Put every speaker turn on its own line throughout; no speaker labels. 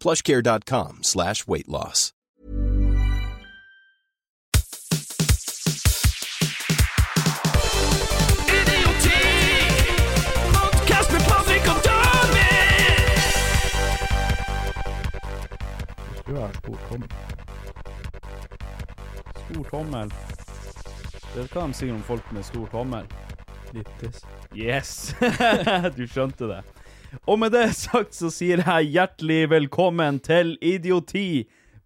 plushcare.com slash weight loss.
Idioti! Podcast med Patrick og David!
Du har stor tommel.
Stor tommel. Det kan de si om folk med stor tommel.
Litt tiss.
Yes! du skjønte det. Og med det sagt så sier jeg hjertelig velkommen til Idioti,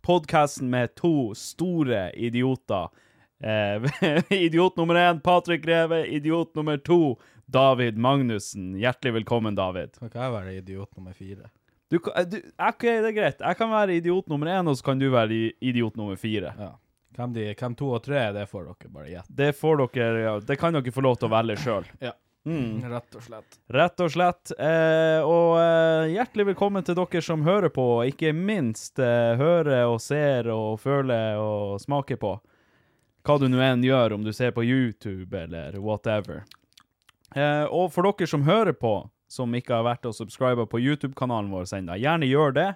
podkasten med to store idioter. Eh, idiot nummer én, Patrick Greve. Idiot nummer to, David Magnussen. Hjertelig velkommen, David.
Kan ikke jeg være idiot nummer fire?
Du, kan- du, ok, det er greit. Jeg kan være idiot nummer én, og så kan du være i- idiot nummer fire.
Ja. Hvem, de, hvem to og tre er, det får dere bare gjette.
Det får dere, ja, det kan dere få lov til å velge sjøl.
Ja. Rett og slett.
Rett og slett. Eh, og eh, hjertelig velkommen til dere som hører på, og ikke minst eh, hører og ser og føler og smaker på. Hva du nå enn gjør, om du ser på YouTube eller whatever. Eh, og for dere som hører på, som ikke har vært og subscriber på YouTube-kanalen vår ennå, gjerne gjør det.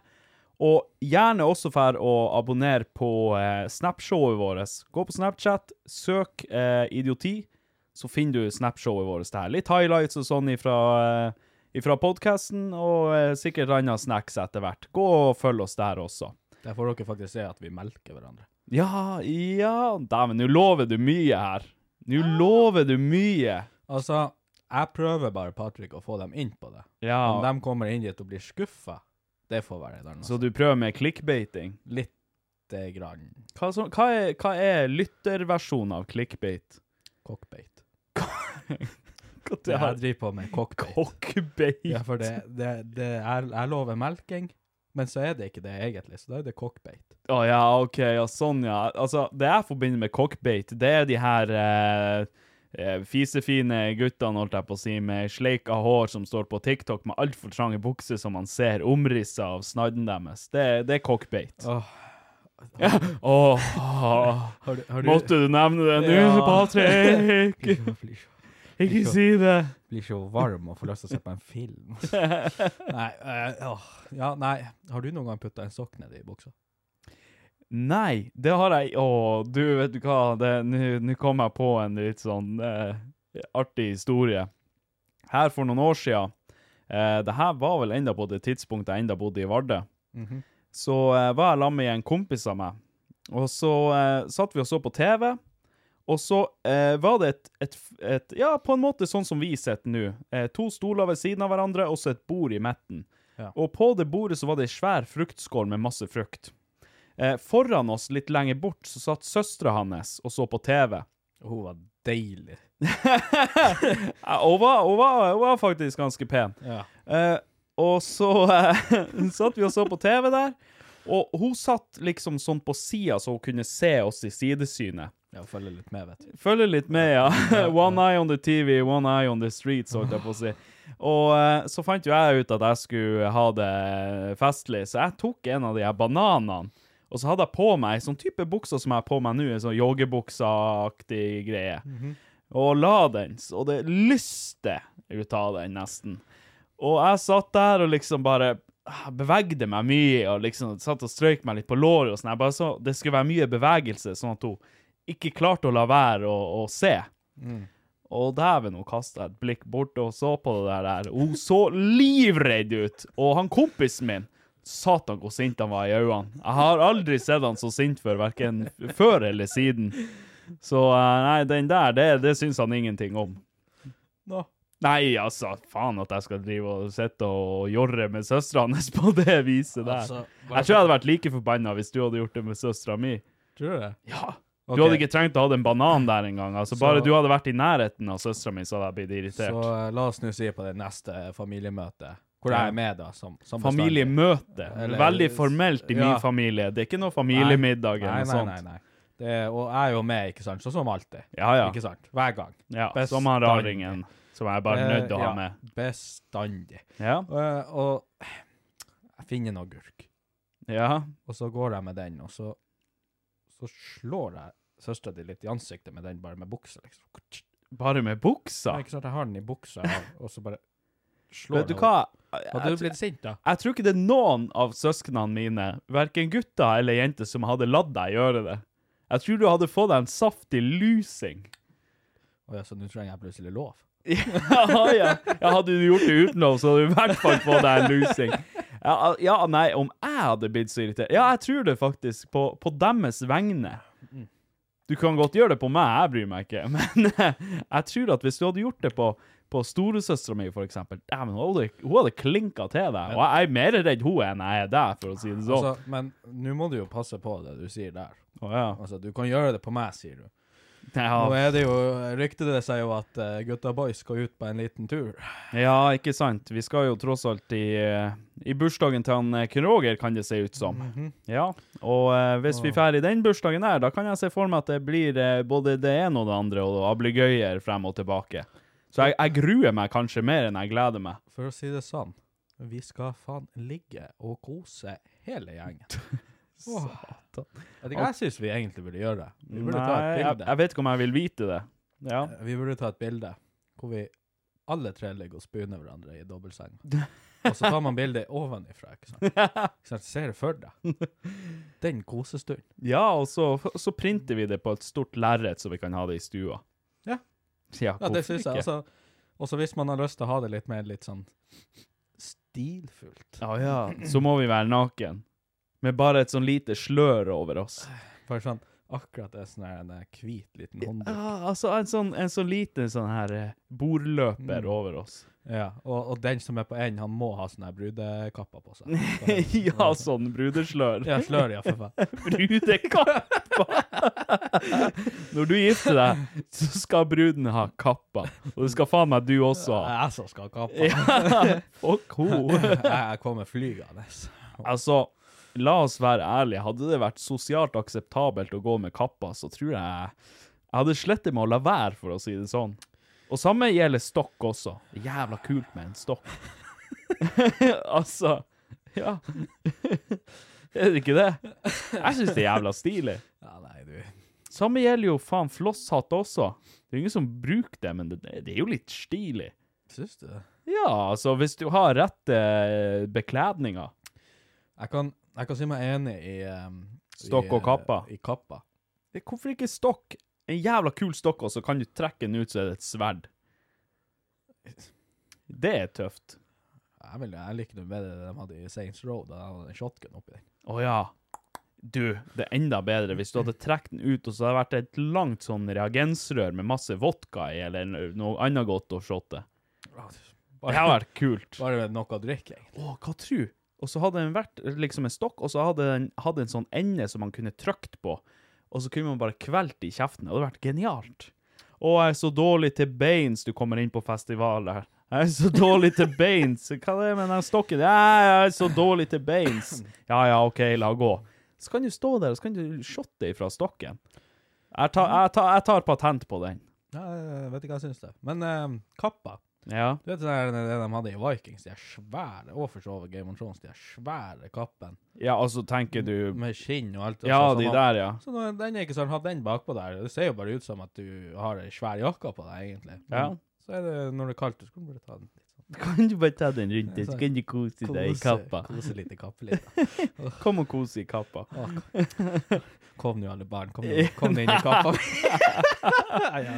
Og gjerne også for å abonnere på eh, Snapshowet vårt. Gå på Snapchat, søk eh, idioti, så finner du Snapshowet vårt der. Litt highlights og sånn ifra, eh, ifra podkasten, og eh, sikkert andre snacks etter hvert. Gå og følg oss der også.
Der får dere faktisk se at vi melker hverandre.
Ja, ja Dæven, nå lover du mye her. Nå
Ah.
lover du mye.
Altså, jeg prøver bare, Patrick, å få dem inn på det.
Ja,
Om de kommer inn dit og blir skuffa, det får være den.
så du prøver med clickbaiting.
Litt eh, grann
Hva, som, hva, er, hva er lytterversjonen av clickbait?
cockbait.
Hva
Det jeg driver på med, cockbait.
Cockbait.
Ja, for det, det, det er, jeg lover melking, men så er det ikke det egentlig, så da er det cockbait.
Å ja, ok, ja, sånn ja. Altså, det jeg forbinder med cockbait, det er de her eh, eh, fisefine guttene, holdt jeg på å si, med sleika hår som står på TikTok med altfor trange bukser som man ser omrisset av snadden deres. Det, det er cockbait.
Åh.
Ja. Åh,
Har du, har
måtte du nevne det nå,
Ja.
Patrick? Ikke si det.
blir så varm og får lyst til å se på en film. nei, eh, åh. ja, nei. Har du noen gang putta en sokk nedi buksa?
Nei, det har jeg Å, du, vet du hva? Det- Nå nå kom jeg på en litt sånn eh, artig historie. Her for noen år siden eh, Det her var vel enda på det tidspunktet jeg enda bodde i Vardø. Så eh, var jeg sammen med en kompis av meg, og så eh, satt vi og så på TV. Og så eh, var det et, et, et Ja, på en måte sånn som vi sitter nå. Eh, to stoler ved siden av hverandre, og så et bord i midten.
Ja.
Og på det bordet så var det ei svær fruktskål med masse frukt. Eh, foran oss, litt lenger bort, så satt søstera hans og så på TV.
Hun var deilig.
Eh, Hun var, hun var, hun var faktisk ganske pen.
Ja.
Eh, og så eh, satt vi og så på TV der, og hun satt liksom sånn på sida, så hun kunne se oss i sidesynet.
Jeg følger litt med, vet du.
Følger litt med, ja. One eye on the TV, one eye on the streets, holdt jeg på å si. Og eh, så fant jo jeg ut at jeg skulle ha det festlig, så jeg tok en av de her bananene Og så hadde jeg på meg sånn type bukser som jeg har på meg nå, en sånn joggebukseaktig greie. Og la den, og det lyste ut av den nesten. Og jeg satt der og liksom bare ah, bevegde meg mye, og liksom satt og strøyk meg litt på låret og sånn. Jeg bare så, det skulle være mye bevegelse, sånn at hun ikke klarte å la være å, å se.
Mm.
Og dæven, hun kasta et blikk bort og så på det der. der. Hun så livredd ut! Og han kompisen min Satan, hvor sint han var i øynene. Jeg har aldri sett han så sint før, verken før eller siden. Så eh, nei, den der, det, det syns han ingenting om.
Nå.
Nei, altså, faen at jeg skal drive og sitte og jorre med søstera hans på det viset der.
Altså, bare
jeg tror jeg hadde vært like forbanna hvis du hadde gjort det med søstera mi.
Tror du det?
Ja.
Ok.
Du hadde ikke trengt å ha en banan der engang. Altså,
Så-
bare du hadde vært i nærheten av søstera mi, så hadde jeg blitt irritert.
Så eh, la oss nå si på det neste familiemøtet, hvor
Ja.
jeg er med, da. Som, som
Familiemøte.
Eller-
Veldig formelt i min
Ja.
familie. Det er ikke noe
bestandig.
familiemiddag eller
nei, nei,
noe sånt.
nei, nei. Det, og jeg er jo med, ikke sant? Sånn som alltid.
Ja, ja.
Ikke sant? Hver gang.
Ja, som han raringen som jeg bare er nødt til å ha
Eh,
med.
Ja, bestandig.
Ja.
Og, og jeg finner en agurk,
ja.
og så går jeg med den, og så, så slår jeg søstera di litt i ansiktet med den, bare med buksa, liksom.
Bare med buksa?
Nei, ikke sant? Jeg har den i buksa, og så bare slår
Vet du
jeg
hva?
henne. Hadde du blitt sint, da?
Jeg tror ikke det er noen av søsknene mine, verken gutter eller jenter, som hadde latt deg gjøre det. Jeg tror du hadde fått deg en saftig lusing.
Å ja, så nå trenger jeg plutselig lov.
ja, ja. ja, hadde du gjort det utenom, så hadde du i hvert fall fått deg en lusing. Ja, al- ja, nei, om jeg hadde blitt så irritert Ja, jeg tror det faktisk, på, på deres vegne. Du kan godt gjøre det på meg, jeg bryr meg ikke, men eh, jeg tror at hvis du hadde gjort det på på storesøstera mi, for eksempel. Dæven, hun hadde, hun hadde klinka til deg. Og jeg er mer redd hun enn jeg er deg, for å si det sånn.
Altså, men nå må du jo passe på det du sier der.
Å ja.
Altså, du kan gjøre det på meg, sier du. Nå
Ja.
er det jo, ryktet det seg jo at eh, gutta boys skal ut på en liten tur.
ja, ikke sant. Vi skal jo tross alt i, eh, i bursdagen til han eh, Ken Roger, kan det se ut som.
Mhm.
Ja, og eh, hvis vi drar i den bursdagen der, da kan jeg se for meg at det blir eh, både det ene og det andre, og ablegøyer frem og tilbake. Så jeg, jeg gruer meg kanskje mer enn jeg gleder meg.
For å si det sånn, vi skal faen ligge og kose hele gjengen. Satan. Jeg, jeg syns vi egentlig burde gjøre det. Vi burde ta
Nei,
et
jeg,
bilde.
jeg vet ikke om jeg vil vite det. Ja.
Eh, Vi burde ta et bilde hvor vi alle tre ligger og spooner hverandre i dobbeltseng. Og så tar man bildet ovenifra, ikke sant? Ikke sant? Ser det for deg. Den kosestunden.
Ja, og så, så printer vi det på et stort lerret, så vi kan ha det i
Ja.
stua. Ja,
Ja,
hvorfor
det syns jeg.
ikke?
Altså, også hvis man har lyst til å ha det litt mer litt sånn stilfullt.
Ja, ja. Så må vi være naken. Med bare et sånn lite slør over oss.
Bare sånn akkurat det er sånn her en eh, hvit liten håndduk.
Ja, altså en sånn, en sånn liten sånn her eh, bordløper over oss.
Ja, og, og den som er på enden, han må ha sånn her brudekappa på seg.
ja, sånn brudeslør.
Ja, slør, ja, for faen.
Brudekappa! Når du gifter deg, så skal bruden ha kappa. Og det skal faen meg du også ha.
Jeg som skal ha kappa.
Ja, fuck ho.
Jeg, jeg kommer flygende.
Altså, la oss være ærlige. Hadde det vært sosialt akseptabelt å gå med kappa, så tror jeg jeg hadde slettet med å la være, for å si det sånn. Og samme gjelder stokk også. Det er jævla kult med en stokk. altså Ja. er det ikke det? Jeg syns det er jævla stilig.
Ja, nei, du.
Samme gjelder jo faen flosshatt også. Det er ingen som bruker det, men det, det er jo litt stilig.
Syns du det?
Ja, altså, hvis du har rette eh, bekledninger
Jeg kan, jeg kan si meg enig i um,
Stokk
i,
og kappa.
eh, I kappa.
Det- Hvorfor ikke stokk? En jævla kul stokk, og så kan du trekke den ut, så er det et sverd. Det er tøft.
Jeg, vil, jeg liker det bedre det de hadde i Saints Row, da de hadde en shotgun oppi den.
Å ja. Du, det er enda bedre hvis du hadde trukket den ut, og så hadde det vært et langt sånn reagensrør med masse vodka i, eller no- noe annet godt å shotte. Ah, Det hadde vært kult. Å,
Bare med noe å drikke, egentlig.
hva tru? Og så hadde den vært liksom en stokk, og så hadde den hadde en sånn ende som man kunne trykt på, og så kunne man bare kvelt i kjeften. Det hadde vært genialt. Å, jeg er så dårlig til beins du kommer inn på festivaler. Jeg er så dårlig til beins. Hva er det med den stokken? Ja, jeg er så dårlig til beins. Ja, ja, OK, la gå. Så kan du stå der, og så kan du shotte ifra stokken. Jeg tar, jeg tar, jeg tar patent på den.
Ja, jeg vet ikke hva jeg syns det. Men eh, kappa
Ja.
Du vet det der- det de hadde i Vikings, de er svære, og for så vidt Game of Thrones, de er svære kappen,
ja, altså tenker du
med skinn og alt.
Ja,
så- så
de
han-
der, ja.
Så nå, den er ikke sånn, ha den bakpå der, det ser jo bare ut som at du har en svær jakka på deg, egentlig. Men
Ja.
Så er det, når det er kaldt, du skulle bare ta den litt sånn.
Kan du bare ta den rundt
deg, så kan
du kose
Kose litt i kappelivet.
Kom og kose i kappa.
Kom nå, alle barn, kom nå, kom nå inn i kappa. nei, ja.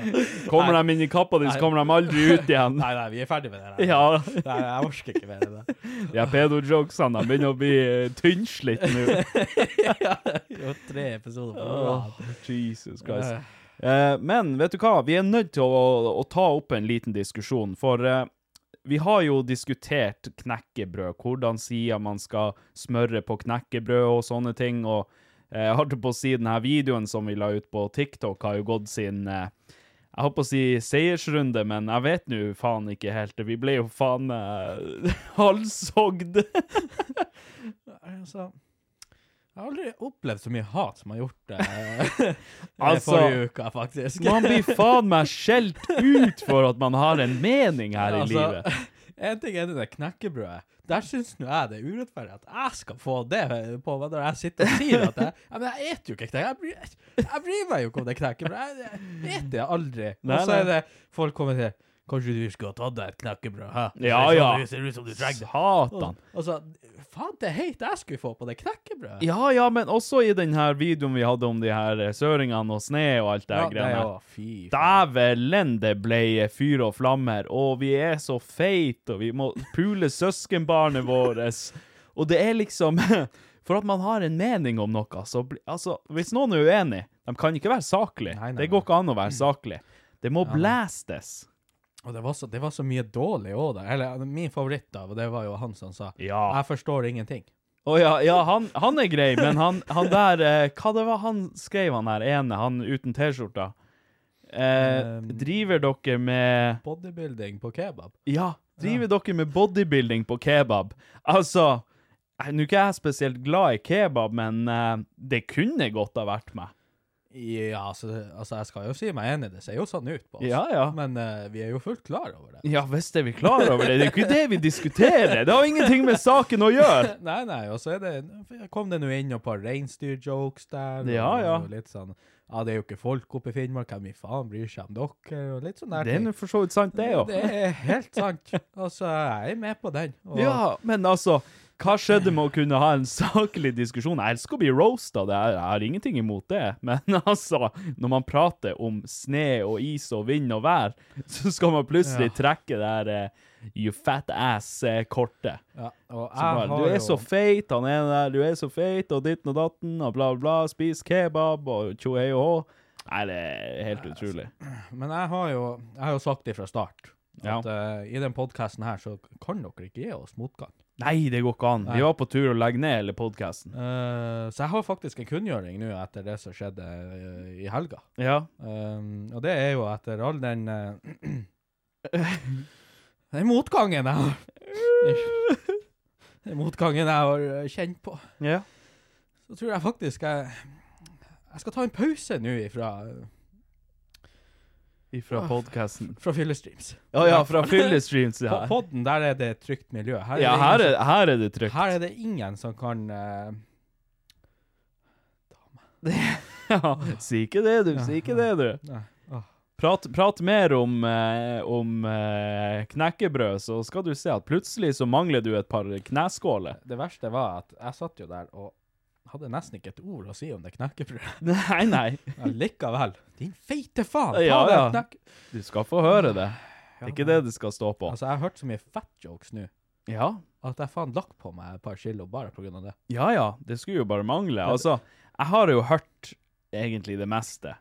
Kommer de inn i kappa di, så kommer de aldri ut igjen.
nei, nei, vi er ferdig med det her.
Ja,
Nei, jeg orker ikke mer det der.
ja pedo-jokesene de begynner å bli eh, tynnslitt nå.
Jo, tre episoder på
Åh,
rad.
Jesus Christ. Eh, men vet du hva, vi er nødt til å, å, å ta opp en liten diskusjon, for eh, vi har jo diskutert knekkebrød, hvordan sier man skal smøre på knekkebrød og sånne ting, og eh, jeg holdt på å si denne videoen som vi la ut på TikTok har jo gått sin, eh, jeg holdt på å si seiersrunde, men jeg vet nå faen ikke helt, det. vi ble jo faen eh, halshogd.
Altså, jeg har aldri opplevd så mye hat som jeg har gjort det
Altså,
forrige uka, faktisk.
Man blir faen meg skjelt ut for at man har en mening her i
Altså,
livet.
En ting er det der knekkebrødet. Der syns nå jeg det er urettferdig at jeg skal få det på meg når jeg sitter og sier at jeg Ja, men jeg eter jo ikke knekkebrød. Jeg, bryr- jeg bryr meg jo ikke om det knekkebrødet. Jeg, jeg eter det aldri.
Nei,
Og så er
nei.
det folk kommer til Kanskje du skulle ha tatt deg et knekkebrød, hæ?
Ja,
det er
ja.
sånn du ser ut som du trenger det.
Satan.
Altså, faen, det er heit jeg skulle få på det knekkebrødet.
Ja, ja, men også i den her videoen vi hadde om de her eh, søringene og sne og alt det her greiene. her.
jo fy
Dævelen, det ble fyr og flammer, og vi er så feite, og vi må pule søskenbarnet våres. Og det er liksom For at man har en mening om noe, så bli, Altså, hvis noen er uenig, de kan ikke være saklig.
Nei, nei,
Det går ikke an å være saklig. Det må blastes.
Og det var så, det var så mye dårlig òg der. Eller min favoritt, da, og det var jo han som sa
Ja.
'Jeg forstår ingenting'.
Å ja, ja han, han er grei, men han, han der eh, Hva det var han skrev, han der ene, han uten T-skjorta? Eh,
Um,
driver dere med
Bodybuilding på kebab.
Ja, driver dere med bodybuilding på kebab? Altså eh, Nå er ikke jeg spesielt glad i kebab, men eh, det kunne godt ha vært meg.
Ja, altså, altså, jeg skal jo si meg enig, det ser jo sånn ut på oss.
Ja, ja.
Men eh, vi er jo fullt klar over det.
Ja visst er vi klar over det, det er jo ikke det vi diskuterer! Det har ingenting med saken å gjøre!
Nei, nei, og så er det Kom det nå inn et par reinsdyrjokes der,
Ja,
og,
ja.
og litt sånn Ja, det er jo ikke folk oppe i Finnmark, hvem i faen bryr seg om dere, og litt sånn der
Det er nå for så vidt sant, det jo.
Det er helt sant. Altså, jeg er med på den. Og
Ja, men altså hva skjedde med å kunne ha en saklig diskusjon? Jeg elsker å bli roasta, det er, jeg har ingenting imot det. Men altså, når man prater om sne og is og vind og vær, så skal man plutselig trekke det her eh, you fat ass-kortet.
Ja, og jeg
Som bare,
har
du er
jo-
så feit, han ene der, du er så feit, og ditten og datten, og bla, bla, bla, spis kebab, og tjo hei og hå. Nei, det er helt
altså.
utrolig.
Men jeg har jo, jeg har jo sagt det fra start.
Ja.
At eh, i den podkasten her så kan dere ikke gi oss motgang.
Nei, det går ikke an. Vi var på tur å legge ned hele podkasten.
Eh, så jeg har faktisk en kunngjøring nå etter det som skjedde eh, i helga.
Ja.
Um, og det er jo etter all den eh, Den motgangen jeg har Den motgangen jeg har eh, kjent på.
Ja.
Så tror jeg faktisk jeg Jeg skal ta en pause nå ifra, Ah.
Ifra podkasten.
fra Fyllestreams.
Ja, ja, fra fyllestreams,
På
ja.
podden der er det et trygt miljø. Her
Ja,
ingen
her
som-
er, her er det trygt.
Her er det ingen som kan eh,
Ja, si ikke det, du. Si ikke det, du.
Nei. Åh.
Prat, prat mer om, eh, om eh, knekkebrød, så skal du se at plutselig så mangler du et par kneskåler.
Det verste var at jeg satt jo der og hadde nesten ikke et ord å si om det knekkebrødet.
Nei, nei.
Men Likevel. Din feite faen! Ta
Ja,
det
ja.
knekk...
Du skal få høre det. Det er ikke det det skal stå på.
Altså, jeg har hørt så mye fatjokes nå
Ja,
at jeg faen lagt på meg et par kilo bare på grunn av det.
ja, ja. Det skulle jo bare mangle. Altså, jeg har jo hørt egentlig det meste,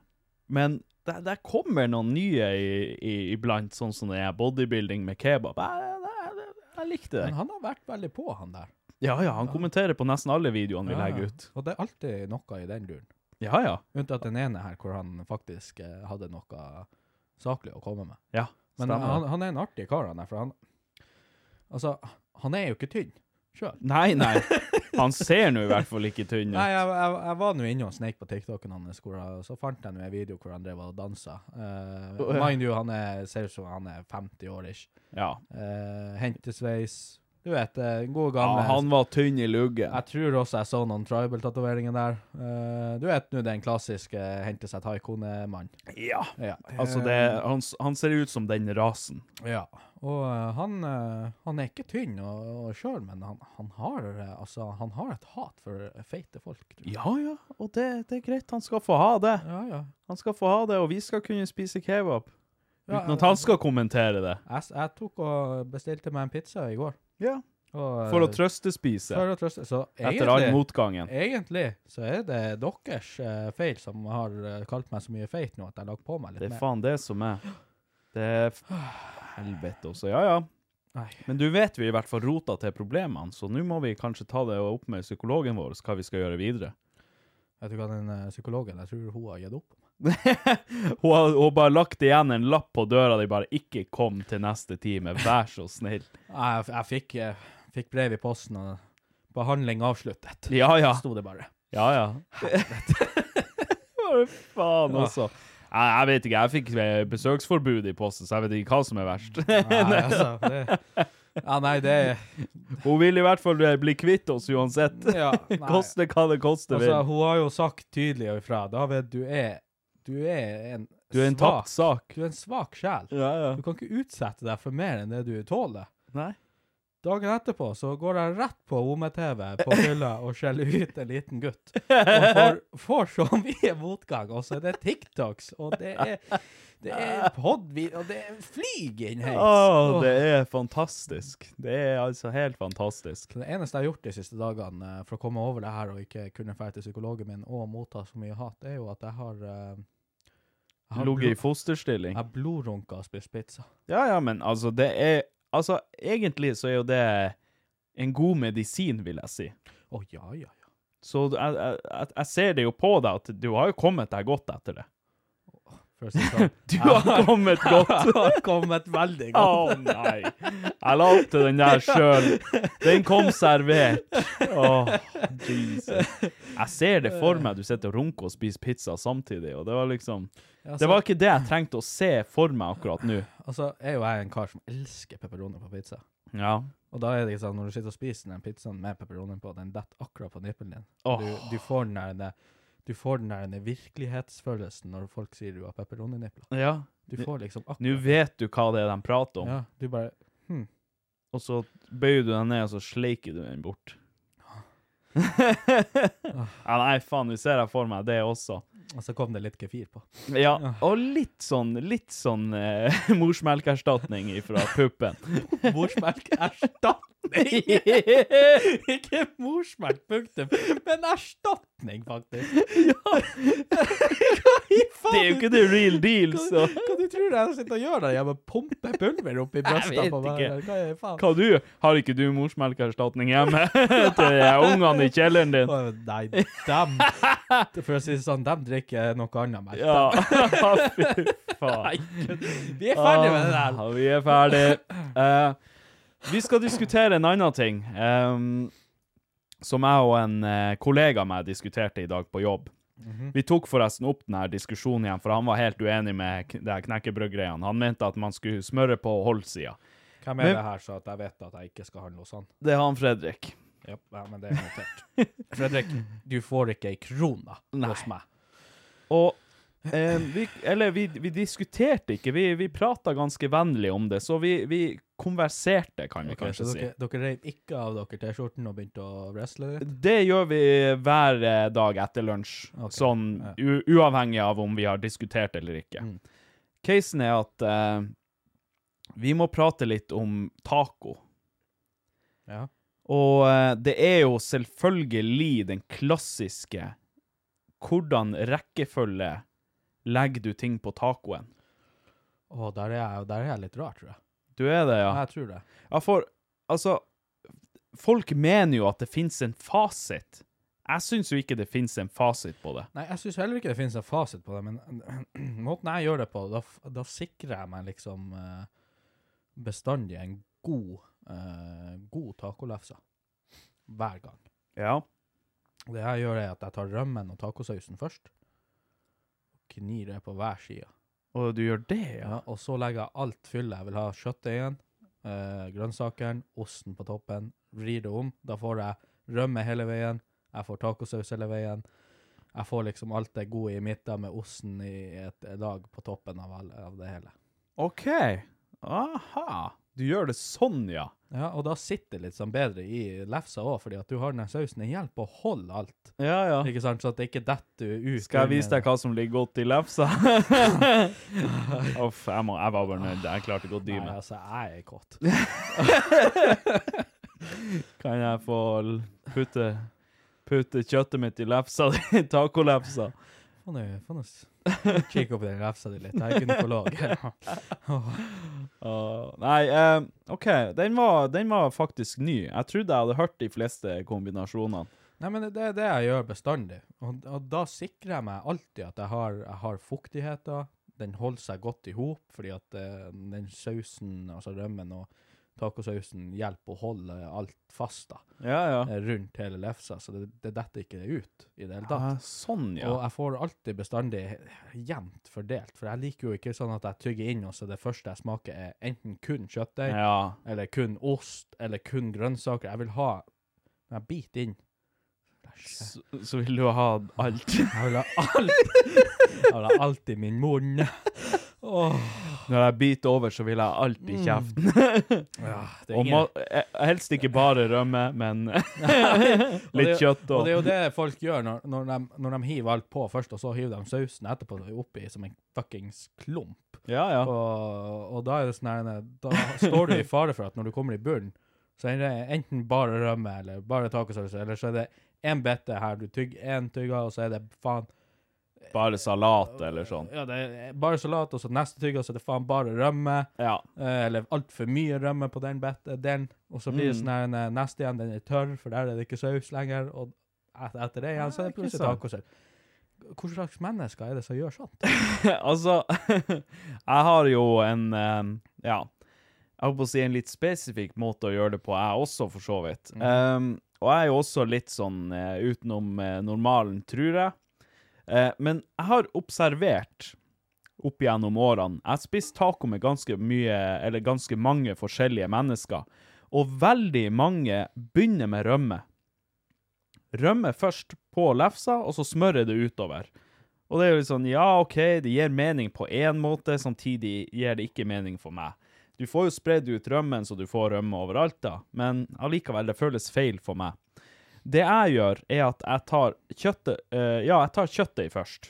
men der, der kommer noen nye i- i- iblant, sånn som det er bodybuilding med kebab. Jeg, jeg, jeg, jeg likte det.
Men han har vært veldig på, han der.
Ja, ja, han kommenterer på nesten alle videoene vi legger ut.
Og det er alltid noe i den duren.
Ja, ja.
Unntatt den ene her hvor han faktisk eh, hadde noe saklig å komme med.
Ja,
Men
stemmer.
han, han er en artig kar, han der, for han Altså, han er jo ikke tynn. sjøl.
Nei, nei. Han ser nå i hvert fall ikke tynn
Nei,
ut.
jeg, jeg, jeg var nå inne og sneik på TikToken hans, hvor jeg- så fant jeg nå en video hvor han drev og dansa. Eh,
Å, ja.
mind you, han er, ser ut som han er 50 år ish.
Ja.
Eh, hentesveis. Du vet, eh, gode
ja.
gamle
ah, Han var tynn i luggen.
Jeg tror også jeg så noen tribal-tatoveringer der. Eh, du vet nå den klassiske eh, hente seg taikone-mannen.
Ja.
Ja.
Altså, det, han, s- han ser ut som den rasen.
Ja, og eh, han, eh, han er ikke tynn og, og sjøl, men han, han, har, eh, altså, han har et hat for feite folk. tror jeg.
Ja, ja. Og det, det er greit. Han skal få ha det.
Ja, ja.
Han skal få ha det, og vi skal kunne spise kebab.
Ja,
Uten at han skal kommentere det.
Jeg, s- jeg tok og bestilte meg en pizza i går.
Ja.
Og, eh,
For å trøstespise.
for å trøste. Så
Etter all
egentlig,
motgangen.
egentlig så er det deres eh, feil som har eh, kalt meg så mye feit nå at jeg har lagt på meg
Det
litt
er
mer.
faen det som er. Det er f- Helvete også. Ja, ja.
Nei.
Men du vet vi i hvert fall rota til problemene, så nå må vi kanskje ta det opp med psykologen vår, hva vi skal gjøre videre.
Vet du hva den eh, psykologen Jeg tror hun har gitt opp.
hun har hun har bare lagt igjen en lapp på døra di, bare 'ikke kom til neste time', vær så snill.
Jeg, jeg fikk, eh, fikk brev i posten, og behandling avsluttet.
Ja, ja.
Sto det bare.
Ja, ja. Hva faen
altså?
også? Nei, jeg vet ikke, jeg fikk eh, besøksforbud i posten, så jeg vet ikke hva som er verst.
Nei, altså, det, ja, nei, det
Hun vil i hvert fall eh, bli kvitt oss uansett.
ja, nei.
Koste hva det koste vil.
Altså, hun har jo sagt tydelig ifra. David, du er Du er en
Du er
svak-
en tapt sak.
Du er en svak sjel.
Ja, ja.
Du kan ikke utsette deg for mer enn det du tåler.
Nei.
Dagen etterpå så går jeg rett på OME-TV på fylla og skjeller ut en liten gutt. Og får, får så mye motgang. Og så er det TikToks, og det er, det er podvid, og det er flyg inn hit.
Å, det er fantastisk. Det er altså helt fantastisk.
Så Det eneste jeg har gjort de siste dagene eh, for å komme over det her og ikke kunne dra til psykologen min og motta så mye hat, det er jo at jeg har eh, Jeg har,
Ligger i
blod,
fosterstilling.
jeg har blodrunka og spist pizza.
Ja, ja, men altså, det er Altså, egentlig så er jo det en god medisin, vil jeg si.
Å ja, ja, ja.
Så du- jeg, jeg, jeg- jeg ser det jo på deg at du har jo kommet deg godt etter det.
For å si det sånn.
Du har kommet godt.
Jeg har kommet veldig
Å
godt.
nei. Jeg la opp til den der sjøl. Den kom servert. Åh, Jesus. Jeg ser det for meg. Du sitter og runker og spiser pizza samtidig, og det var liksom Det var ikke det jeg trengte å se for meg akkurat nå.
Altså, er jo jeg en kar som elsker pepperoni på pizza.
Ja.
Og da er det ikke sånn, når du sitter og spiser den pizzaen med pepperoni på, den detter akkurat på nippelen din.
Åh.
Du, du får den der det- du får den der virkelighetsfølelsen når folk sier du har pepperoninipler.
ja.
Du får liksom akkurat
Nå vet du hva det er de prater om,
Ja, du bare
og så bøyer du deg ned, og så sleiker du den bort. ja, nei, faen, nå ser jeg for meg det også.
Og så kom det litt kefir på.
Ja, og litt sånn, litt sånn eh, morsmelkerstatning fra puppen.
Morsmelkerstatning! Ikke morsmelk, punktum, men erstatning, faktisk. Hva i faen?
Det er jo ikke the real deal, så
Hva, hva du tror jeg sitter og gjør der hjemme? Pumper pulver opp i brøsta
vet
på meg?
ikke.
eller Hva er faen?
Hva du? Har ikke du morsmelkerstatning hjemme til de ungene i kjelleren din?
Å, Nei, dem For å si det sånn, dem drikker noe annet melk.
Ja, fy faen.
Vi er ferdige med det der.
Ah, vi er ferdig. Eh, vi skal diskutere en annen ting, ehm, som jeg og en eh, kollega av meg diskuterte i dag på jobb.
Mhm.
Vi tok forresten opp denne diskusjonen igjen, for han var helt uenig med kn- det her knekkebrødgreiene. Han mente at man skulle smøre på holdsida.
Hvem
Men-
er det her, så at jeg vet at jeg ikke skal handle hos han?
Det er han Fredrik.
Ja, ja, men det er notert. Fredrik, du får ikke ei krone hos meg.
Og eh, vi, eller vi, vi diskuterte ikke, vi, vi prata ganske vennlig om det, så vi, vi konverserte, kan vi
Ok, så
kanskje si.
dere, dere reiv ikke av dere T-skjorten og begynte å wrestle litt?
Det gjør vi hver eh, dag etter lunsj,
Ok,
sånn u uavhengig av om vi har diskutert eller ikke.
Mm.
Casen er at eh, vi må prate litt om taco.
Ja.
Og eh, det er jo selvfølgelig den klassiske Hvordan rekkefølge legger du ting på tacoen?
Å, der er jeg, der er jeg litt rar, tror jeg.
Du er det, ja?
Jeg tror det.
Ja, for altså Folk mener jo at det fins en fasit. Jeg syns jo ikke det fins en fasit på det.
Nei, jeg syns heller ikke det finnes en fasit på det, men måten jeg gjør det på, da, f- da sikrer jeg meg liksom eh, bestandig en god, eh, god tacolefse. hver gang.
Ja.
Og Det jeg gjør, er at jeg tar rømmen og tacosausen først. Knir det på hver side.
Og du gjør det, ja?
Ja, og så legger jeg alt fyllet. Jeg vil ha kjøttet igjen, eh, grønnsakene, osten på toppen. Vrir det om. Da får jeg rømme hele veien. Jeg får tacosaus hele veien. Jeg får liksom alt det gode i midten med osten i et lag på toppen av, all- av det hele.
OK. Aha. Du gjør det sånn, ja.
Ja, og da sitter det litt sånn bedre i lefsa òg, fordi at du har den her sausen. Det hjelper å holde alt,
Ja, ja.
ikke sant? Så at det ikke detter ut.
Skal jeg vise
under-
deg hva som ligger godt i lefsa? Uff, jeg, må, jeg var bare nødt. Jeg klarte ikke å dy
Nei,
meg.
altså, jeg er kåt.
Kan jeg få l- putte, putte kjøttet mitt i lefsa di? Tacolefsa?
Få nå få nå s- kikke opp i den lefsa di litt. Jeg er gynekolog.
Åh, nei, eh, OK. Den var, den var faktisk ny. Jeg trodde jeg hadde hørt de fleste kombinasjonene.
Nei, men det er det jeg gjør bestandig. Og, og da sikrer jeg meg alltid at jeg har, jeg har fuktigheter. Den holder seg godt i hop, fordi at eh, den sausen, altså rømmen og tacosausen, hjelper å holde alt fast da,
Ja, ja.
eh, rundt hele lefsa, så det, det detter ikke ut i det hele
Ah,
tatt.
sånn, ja.
Og jeg får alltid bestandig jevnt fordelt, for jeg liker jo ikke sånn at jeg tygger inn, og så det første jeg smaker er enten kun kjøttdeig,
Ja.
eller kun ost, eller kun grønnsaker. Jeg vil ha Jeg biter inn.
Så, så vil du ha alt.
Jeg vil ha alt. Jeg vil ha alt i min munn.
Når jeg biter over, så vil jeg ha alt i kjeften.
Ja, Mm. det
Og ma eh, helst ikke bare rømme, men litt kjøtt
og
og
det er jo det folk gjør når, når, de, når de hiver alt på først, og så hiver de sausen etterpå oppi som en fuckings klump.
Ja, ja.
Og, og da er det sånn her Da står du i fare for at når du kommer i bunnen, så er det enten bare rømme eller bare tacosaus, eller så er det én bitte her du tygger én tygger, og så er det faen
Bare salat eller sånn.
Ja, det er bare salat, og så neste tygger, så er det faen bare rømme.
Ja.
Eh, eller altfor mye rømme på den, bet- den og så blir det
Mm.
sånn her en, eh, neste igjen, den er tørr, for der er det ikke saus lenger, og et, etter det igjen, så er det
Ja, ikke
plutselig
sant.
tacosaus. Hva slags mennesker er det som gjør sånt?
altså, jeg har jo en eh, Ja, jeg holdt på å si en litt spesifikk måte å gjøre det på, jeg også, for så vidt. Um, og jeg er jo også litt sånn eh, utenom eh, normalen, tror jeg. Eh, men jeg har observert opp gjennom årene Jeg har spist taco med ganske mye, eller ganske mange forskjellige mennesker, og veldig mange begynner med rømme. Rømme først på lefsa, og så smører det utover. Og det er jo litt sånn, ja, ok, det gir mening på én måte, samtidig gir det ikke mening for meg. Du får jo spredd ut rømmen, så du får rømme overalt, da, men allikevel, det føles feil for meg. Det jeg gjør, er at jeg tar kjøttet eh, Ja, jeg tar kjøttet i først.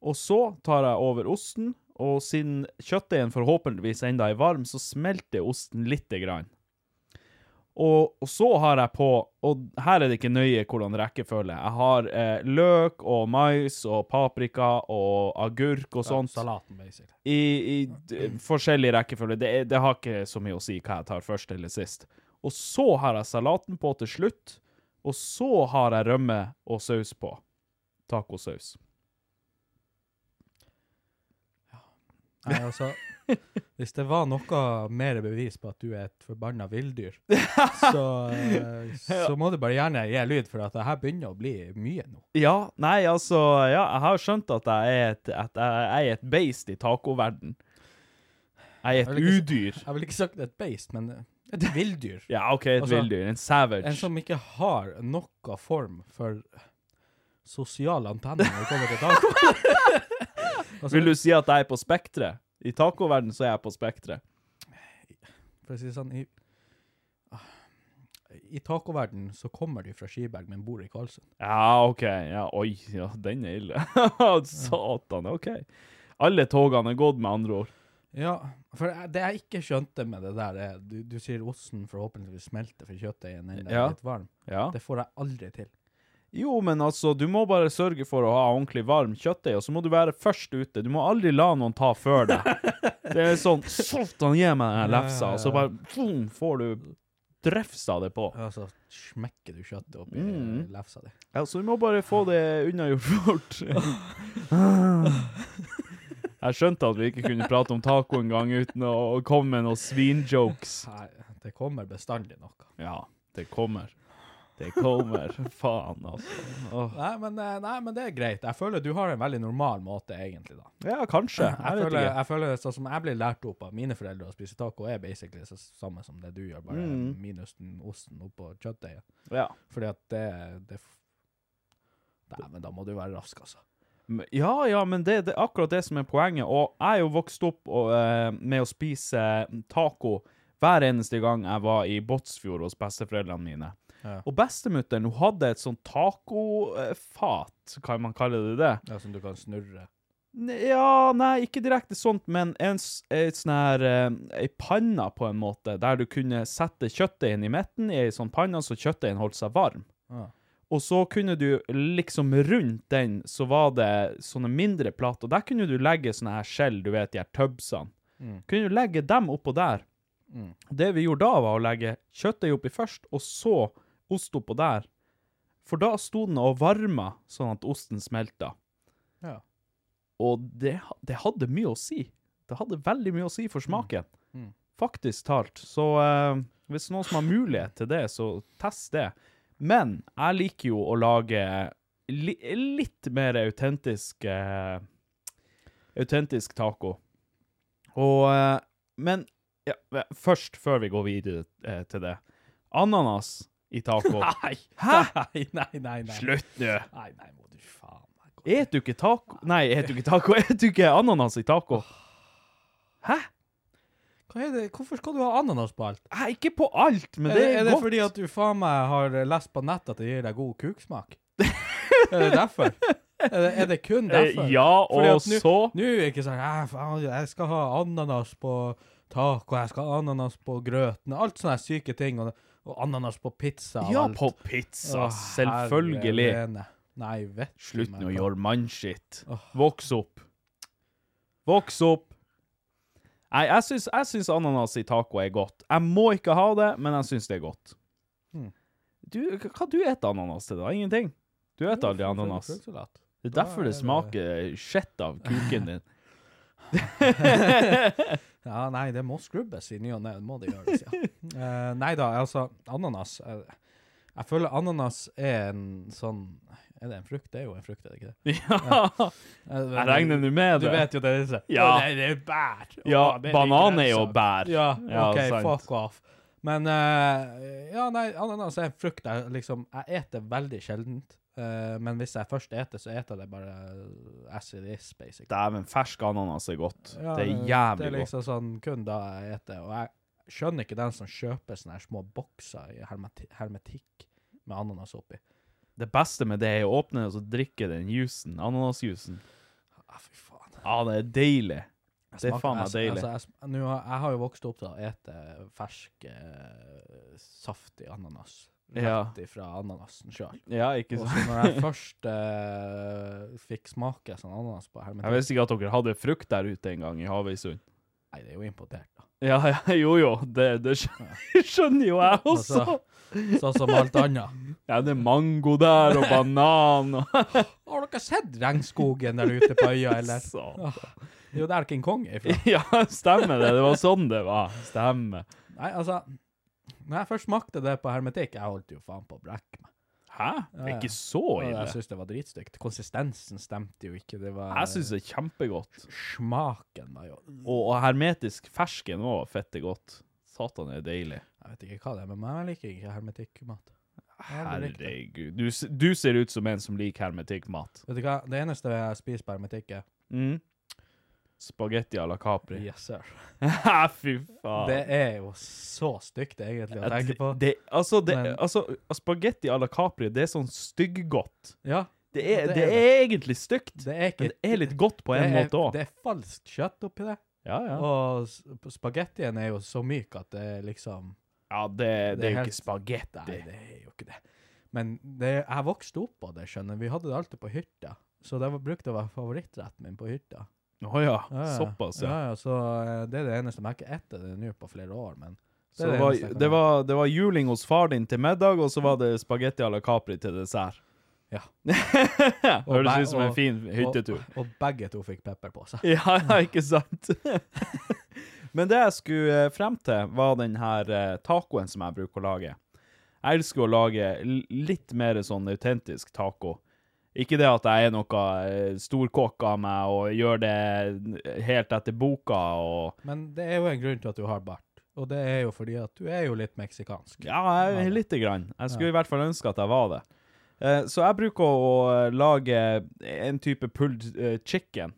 Og så tar jeg over osten, og siden kjøttdeigen forhåpentligvis enda er varm, så smelter osten lite grann. Og, og så har jeg på, og her er det ikke nøye hvordan rekkefølge, jeg har eh, løk og mais og paprika og agurk og sånt
Salaten, basically.
i, i d forskjellig rekkefølge. Det, er- det har ikke så mye å si hva jeg tar først eller sist. Og så har jeg salaten på til slutt, og så har jeg rømme og saus på. Tacosaus.
Nei, altså, hvis det var noe mer bevis på at du er et forbanna villdyr, så, eh, så må du bare gjerne gi lyd, for at det her begynner å bli mye nå.
Ja, nei, altså Ja, jeg har skjønt at jeg er et, at jeg er et beist i tacoverden. Jeg er
Jeg
et
vil ikke si-
udyr.
Jeg vil ikke sagt et beist, men eh, et villdyr.
Ja, OK, et
Altså,
villdyr. En savage.
En som ikke har noe form for sosial antenne når det kommer til taco. altså,
Vil du si at jeg er på spekteret? I tacoverden så er jeg på spekteret.
For å si det sånn, i, i tacoverdenen så kommer du fra Skiberg, men bor i Karlsund.
Ja, OK. Ja, oi, ja, den er ille. Satan, OK. Alle togene er gått, med andre ord.
Ja, for jeg- det jeg ikke skjønte med det der, er du, du sier osten forhåpentligvis smelter for kjøttdeigen når den er
Ja.
litt varm.
Ja.
Det får jeg aldri til.
Jo, men altså, du må bare sørge for å ha ordentlig varm kjøttdeig, og så må du være først ute. Du må aldri la noen ta før deg. Det er sånn Satan, gi meg den her lefsa, og så bare boom, får du drefsa det på.
Ja, så Altså, smekker du kjøttet opp i
Mm.
lefsa di.
Ja, så du må bare få det unnagjort fort. Jeg skjønte at vi ikke kunne prate om taco en gang uten å å komme med noen svinjokes.
Nei, det kommer bestandig noe.
Ja, det kommer. Det kommer. Faen, altså. Åh.
Nei men, eh, nei, men det er greit. Jeg føler du har en veldig normal måte, egentlig, da.
Ja, kanskje. Jeg
Jeg
vet
føler,
ikke.
jeg føler sånn som jeg blir lært opp av mine foreldre å spise taco, er basically det samme som det du gjør, bare
Mm.
minus den osten oppå kjøttdeigen.
Ja.
Fordi at det, det f- Nei, men da må du være rask, altså.
Men- Ja, ja, men det det er akkurat det som er poenget. Og jeg er jo vokst opp og, eh, med å spise mm, taco hver eneste gang jeg var i Båtsfjord hos besteforeldrene mine.
Ja.
Og bestemutteren hun hadde et sånt tacofat, kan man kalle det det?
Det er som du kan snurre.
Ne- Ja, nei, ikke direkte sånt, men en, s- et sånn her eh, Ei panna, på en måte, der du kunne sette kjøttdeigen i midten i ei sånn panne, så kjøttdeigen holdt seg varm.
Ja.
Og så kunne du liksom rundt den, så var det sånne mindre plater. Der kunne du legge sånne her skjell, du vet, de her tubsene.
Mm.
Kunne du legge dem oppå der.
Mm.
Det vi gjorde da, var å legge kjøttet oppi først, og så ost oppå der. For da sto den og varma, sånn at osten smelta.
Ja.
Og det, ha- det hadde mye å si. Det hadde veldig mye å si for smaken.
Mm.
Faktisk talt. Så eh, hvis noen som har mulighet til det, så test det. Men jeg liker jo å lage li litt mer autentisk eh, Autentisk taco. Og eh, Men ja, ve- først, før vi går videre eh, til det Ananas i taco.
Nei! Nei, nei, nei. nei.
Slutt nå!
Nei, nei, må du faen meg gå.
Et du ikke taco Nei, et du ikke taco? Et du ikke ananas i taco? Hæ?
Hva er det? Hvorfor skal du ha ananas på alt?
Nei, ikke på alt, men
Er
det
det,
er,
er det
godt.
fordi at du faen meg har lest på nettet at det gir deg god kuksmak? er det derfor? Er det, er det kun derfor?
Eh, ja,
Fordi
og
at nu-
så
Nå er det ikke sånn «Æ, faen, Jeg skal ha ananas på taco, jeg skal ha ananas på grøten. Alt sånne syke ting. Og, og ananas på pizza. og
Ja,
alt.
på
Å,
pizza, selvfølgelig.
herre vene. Nei, vet du
Slutt
meg
med å
hva.
gjøre mannskitt.
Åh.
Voks opp. Voks opp. Nei, jeg syns, jeg syns ananas i taco er godt. Jeg må ikke ha det, men jeg syns det er godt.
Hmm.
Du, hva- hva du et ananas til, da? Ingenting. Du et aldri
Selvfølgelig
ananas.
fruktsalat.
Det er
Da
derfor
er
det
det-
smaker skjett av kuken din.
Ja, nei, det må skrubbes i ny og ne. Det må det gjøres, ja. Eh, nei da, altså, ananas eh, Jeg føler ananas er en sånn Er det en frukt? Det er jo en frukt, er det ikke det?
Ja, jeg regner nå med
Du
det.
vet jo det. Disse.
Ja.
Det, det er bær. Å,
Ja,
det
banan
ikke
er jo
grønnsak.
bær.
Ja,
Ja,
OK,
sant.
fuck off. Men eh, Ja, nei, ananas er en frukt jeg liksom Jeg eter veldig sjeldent. eh, men hvis jeg først eter, så eter jeg det bare as it is, basically.
Dæven, fersk ananas er godt.
Ja,
det er
Det
jævlig
er liksom sånn kun da jeg eter. Og jeg skjønner ikke den som kjøper sånne her små bokser i hermeti hermetikk med ananas oppi.
godt. Det beste med det er å åpne og så drikke den jusen, ananasjusen.
Ah, fy faen.
Ja, det er deilig.
Jeg
Det er
smaker-
faen meg
jeg-
deilig.
Altså, jeg, sm- nå har- jeg har jo vokst opp til å ete fersk, eh, saftig ananas.
Ja.
Rett ifra ananasen sjøl.
Ja, ikke
Og
sant?
så når jeg først eh, fikk smake sånn ananas på
Jeg
hermetikk
visste ikke at dere hadde frukt der ute en gang i Havøysund.
Nei, det er jo importert, da.
Ja, ja, jo jo, det, det skjønner, skjønner jo jeg også.
Altså- Sånn som alt annet.
Ja, det er mango der, og banan og
Har dere sett regnskogen der ute på øya, eller?
Satan.
Ah, Det er jo der King Kong er fra.
Ja, stemmer det. Det var sånn det var. Stemmer.
Nei, altså Når jeg først smakte det på hermetikk Jeg holdt jo faen på å brekke meg.
Hæ? Det er ikke så
Og
ille.
Jeg syntes det var dritstygt. Konsistensen stemte jo ikke. Det var
Jeg syns det er kjempegodt.
Smaken var jo
Og, og hermetisk fersken òg fette godt. Satan, det er deilig.
Jeg vet ikke hva det er, men jeg liker ikke hermetikkmat. Jeg har aldri likt det.
Herregud. Du, s- du ser ut som en som liker hermetikkmat.
Vet du hva, det eneste jeg spiser på hermetikk, er
Mm. Spagetti à la Capri.
Yes, sir.
Fy faen.
Det er jo så stygt, egentlig, å
Ja,
tenke
det,
på.
det, altså, det,
Men-
altså, spagetti à la Capri, det er sånn stygggodt.
Ja,
Det er,
Det
det
er
er egentlig stygt,
det er ikke
men det er litt godt på
det
en
er-
måte òg.
Det er falskt kjøtt oppi det.
Ja, ja.
Og s- spagettien er jo så myk at det er liksom
ja det, det er jo
Nei,
ikke spagetti.
det er jo ikke det. Men det, jeg vokste opp på det, skjønner du. Vi hadde det alltid på hytta. Så det var, brukte å være favorittretten min på hytta.
Å ja.
Ja, ja.
Såpass, ja.
ja, ja så eh, det er det eneste. Men jeg har ikke spist det nå på flere år, men
Så
er
det
det
var,
eneste jeg kan
det,
gjøre.
var, det var juling hos far din til middag, og så var det spagetti à la Capri til dessert.
Ja.
Høres
bæ-
ut som en
og-
fin hyttetur. Mm.
Og, og begge to fikk pepper på seg.
Ja, ja, ikke sant? Men det jeg skulle eh, frem til, var den her eh, tacoen som jeg bruker å lage. Jeg elsker å lage l- litt mer sånn autentisk taco. Ikke det at jeg er noe eh, storkokk av meg og gjør det helt etter boka og
Men det er jo en grunn til at du har bart, og det er jo fordi at du er jo litt meksikansk.
Ja, jeg, lite grann. Jeg skulle i hvert fall ønske at jeg var det. Eh, Så jeg bruker å eh, lage en type pulled eh, chicken.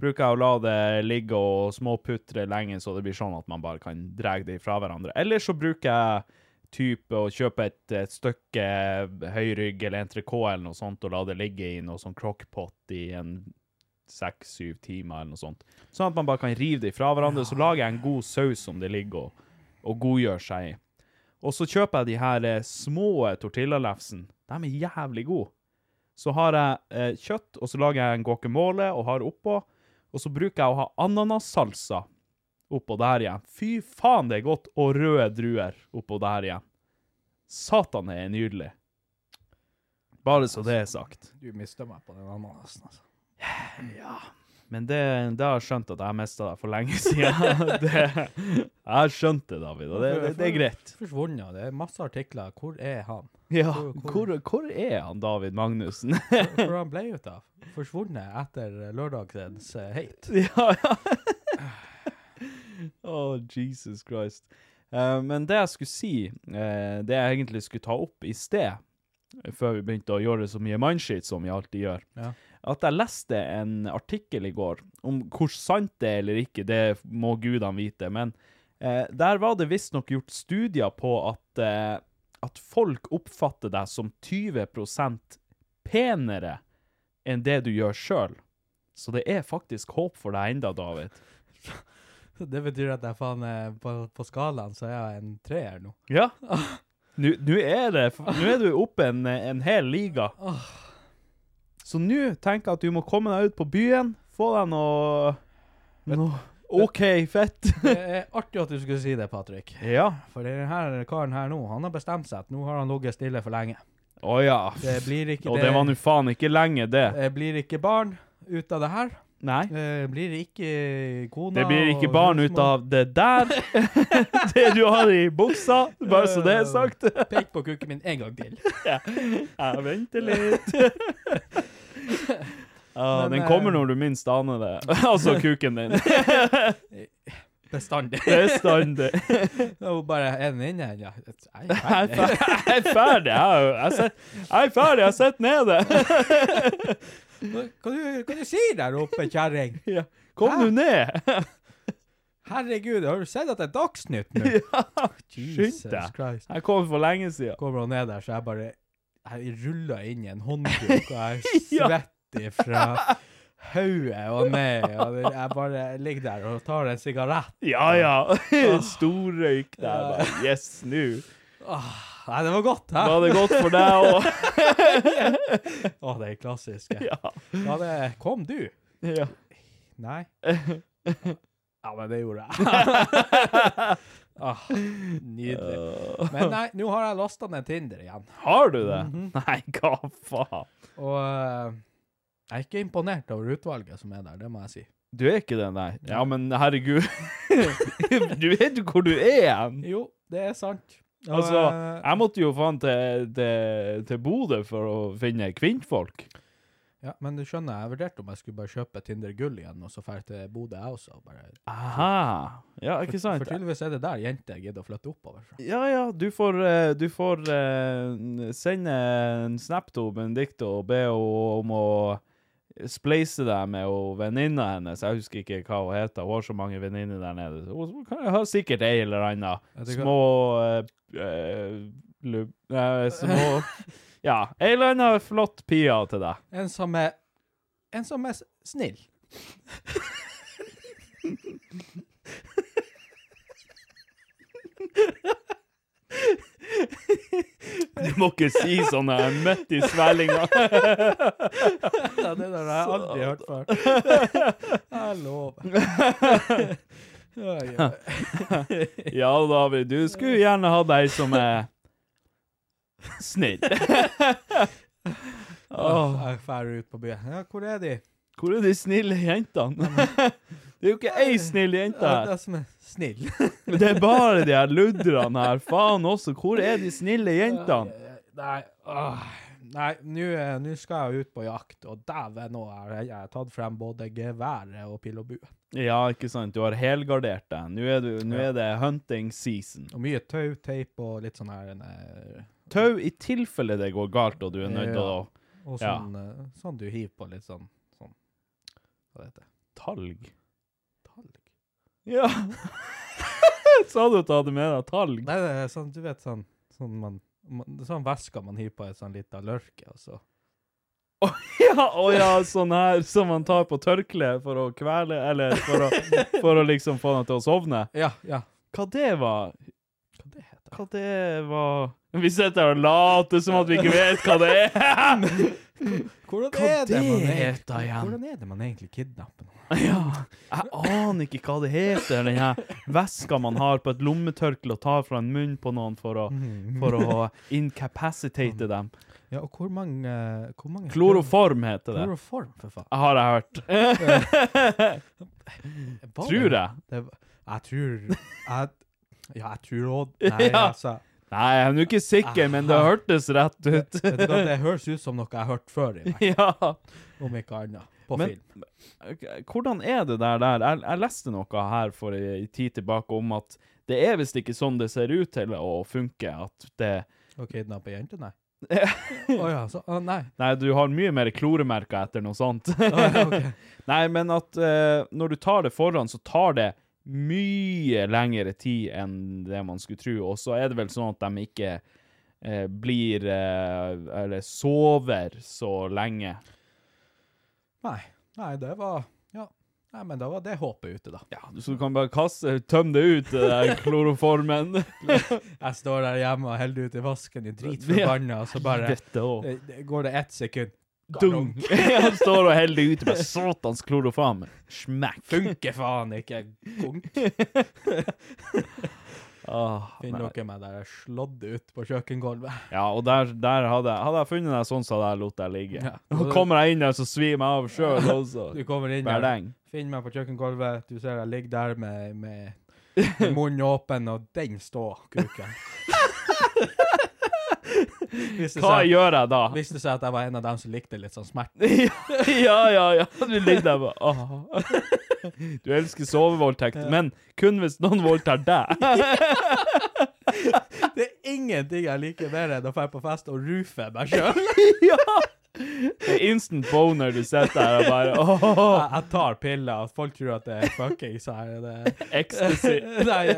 Bruker jeg å la det ligge og småputre lenge, så det blir sånn at man bare kan dra det fra hverandre. Eller så bruker jeg type å kjøpe et, et stykke høyrygg eller entrecôte eller noe sånt, og la det ligge i noe sånn crockpot i en seks-syv timer eller noe sånt. Sånn at man bare kan rive det fra hverandre, så lager jeg en god saus som det ligger og, og godgjør seg i. Og så kjøper jeg de her eh, små tortillalefsen. De er jævlig gode. Så har jeg eh, kjøtt, og så lager jeg en guacamole og har oppå. Og så bruker jeg å ha ananassalsa oppå der igjen. Fy faen, det er godt! Og røde druer oppå der igjen. Satan, det er nydelig. Bare så det er sagt.
Du mister meg på den ananasen, altså.
Men det, det har jeg skjønt at jeg mista det for lenge siden. det, jeg har skjønt det, David, og det, det, det er greit.
Forsvunnet. Det er masse artikler. Hvor er han?
Ja, hvor, hvor er han David Magnussen?
Hvor han ble ut av? Forsvunnet etter lørdagens eh, hate.
Ja, ja. oh, Jesus Christ. Eh, men det jeg skulle si, eh, det jeg egentlig skulle ta opp i sted, før vi begynte å gjøre så mye mindshit som vi alltid gjør,
Ja.
at jeg leste en artikkel i går om hvor sant det er eller ikke, det må gudene vite, men eh, der var det visstnok gjort studier på at, eh, at folk oppfatter deg som 20 penere enn det du gjør sjøl. Så det er faktisk håp for deg enda, David.
Det betyr at jeg faen eh, på, på skalaen så er jeg en treer nå.
Ja. Nå nå er det Nå er du oppe en, en hel liga. Så nå tenker jeg at du må komme deg ut på byen, få deg noe, noe OK fett.
Det er artig at du skulle si det, Patrick.
ja.
For denne karen her nå, han har bestemt seg at nå har han ligget stille for lenge.
Å ja.
Det blir ikke,
Og det var nå faen ikke lenge, det.
det eh, blir ikke barn ut av det her.
Nei.
Det blir ikke kona
Det blir ikke
og
barn ut
husmor.
av det der. det du har i buksa, bare så det er sagt.
Pek på kukken min en gang til.
Jeg venter litt. Ja,
Men,
den
eh,
kommer når du minst aner det. altså kuken din.
Bestandig.
Bestandig.
Og bare en inne igjen, ja. Nei,
Jeg
nei.
er fer- jeg er ferdig, jeg. er jo- Jeg set- jeg er ferdig, jeg sitter nede.
Hva du, hva du sier der oppe, kjerring?
Kom nå ned.
Herregud, har du sett at det er Dagsnytt nå? Jesus
Skynd deg.
Christ.
Jeg kom for lenge siden.
Kommer han ned der, så jeg bare Jeg ruller inn i en håndduk, og jeg
Ja.
svetter fra hodet og ned. Og jeg bare ligger der og tar en sigarett.
Ja, ja. Storrøyk der. bare. Yes, nå.
Nei, det var godt, hæ?
Var det godt for deg òg?
Å, det er klassisk. Ja. ja, det Kom du?
Ja.
Nei. Ja, men det gjorde jeg. ah, nydelig. Men nei, nå har jeg lasta ned Tinder igjen,
Har du det? Nei, hva faen?
og eh, jeg er ikke imponert over utvalget som er der, det må jeg si.
Du er ikke det, nei. Ja, men herregud. Du vet jo hvor du er hen.
Jo, det er sant. Og,
Altså,
eh,
jeg måtte jo faen til, til, til Bodø for å finne kvinnfolk.
ja, men du skjønner, jeg vurderte om jeg skulle bare kjøpe Tinder gull igjen, og så dra til Bodø jeg også. og Bare.
Aha. Ja, ikke sant?
For tydeligvis er det der jenter gidder å flytte oppover fra.
Ja, ja, du får, eh, du får eh, sende en snap til Benedicte og be henne om å spleise deg med hun venninna hennes. Jeg husker ikke hva hun heter. Hun har så mange venninner der nede. Så Hun kan ha sikkert ei eller anna.
Ja, det kan-
Små eh, eh, lub... Nei, små Ja, ei eller anna flott pia til deg.
En som er En som er s- snill.
Du må ikke si sånn her midt i svellinga.
Ja, det der har jeg aldri hørt før. Jeg lover. Ja, ja.
Ja, David, du skulle gjerne ha deg som er snill. Åh,
Jeg drar ut på byen. Ja, hvor er de?
hvor er de snille jentene? Det er jo ikke ei snill jente
Ja, det
her.
er som er snill.
Det er bare de her ludderne her. Faen også, hvor er de snille jentene?
Eh, Nei, åh. Nei, nå eh, nå skal jeg ut på jakt, og dæven, nå har jeg- jeg har tatt frem både geværet og pil og bue.
Ja, ikke sant. Du har helgardert deg. Nå er, du, nå er det hunting season.
Og mye tau, teip og litt sånn her eh,
Tau i tilfelle det går galt og du er nødt til å
Og
Ja.
sånn, eh, sånn du hiver på litt sånn, sånn Hva heter det?
Talg.
Talg?
Ja. Sa du at du hadde med deg talg?
Nei, det er sånn, du vet sånn Sånn, man, man, sånn væske man hiver på et sånn lite lørke, og så
Ja, å ja, sånn her som man tar på tørkle for å kvele, eller for å, for å liksom få den til å sovne.
Ja, ja.
Hva det var?
Hva det heter
Hva det var? Vi sitter her og later som at vi ikke vet hva det er.
Hvordan
Hva
er det man
det
egentlig-
heter igjen?
Hvordan er det man egentlig kidnapper noen?
Ja, jeg aner ikke hva det heter, den her veska man har på et lommetørkle og tar fra en munn på noen for å, for å incapacitate dem.
Ja, og hvor mange, eh, hvor mange
Kloroform heter det.
Kloroform, for faen.
Har jeg hørt.
Var
Tror
det-
jeg.
det var- Jeg tror jeg, Ja, jeg tror òg Nei,
Ja.
altså.
Nei, jeg er nå ikke sikker, men det hørtes rett ut.
Vet du hva, det høres ut som noe jeg har hørt før, i meg,
Ja.
om ikke annet. På
Men-
film.
Ok, Eh, Hvordan er det der der? Jeg, jeg leste noe her for en tid tilbake om at det er visst ikke sånn det ser ut til å funke, at det
Å kidnappe jenter, nei. Å ja, så å, Nei.
Nei, du har mye mer kloremerker etter noe sånt.
ja, ok.
Nei, men at eh, når du tar det foran, så tar det mye lengre tid enn det man skulle tro, og så er det vel sånn at de ikke eh, blir eh, Eller sover så lenge.
nei. Nei, det var Ja. Nei, men da var det håpet ute, da.
Ja, så du kan bare kaste, tømme det ut, det der kloroformen.
Jeg står der hjemme og heller ut i vasken i dritforbanna, og så bare
Dette òg.
det, det, går det ett sekund.
Dunk! Han står og heller det ut med satans kloroform. Smekk!
Funker faen ikke! Konk.
Ah,
Finner dere meg der jeg slått ut på kjøkkengulvet?
Ja, og der, der hadde, jeg- hadde jeg funnet deg sånn, så hadde jeg lot deg ligge.
Ja.
Nå kommer jeg inn der, så svir jeg meg av sjøl også.
Du kommer inn der,
Berdeng.
finner meg på kjøkkengulvet, du ser jeg ligger der med, med med munnen åpen, og den står kuken. Hvis det
Hva
seg-
gjør jeg da?
Viste seg at jeg var en av dem som likte litt sånn smerte.
ja, ja, ja. Du ligger der bare ah. Du elsker sovevoldtekt, men kun hvis noen voldtar deg.
Det er ingenting jeg liker bedre enn å dra på fest og rufe meg sjøl.
ja! Det er instant boner du sitter der og bare
Jeg,
åh,
jeg tar piller, og folk tror at det er fuckings her. Det.
Ecstasy.
Nei,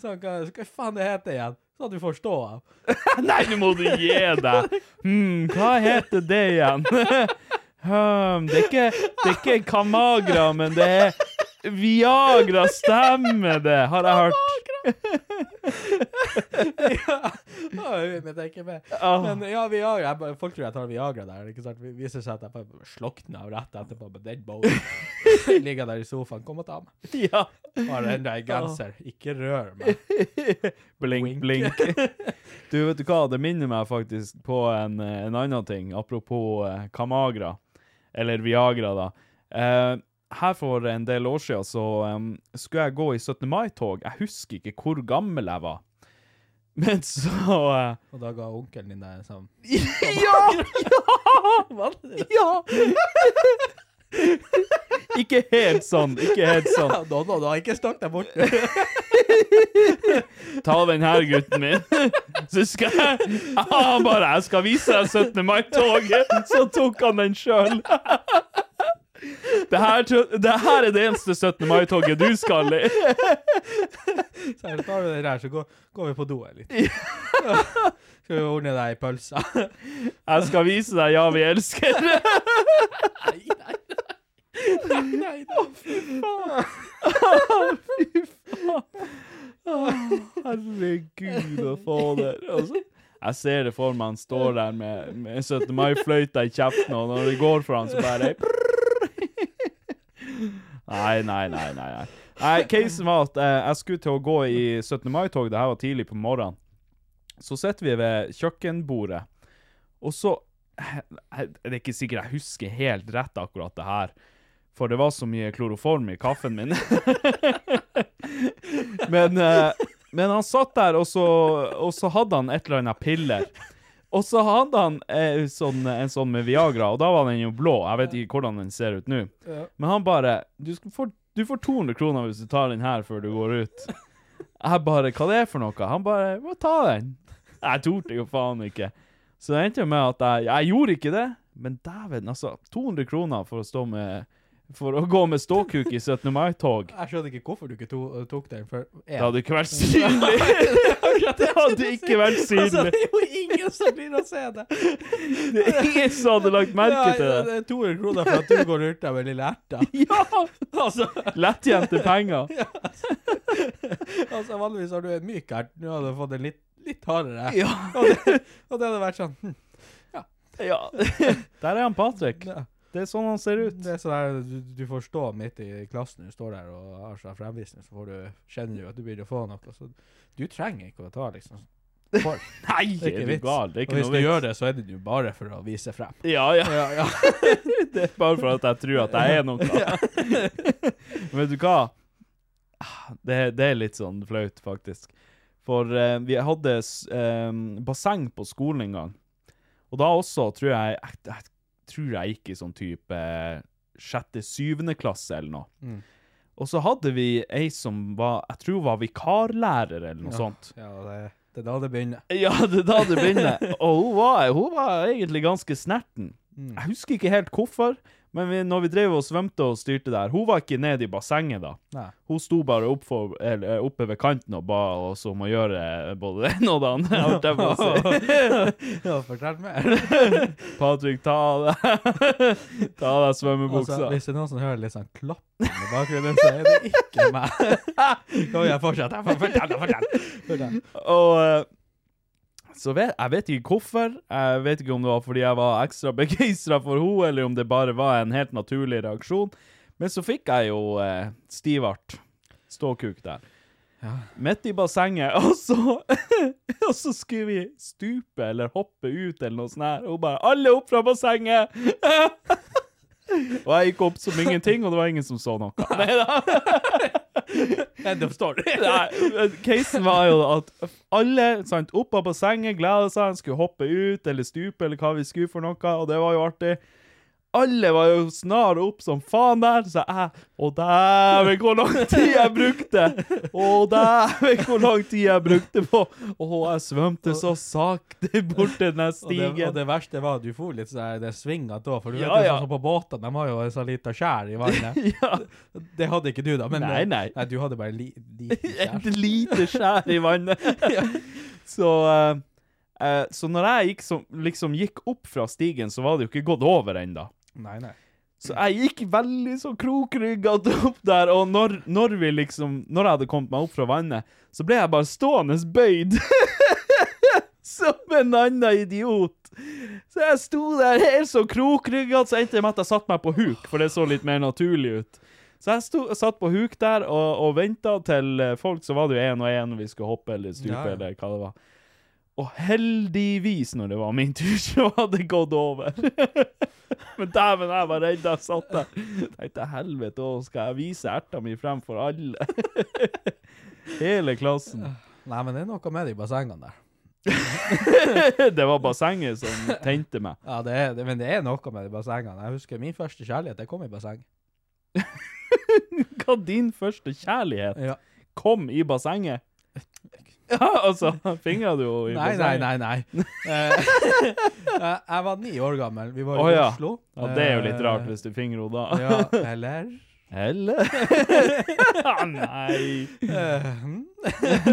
sånn, hva, hva faen det heter igjen? Sånn at du forstår.
Nei, nå må du gi deg! Hmm, hva heter det igjen? Hmm, det er ikke, det er ikke Kamagra, men det er Viagra, stemmer det, har jeg hørt.
Ja, Oi, men det er ikke med.
Ah.
Men ja, Viagra. Jeg, bare- folk tror jeg tar Viagra der. ikke sant? Det viser seg at jeg bare slokner av rett etterpå med den bowlen. Ligger der i sofaen. Kom og ta meg.
Ja. Ah.
Har enda en genser. Ikke rør meg.
Blink, blink. Du, vet du hva, det minner meg faktisk på en, eh, en annen ting, apropos eh, Kamagra, eller Viagra, da. Eh, her for en del år siden så em, skulle jeg gå i 17. mai-tog. Jeg husker ikke hvor gammel jeg var. Men så eh,
Og da ga onkelen din deg en sånn
Ja! Ja! ja! ikke helt sånn, ikke helt sånn.
Nå, nå, nå, ikke snakk deg bort.
Ta den her, gutten min. Så skal jeg ah, bare Jeg skal vise deg 17. mai-toget. Så tok han den sjøl. Det her, tro- det her er det eneste 17. mai-toget du skal i.
Så her tar du den her, så går, går vi på do her litt. Skal vi ordne deg i pølsa?
Jeg skal vise deg Ja, vi elsker.
Nei, nei, nei.
Herregud og fader. Altså, jeg ser det for meg han står der med, med 17. mai-fløyta i kjeften, og når det går for han, så bare Nei, nei, nei, nei. nei. nei casen var at eh, jeg skulle til å gå i 17. mai-tog, det her var tidlig på morgenen. Så sitter vi ved kjøkkenbordet, eh, og så Det er ikke sikkert jeg husker helt rett akkurat det her. For det var så mye kloroform i kaffen min. men, eh, men han satt der, og så, og så hadde han et eller annet piller. Og så hadde han eh, sånn, en sånn med Viagra, og da var den jo blå. Jeg vet ikke hvordan den ser ut nå. Men han bare du, skal få, du får 200 kroner hvis du tar den her før du går ut. Jeg bare Hva det er for noe? Han bare Må ta den. Jeg torde jo faen ikke. Så det endte jo med at jeg Jeg gjorde ikke det, men dæven, altså. 200 kroner for å stå med For å gå med ståkuk i 17. mai-tog.
Jeg skjønner ikke hvorfor du ikke to, tok den før
Det hadde ikke vært synlig. Det hadde ikke vært
Altså,
synlig.
det er jo ingen som blir å se det.
Det er ingen som hadde lagt merke til
Ja,
det.
er 200 kroner for at du går rundt der med lille erta.
Ja!
Altså,
Lettjente penger.
altså, vanligvis har du en myk ert. Nå hadde du fått en litt, litt hardere.
Ja.
Og, det, og det hadde vært sånn hm,
ja. Der er han Patrick.
ja.
Det er sånn han ser ut.
Det er sånn her, du, du får stå midt i klassen, du står der og har sånn fremvisning, så får du, kjenner du at du begynner å få noe. Så du trenger ikke å ta liksom for.
Nei,
Det er ikke vits.
gal? Det er
Og
ikke
hvis
noe
du
vits.
gjør det, så er det jo bare for å vise frem.
Ja, ja.
Ja,
Det er bare for at jeg tror at jeg er noe. Vet du hva? Ah, Det, det er litt sånn flaut, faktisk. For eh, vi hadde s- eh, basseng på skolen en gang. Og da også tror jeg jeg, jeg, tror jeg gikk i sånn type sjette-syvende klasse eller noe.
Mm.
Og så hadde vi ei som var Jeg tror hun var vikarlærer eller noe sånt.
ja det, det er da det begynner.
Ja, det er da det begynner. Og hun var, hun var egentlig ganske snerten.
Mm.
Jeg husker ikke helt hvorfor, men vi, når vi drev og svømte og styrte der, hun var ikke nede i bassenget da.
Nei.
Hun sto bare opp for, eller, eh, oppe ved kanten og ba oss om å gjøre eh, både det ene og det andre. holdt jeg på å si.
Ja, fortell mer.
Patrick, ta av deg, ta av deg svømmebuksa.
Altså, hvis det er noen som hører litt sånn klapping i bakgrunnen, så er det ikke meg. Kom igjen, fortsett. Jeg får Fortell, fortell. fortell.
Og eh, så vet, jeg vet ikke hvorfor. Jeg vet ikke om det var fordi jeg var ekstra begeistra for henne, eller om det bare var en helt naturlig reaksjon. Men så fikk jeg jo eh, stivart ståkuk der. Midt i bassenget, og så, og så skulle vi stupe eller hoppe ut eller noe sånt her. Og hun bare 'Alle opp fra bassenget!' og jeg gikk opp som ingenting, og det var ingen som så noe.
End of story.
Nei, men casen var jo at alle sant, oppe på sengen gleda seg, han skulle hoppe ut eller stupe eller hva vi skulle for noe, og det var jo artig. Alle var jo snar opp som faen der, så jeg Å, dæven, hvor lang tid jeg brukte! Å, dæven, hvor lang tid jeg brukte på Å, jeg svømte så sakte bort til den der
Og det, og
stigen.
det verste var at du for litt sånn det svinget da, for du
Ja,
vet jo
ja.
sånn som på båtene, de har jo en sånn liten skjær i vannet.
Ja,
Det hadde ikke du da, men eh,
Nei, nei.
du hadde bare li, liten skjær.
Et lite skjær i vannet. Så, eh, eh, så når jeg gikk, som, liksom gikk opp fra stigen, så var det jo ikke gått over ennå.
Nei, nei.
Så jeg gikk veldig så krokrygget opp der, og når, når vi liksom Når jeg hadde kommet meg opp fra vannet, så ble jeg bare stående bøyd. Som en annen idiot. Så jeg sto der helt så krokrygget, så endte det med at jeg satte meg på huk, for det så litt mer naturlig ut. Så jeg sto, satt på huk der og, og venta til eh, folk, så var det jo én og én vi skulle hoppe eller stupe
Ja, ja.
eller hva det var. Og heldigvis, når det var min tur, så hadde det gått over. Men dæven, jeg var redd jeg satt der. Tenkte helvete òg, skal jeg vise erta mi frem for alle? Hele klassen.
Nei, men det er noe med de bassengene der.
Det var bassenget som tente meg.
Ja, det er, det, men det er noe med de bassengene. Jeg husker min første kjærlighet, det kom i basseng.
Hva din første kjærlighet
Ja.
kom i bassenget? Ja, altså, fingra du jo i
Nei, nei,
bassenget?
nei, nei. Eh, eh, jeg var ni år gammel, vi var i
Å, ja.
Oslo.
Ja, det er jo litt
Eh,
rart hvis du fingrer henne da.
Ja, eller?
Eller? Ah, Nei.
Eh, hm?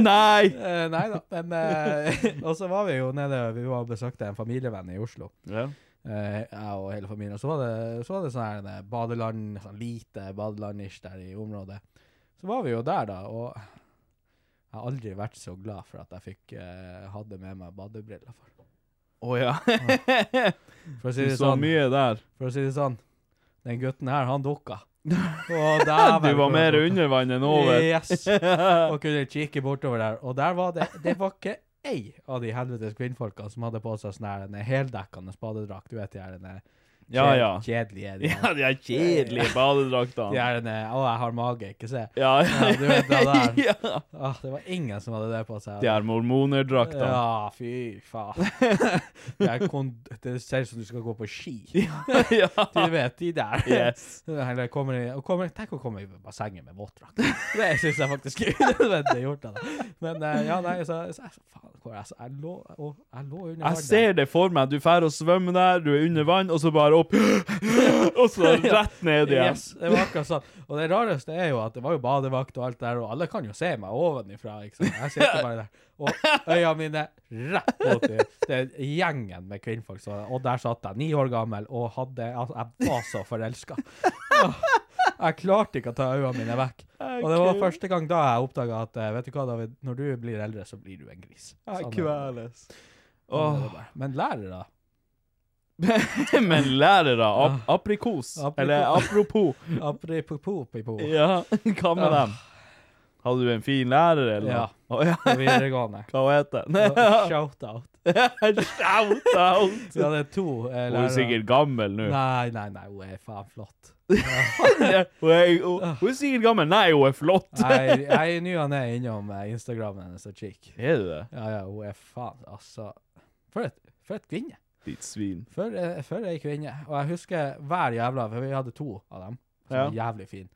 Nei!
Eh, nei da, men eh, Og så var vi jo nede Vi var og besøkte en familievenn i Oslo.
Ja.
Eh, jeg og hele familien. Og så var det, så var det sånn her eh, badeland, sånn lite badeland-ish der i området. Så var vi jo der, da, og jeg har aldri vært så glad for at jeg fikk eh, hadde med meg badebriller. For,
Å ja.
for, å si det
Ah. Så
sånn,
mye der.
for å si det sånn, den gutten her, han dukka. Og
Du var mer under vann enn over.
Yes. Og kunne kikke bortover der. Og der var det Det var ikke ei av de helvetes kvinnfolka som hadde på seg sånn her en heldekkende badedrakt. Du vet de her en
Ja, ja.
Kjedelige er de.
Ja, de er kjedelige badedraktene.
De er den eh, 'Å, jeg har mage, ikke se'.
Ja,
Ja, du vet det der.
ja.
Åh, det var ingen som hadde det på seg.
De er mormonerdraktene.
Ja, fy faen. Det, er kond- det ser ut som du skal gå på ski.
Ja.
Du vet, de der.
Yes.
Eller kommer, i- og kommer, tenk å komme i bassenget med våtdrakt. Det syns jeg faktisk er unødvendig gjort. av deg. Men eh, ja, nei, så, så jeg- faen, hvor jeg, jeg, lå, å, jeg lå under
Jeg
vannet.
ser det for meg. Du drar og svømmer der, du er under vann, og så bare opp Og så rett ned igjen.
Yes, det var akkurat sånn. Og det rareste er jo at det var jo badevakt og alt der, og alle kan jo se meg ovenifra, ikke sant. Jeg sitter bare der. Og øya mine rett mot det- det er gjengen med kvinnfolk. Så, og der satt jeg, ni år gammel, og hadde Altså, jeg var så forelska. Jeg klarte ikke å ta øynene mine vekk. Og det var første gang da jeg oppdaga at eh, Vet du hva, David, når du blir eldre, så blir du en gris. Sånn er det.
kveles.
Sånn er det bare. Men lærere
Men lærere, ap aprikos.
Aprikos.
Eller apropos.
Apropos pipo,
Ja, hva med dem? Hadde du en fin lærer, eller?
Ja.
Å, ja.
på videregående.
Hva heter den?
Shout-out.
Shout out!
Vi hadde to eh,
Hun er
lærere.
sikkert gammel nå.
Nei, nei, nei, hun er faen flott.
Hun er, hun,
Ah.
hun er sikkert gammel. Nei, hun er flott.
Jeg, jeg er ny og ne innom eh, Instagramen hennes og kikk.
Er du det?
Ja, ja, hun er faen, altså. For et, for et kvinne.
Ditt svin.
For, eh, for ei kvinne. Og jeg husker hver jævla, for vi hadde to av dem, som var jævlig fin.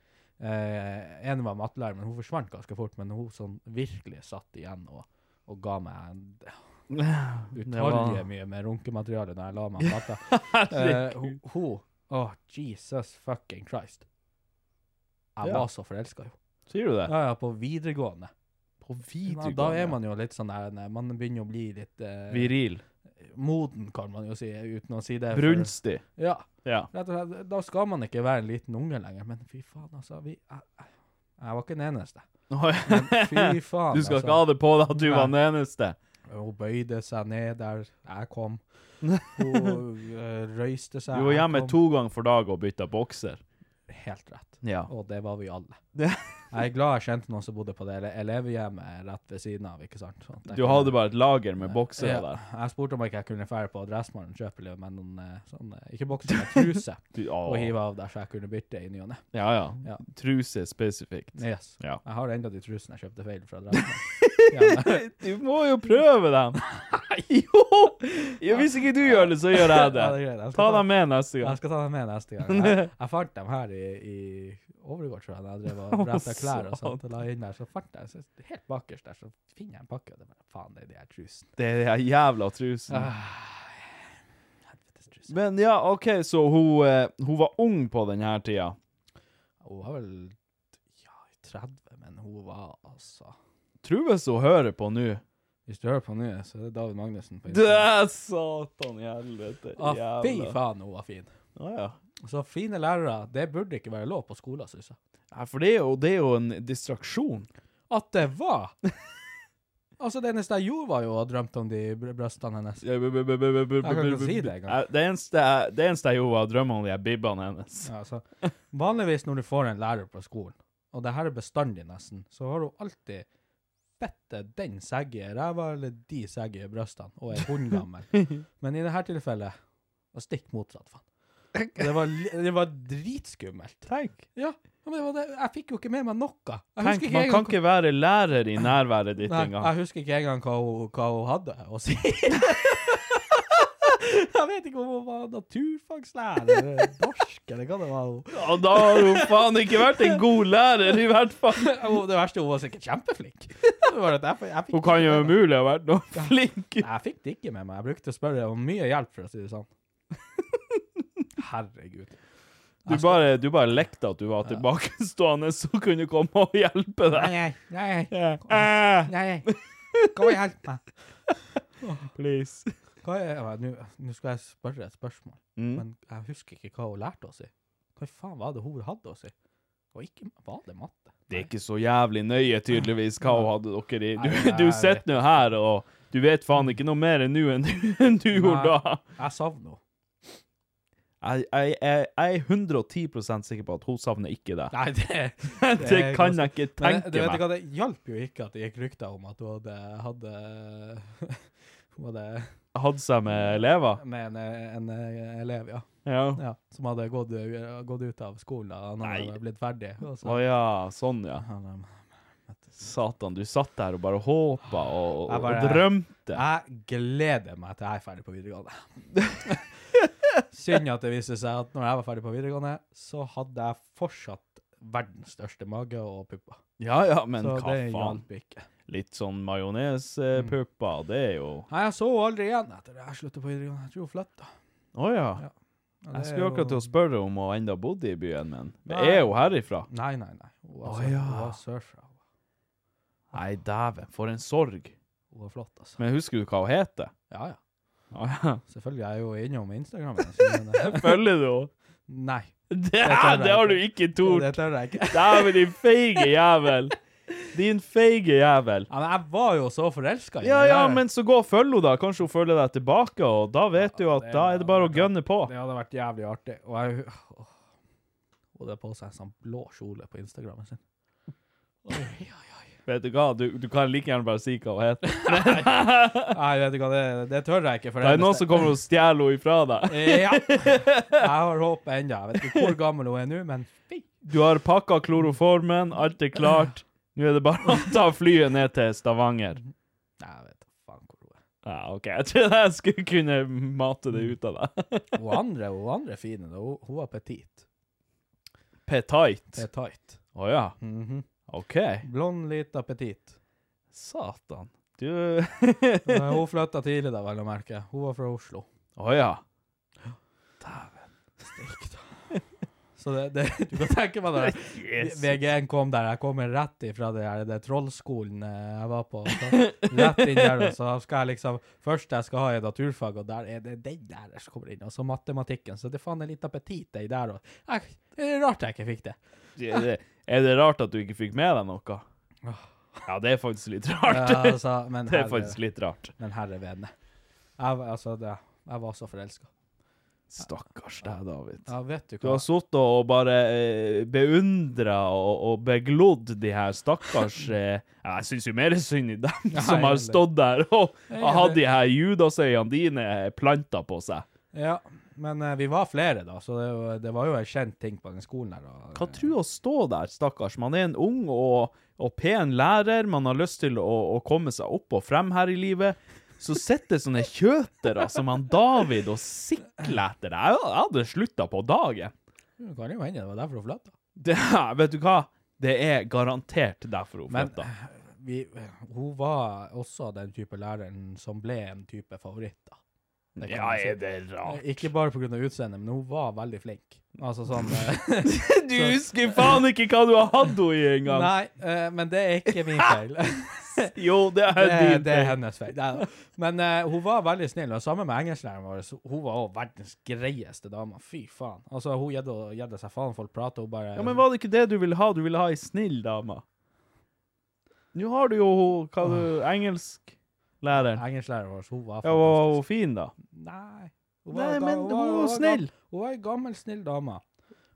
Eh, en var mattelærer, men hun forsvant ganske fort, men hun sånn virkelig satt igjen og, og ga meg en utallige mye med runkemateriale når jeg la meg på matta. Eh, hun- Hun Å, Jesus fucking Christ. Jeg
Ja.
var så forelska i henne.
Sier du det?
Ja, ja, på videregående.
På
Ja, Da er man jo litt sånn der nei, Man begynner å bli litt eh,
Viril.
moden, kan man jo si, uten å si det. for-
Brunstig.
Ja.
Ja.
Rett og slett. Da skal man ikke være en liten unge lenger. Men fy faen, altså. Vi, jeg, jeg- jeg var ikke den eneste. Fy faen,
Du skal ikke
altså.
ha det på deg at du var den eneste.
Hun bøyde seg ned der jeg kom. Hun eh, røyste seg.
Du var
jeg
hjemme
kom.
to ganger for dag og bytta bokser.
Helt rett.
Ja.
Og det var vi alle.
Det-
Jeg er glad jeg kjente noen som bodde på det ele- elevhjemmet rett ved siden av. ikke sant? Sånn at jeg
Du
kunne-
hadde bare et lager med boksere
Ja,
der.
Jeg spurte om ikke jeg kunne fære på Dressmannen og kjøpe litt, men noen eh, sånn, eh, ikke bokser, men truse.
Du, å.
og hive av der, så jeg kunne bytte i ny og ne.
Ja,
Ja.
ja. Truse spesifikt.
Yes.
Ja.
Jeg har enda de trusene jeg kjøpte feil fra Dressmannen. Hjemme.
Du må jo prøve dem! jo! jo! Hvis ikke du gjør det, så gjør jeg det.
Ja, det er greit. Jeg skal
Ta
ta-
dem med neste
Jeg
gang.
skal ta dem med neste gang. Jeg, jeg fant dem her i, i Overgård, tror jeg, da jeg drev og bretta klær og sånt. og la inn der, Så fant jeg, så helt bakerst der, så finner jeg en pakke, og det er bare faen, det er de her trusene.
Det er de her jævla trusen.
Helvetes truser.
Ah. Men ja, OK, så hun, eh, hun var ung på den her tida.
Hun var vel ja, i 30, men hun var altså
Tror hvis hun hører på nå.
Hvis du hører på nå, så er det David Magnussen på
Det
Instagram.
er satan i helvete.
Ah, fy
Jævla.
faen, hun var fin.
Å, ja.
Så fine lærere, det burde ikke være lov på skolen, syns jeg.
ja, for det er, jo, det er jo en distraksjon.
At det var! altså, det eneste jeg gjorde, var jo å drømme om de br- brystene hennes.
Jeg kan
ikke si det engang.
Det eneste jeg- det eneste jeg gjorde, var å drømme om de her bibbene hennes.
Ja, så, vanligvis når du får en lærer på skolen, og det her er bestandig nesten, så har hun alltid fette den seggige ræva eller de seggige brystene og er hundgammel. Men i dette tilfellet var stikk motsatt, faen. Det var, li- det var dritskummelt.
Tenk,
Ja, ja, men det var det. Jeg fikk jo ikke med meg noe. Jeg
Tenk
husker ikke
man kan
engang
ikke være lærer i nærværet ditt
Nei,
engang.
jeg husker ikke engang hva hun, hva hun hadde å si. Jeg vet ikke om hun var naturfagslærer, eller norsk, eller hva det var. hun-
Og da har hun faen ikke vært en god lærer, i hvert fall.
Hun- Det verste, hun var sikkert kjempeflink. Det var at jeg, fikk- jeg fikk
Hun kan jo
ikke med meg-
umulig ha vært noe flink.
Jeg fikk det ikke med meg. Jeg brukte å spørre om mye hjelp, for å si det sånn. Herregud.
Du bare, du bare lekte at du var tilbakestående, så kunne du komme og hjelpe deg.
Nei, nei, nei,
Eh,
nei. Kom og hjelp meg.
please.
Hva er, ja, nå- nå skal jeg spørre et spørsmål,
Mm.
men jeg husker ikke hva hun lærte oss i. Hva faen var det hun hadde oss i? Og ikke, var det matte?
Det er ikke så jævlig nøye, tydeligvis, hva hun hadde dere i. Du, du sitter nå her, og du vet faen ikke noe mer nå enn du- enn du gjorde da.
Jeg savner henne.
Jeg, jeg, jeg, jeg er 110 sikker på at hun savner ikke deg.
Nei, det,
Det
er
kan
ganske-
jeg ikke
Men du
tenke
vet
meg.
ikke, hva, det hjalp jo ikke at det gikk rykter om at hun hadde, hadde Hun hadde
Hadde seg med elever.
med en, en elev, ja.
Ja.
ja, som hadde gått, gått ut av skolen da han
Nei.
hadde blitt ferdig. Og så,
Å ja, sånn ja.
han, um,
Satan, du satt der og bare håpa og, og,
Jeg bare-
og drømte.
jeg gleder meg til jeg er ferdig på videregående. Synd at det viser seg at når jeg var ferdig på videregående, så hadde jeg fortsatt verdens største mage og pupper.
Ja ja, men
så
hva
det
faen.
hjalp ikke.
Litt sånn majonespupper,
Mm.
det er jo
Nei, jeg så henne aldri igjen etter det jeg sluttet på videregående. Jeg tror hun flytta.
Å ja.
Ja, Og
Jeg
det er
skulle akkurat
jo-
til å spørre om hun enda bodde i byen, men det
Nei.
er jo herifra.
Nei, nei, nei. Hun var,
Å,
sør-
ja.
hun var sørfra.
Nei, dæven, for en sorg.
Hun var flott, altså.
Men husker du hva hun heter?
Ja, ja.
Å ja.
Selvfølgelig er jeg jo innom Instagram. altså, men- eh,
Følger du henne?
Nei.
Det,
tør jeg
det har du
ikke.
ikke tort!
Det tør jeg ikke.
Dæven, din feige jævel! Din feige jævel.
Ja, men jeg var jo så forelska i
Ja
den
ja,
der.
men så gå og følg henne, da. Kanskje hun følger deg tilbake, og da vet du at
det
da er det bare å
hadde vært-
gønne på.
Det hadde vært jævlig artig. Og jeg åh. Hun hadde på seg en sånn blå kjole på Instagrammen sin. Oi, oi, oi.
Vet du hva, du, du kan like gjerne bare si hva hun heter.
Nei, vet du hva, det, det tør jeg ikke. For
Det er
eneste-
noen som kommer og stjeler henne ifra deg.
Ja. Jeg har håpet ennå. Jeg vet ikke hvor gammel hun er nå, men fy.
Du har pakka kloroformen, alt er klart. Nå er det bare å ta flyet ned til Stavanger.
Nei, jeg vet da faen hvor hun er.
Ja, OK, jeg trodde jeg skulle kunne mate det ut av deg.
Hun andre, hun andre fine. da. Hun, hun var petit.
Petite.
Det er tight.
Å ja,
Mhm.
OK.
Blond, lita, petit.
Satan. Du
Men Hun flytta tidlig, da, vel å merke. Hun var fra Oslo.
Å ja.
Så det, det, du kan tenke meg det. VG1 kom der. Jeg kommer rett ifra det her, det trollskolen eh, jeg var på. Så, rett inn der, og så skal jeg liksom Først jeg skal ha i naturfag, og der er det den der som kommer inn. Og så matematikken. Så det faen er litt appetitt i der òg. Det er rart jeg ikke fikk det.
Er det, er det rart at du ikke fikk med deg noe? Ja, det er faktisk litt rart.
Ah. Ja, altså, men
Det er
herre,
faktisk litt rart.
men herre vedne. Jeg, var- altså, det, jeg var så forelska.
Stakkars deg, David.
Ja, vet du
Du
hva.
har sittet og bare eh, beundra og, og beglodd de her stakkars eh, ja, Jeg syns jo mer synd i dem som har
egentlig.
stått der og, og
Egentlig.
hatt de her judasøyene dine planta på seg.
Ja, men eh, vi var flere, da, så det, var- det var jo en kjent ting på den skolen her. og-
Hva tror du å stå der, stakkars? Man er en ung og, og pen lærer, man har lyst til å, å komme seg opp og frem her i livet. Så sitter sånne kjøtere som han David og sikler etter deg. Jeg jeg hadde slutta på dagen.
Det kan jo hende det var derfor hun flytta.
Det, vet du hva? Det er garantert derfor hun
Men-
flytta.
vi, hun var også den type læreren som ble en type favoritt, da. Det kan
Ja,
man si. Eh,
er det rart?
Ikke bare pga. utseendet, men hun var veldig flink. Altså sånn eh,
Du husker faen ikke hva du har hatt henne i engang!
Nei, eh, men det er ikke min feil.
Jo, det er
Det,
din
det er
feil.
hennes feil. Nei da. Men eh, hun var veldig snill, og sammen med engelsklæreren vår, så hun var også verdens greieste dame. Fy faen. Altså, hun gjedde- gjedde seg faen, folk prater, hun bare
Ja, men var det ikke det du ville ha? Du ville ha ei snill dame. Nå har du jo hun- hva du Engelsklæreren.
Engelsklæreren vår, hun var
Ja, var hun fin, da?
Nei.
Nei,
da-
men hun var
gam-
snill.
Hun var ei gammel, snill dame.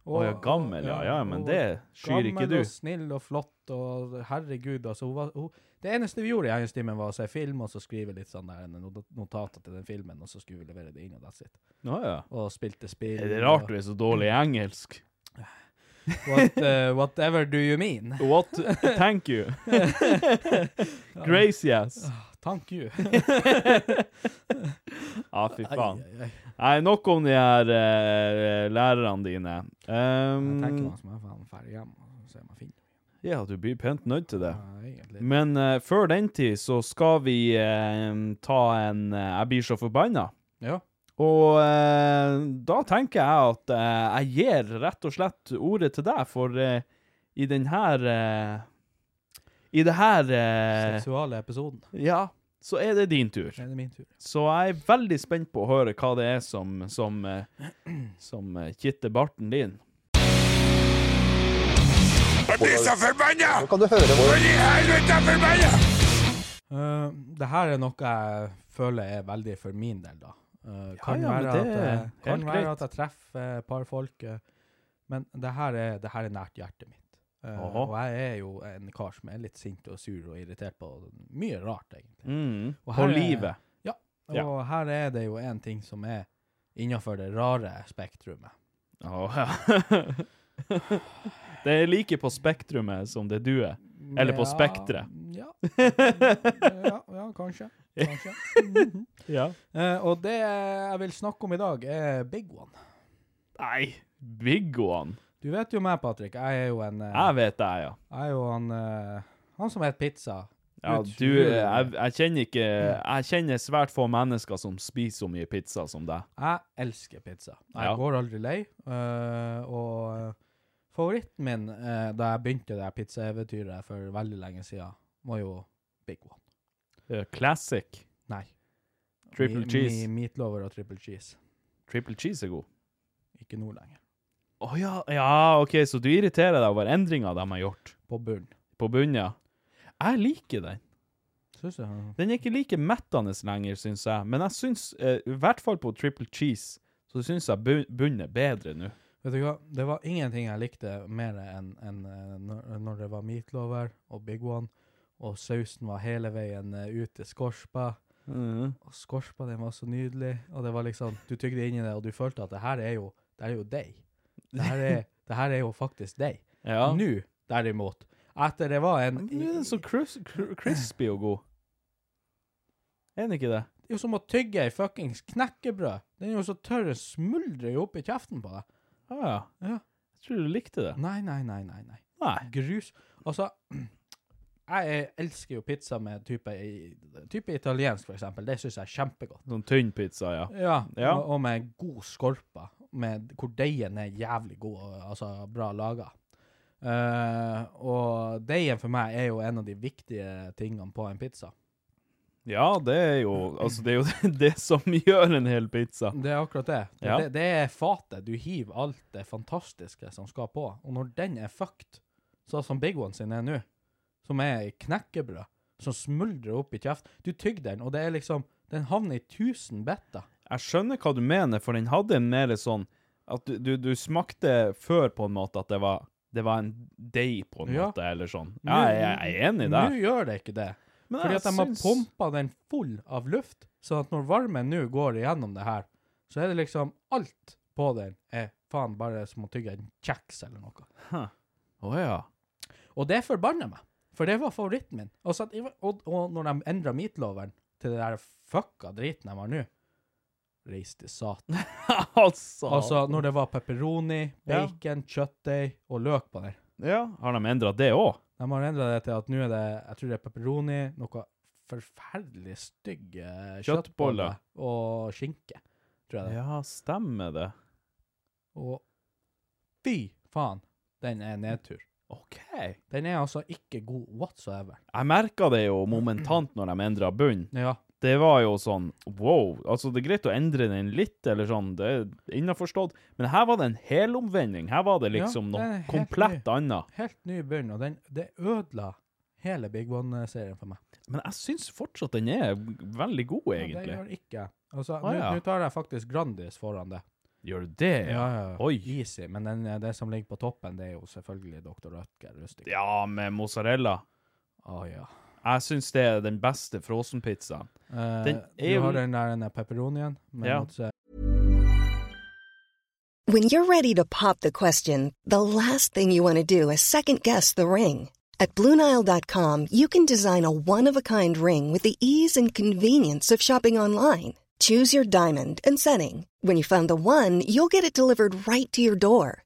Å ja, gammel, ja. Ja, men
hun
det
var
skyr ikke
Gammel
du.
og snill og flott og herregud, altså. Hun var, hun, det eneste vi gjorde i hennes time, var å se film og så skrive litt sånn der not- notater til den filmen, og så skulle vi levere det inn, og that's it.
Å ja.
Og spilte spill.
Er det rart
og-
du er så dårlig i engelsk?
What, eh, whatever do you mean?
What? Thank you. Grace, yes.
Thank you.
Ja, Ah, fy faen.
Ai, ai, ai.
Nei, nok om de her eh, lærerne dine.
Jeg tenker
Um,
meg som jeg er faen ferdig hjemme, og så er man fin.
ja, du blir pent nødt til det.
Ja, egentlig.
Men eh, før den tid så skal vi eh, ta en eh, Jeg blir så forbanna.
Ja.
Og eh, da tenker jeg at eh, jeg gir rett og slett ordet til deg, for eh, i den her eh, I det her eh,
Seksuale episoden.
Ja, så er det din tur.
Det er min tur.
Så jeg er veldig spent på å høre hva det er som som, eh, som eh, kitter barten din.
Eh, det her er noe jeg føler er veldig for min del, da. Eh, kan
ja, men
være,
det
at,
er
jeg- kan
helt
være
greit.
at jeg treffer et par folk, eh, men det her er, det her er nært hjertet mitt. Eh,
Aha.
og jeg er jo en kar som er litt sint og sur og irritert på mye rart, egentlig.
Mm.
Og
På
her er-
livet. Ja.
Og her er det jo en ting som er innenfor det rare spektrumet.
Åh, ja. det er like på spektrumet som det du er. Eller på spektret.
Ja. ja, ja, kanskje. kanskje. Mhm.
Ja.
Eh, og det jeg vil snakke om i dag, er Big One.
Nei, Big One.
Du vet jo meg, Patrick. Jeg er jo en eh,
Jeg vet det, ja.
Jeg er jo han eh, Han som heter Pizza.
Ja, du, jeg, jeg kjenner ikke Jeg kjenner svært få mennesker som spiser så mye pizza som deg.
Jeg elsker pizza. Jeg
Ja.
går aldri lei. eh, og eh, favoritten min eh, da jeg begynte det her pizzaeventyret for veldig lenge siden, var jo Big One.
Eh, Classic.
Nei.
Triple
Mi-
cheese.
Mi, meatlover og triple cheese.
Triple cheese er god.
Ikke nå lenger.
Å ja, ja, OK, så du irriterer deg over endringer de har gjort
På bunnen.
på bunnen? ja. Jeg liker den.
Syns du?
Den er ikke like mettende lenger, syns jeg. Men jeg syns, eh, i hvert fall på triple cheese, så syns jeg bu- bunnen er bedre nå.
Vet du hva, det var ingenting jeg likte mer enn enn, eh, når- når det var meatlover og Big One, og sausen var hele veien eh, ut til skorpa. Og skorpa, den var så nydelig. Og det var liksom, du tygde inn i det, og du følte at det her er jo, det er jo deg. Det her er, det her er jo faktisk deg.
Ja. Nå
Nå, derimot, etter det var en...
er den så crus cr crispy og god. Er den ikke det?
Det er jo som å tygge ei fuckings knekkebrød. Den er jo så tørr, den smuldrer jo opp i kjeften på deg.
Å Ah, ja.
Ja. Mm.
Jeg tror du likte det.
Nei, nei, nei, nei, nei.
Nei.
Grus. Altså, jeg er- elsker jo pizza med type, i- type italiensk, for eksempel. Det synes jeg er kjempegodt.
Sånn tynn pizza, ja.
Ja,
Ja.
Og, og med god skorpa, med, hvor deigen er jævlig god, og, altså bra laga. Eh, og deigen for meg er jo en av de viktige tingene på en pizza.
Ja, det er jo Altså, det er jo det som gjør en hel pizza.
Det er akkurat det. Det,
Ja.
det, det er fatet. Du hiver alt det fantastiske som skal på. Og når den er fucked, sånn som Big One sin er nå, som er knekkebrød, som smuldrer opp i kjeft Du tygger den, og det er liksom Den havner i tusen biter.
Jeg skjønner hva du mener, for den hadde en mer sånn At du, du, du smakte før på en måte at det var det var en deig, på en
Ja.
måte, eller sånn. Ja,
Nå-
jeg, jeg er enig der.
Nå gjør det ikke det.
Men
Fordi
jeg
at de har
syns-
pumpa den full av luft, sånn at når varmen nå går igjennom det her, så er det liksom alt på den er faen bare som å tygge en kjeks eller noe.
Å ja.
Og det forbanner meg, for det var favoritten min. Og, så at, og, og når de endra meatloveren til det der fucka driten de har nå Reis til satan.
altså.
Altså, når det var pepperoni,
Ja.
bacon, kjøttdeig og løk på den.
ja. Har de endra det òg?
De har endra det til at nå er det jeg tror det er pepperoni, noe forferdelig stygge kjøttboller
Kjøttboller.
og skinke, tror jeg det. er.
Ja, stemmer det.
Og fy faen, den er nedtur.
OK.
Den er altså ikke god whatsoever.
Jeg merka det jo momentant når de endra bunn.
Ja,
Det var jo sånn wow. Altså, det er greit å endre den litt, eller sånn, det er innaforstått, men her var det en helomvending. Her var det
Ja,
liksom
det er
noe
helt
komplett annet.
helt ny bunn, og den, det ødela hele Big One-serien for meg.
Men jeg syns fortsatt den er veldig god,
Ja, det
egentlig.
gjør ikke jeg. Altså,
Å,
nå
ja.
nå tar jeg faktisk Grandis foran det.
Gjør du det? Oi.
Easy, men den, det som ligger på toppen, det er jo selvfølgelig Dr. Rødger Rustig.
Ja, med mozzarella.
Å, ja.
Jeg syns det er den beste frossenpizzaen.
Eh,
Den er
du
jo-
har den der den der pepperonien. Med
Ja.
mozza-
When you're ready to pop the question, the last thing you want to do is second guess the ring. At Bluenile.com, you can design a one of a kind ring with the ease and convenience of shopping online. Choose your diamond and setting. When you find the one, you'll get it delivered right to your door.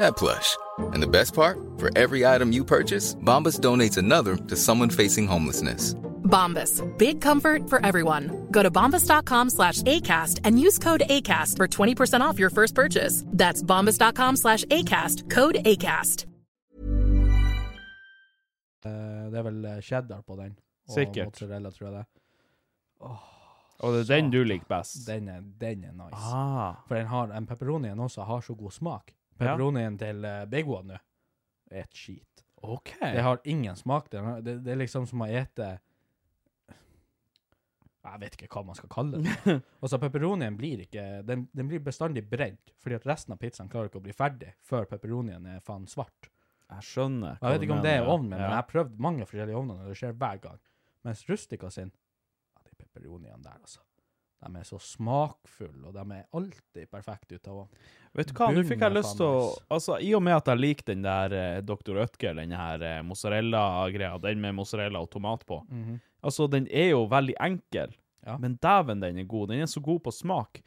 that plush. And the best part? For every item you purchase, Bombas donates another to someone facing homelessness.
Bombas. Big comfort for everyone. Go to bombas.com slash ACAST and use code ACAST for 20% off your first purchase. That's bombas.com slash ACAST. Code ACAST.
eh, det er vel eh, cheddar på den. Og
Sikkert.
mozzarella, tror jeg det.
Og det er den du liker best.
Den er, den er nice.
Ah.
For den har, en pepperonien også har så god smak. Pepperonien til eh, Big One nå er et skit.
OK.
Det har ingen smak. Det, er- det, det er liksom som å ete Jeg vet ikke hva man skal kalle det. Altså, pepperonien blir ikke Den, den blir bestandig brent, fordi at resten av pizzaen klarer ikke å bli ferdig før pepperonien er faen svart.
Jeg skjønner.
Og Jeg vet ikke om det er ovnen min, men
Ja.
jeg har prøvd mange forskjellige ovner, og det skjer hver gang. Mens Rustica sin ja, De pepperoniene der, altså. De er så smakfulle, og de er alltid perfekte ut av ovnen.
Vet du hva, nå fikk jeg
Bunnen er
lyst
faen
til å
nice.
Altså, i og med at jeg liker den der eh, Dr. Ødger, den her eh, mozzarella-greia, den med mozzarella og tomat på Altså, den er jo veldig enkel,
Mhm. Ja.
men dæven, den er god. Den er så god på smak.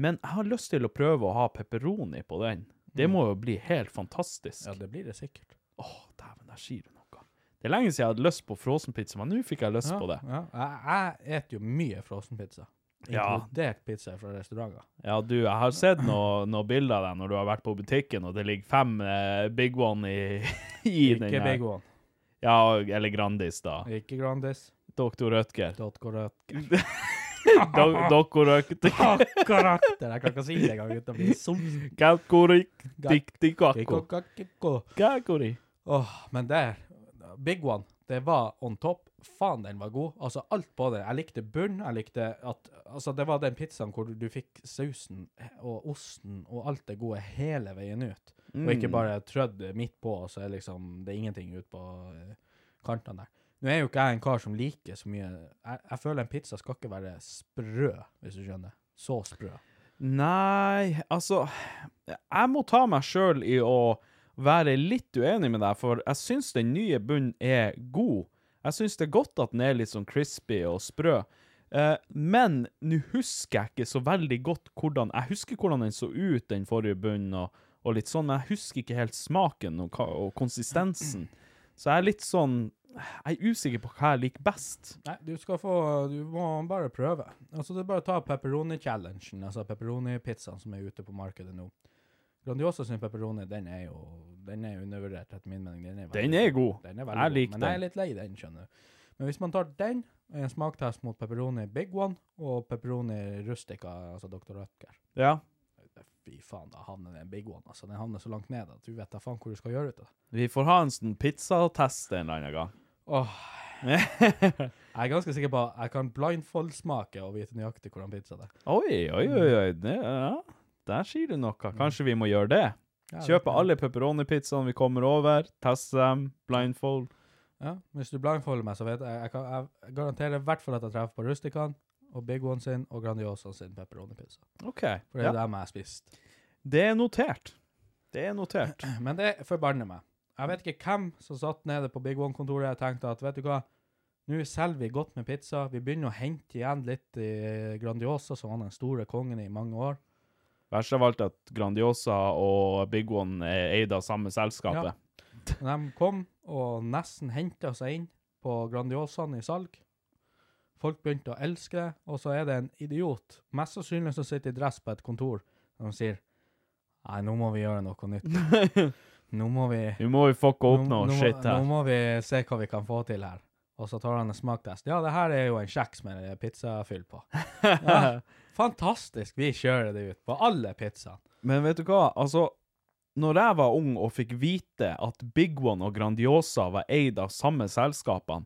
Men jeg har lyst til å prøve å ha pepperoni på den. Det må jo bli helt fantastisk.
Mm. Ja, det blir det sikkert.
Åh, dæven, der sier du noe. Det er lenge siden jeg hadde lyst på frossenpizza, men nå fikk jeg lyst
Ja,
på det.
Ja. Jeg, jeg et jo mye frossenpizza.
Ja.
Inkludert pizza fra restauranter.
Ja, du, jeg har sett noe- noen bilder av deg når du har vært på butikken, og det ligger fem eh, Big One i, i den
Ikke
her.
Big One.
Ja, eller Grandis, da.
Ikke Grandis.
Doktor Rødtger.
Dotko Rødt.
Doktor Rødtger.
Karakter! Jeg kan ikke si det engang uten å bli sånn somsen.
Kalkori, diktikako. Kalkori.
Åh, men der Big One, det var on top. Faen, den var god. Altså, alt på det. Jeg likte bunn, jeg likte at Altså, det var den pizzaen hvor du, du fikk sausen og osten og alt det gode hele veien ut. Og ikke bare trødd midt på, og så er liksom Det er ingenting ut på eh, kantene der. Nå er jo ikke jeg en kar som liker så mye Jeg, jeg føler en pizza skal ikke være sprø, hvis du skjønner. Så sprø.
Nei, altså Jeg må ta meg sjøl i å være litt uenig med deg, for jeg syns den nye bunnen er god. Jeg syns det er godt at den er litt sånn crispy og sprø. Eh, men nå husker jeg ikke så veldig godt hvordan Jeg husker hvordan den så ut, den forrige bunnen, og, og litt sånn, men jeg husker ikke helt smaken og, hva- og konsistensen. Så jeg er litt sånn Jeg er usikker på hva jeg liker best.
Nei, du skal få Du må bare prøve. Altså, det er bare å ta pepperoni-challengen, altså pepperoni-pizzaen som er ute på markedet nå. Grandiosa sin pepperoni, den er jo Den er undervurdert, etter min mening. Den er, veldig
Den er god.
Den er
Jeg
veldig
liker
god, men jeg
den.
er litt lei den, skjønner du. Men hvis man tar den, en smaktest mot pepperoni big one og pepperoni rustica, altså Dr. Rødger
Ja.
Fy faen, da havner den big one, altså. Den havner så langt ned at du vet da faen hvor du skal gjøre ut av det.
Vi får ha en sånn pizzatest en eller annen gang.
Åh. Jeg er ganske sikker på at jeg kan blindfold-smake og vite nøyaktig hvordan pizza det er.
Oi, oi,
Mm.
oi, oi. Det, ja. Der sier du noe. Kanskje vi må gjøre det?
Ja, det-
Kjøpe alle pepperoni-pizzaene vi kommer over, teste dem, blindfold.
Ja, hvis du blindfolder meg, så vet jeg Jeg, kan, jeg garanterer i hvert fall at jeg treffer på Rustican og Big One sin og Grandiosa sin pepperonipizza.
OK.
For det er
Ja.
dem jeg har spist.
Det er notert. Det er notert.
Men det forbanner meg. Jeg vet ikke hvem som satt nede på Big One-kontoret og tenkte at vet du hva, nå selger vi godt med pizza, vi begynner å hente igjen litt i Grandiosa, som var den store kongen i mange år.
Verst av alt at Grandiosa og Big One er eid av samme selskapet.
Men de kom og nesten henta seg inn på Grandiosaen i salg. Folk begynte å elske det, og så er det en idiot, mest sannsynlig som sitter i dress på et kontor, som sier Nei, nå må vi gjøre noe nytt. Nå må vi
Nå må vi fucka opp
nå, nå,
noe
må-
shit
nå
her.
må vi se hva vi kan få til her. Og så tar han en smaktest. Ja, det her er jo en kjeks med pizzafyll på. Ja, fantastisk. Vi kjører det ut på alle pizzaene.
Men vet du hva, altså Når jeg var ung og fikk vite at Big One og Grandiosa var eid av samme selskapene,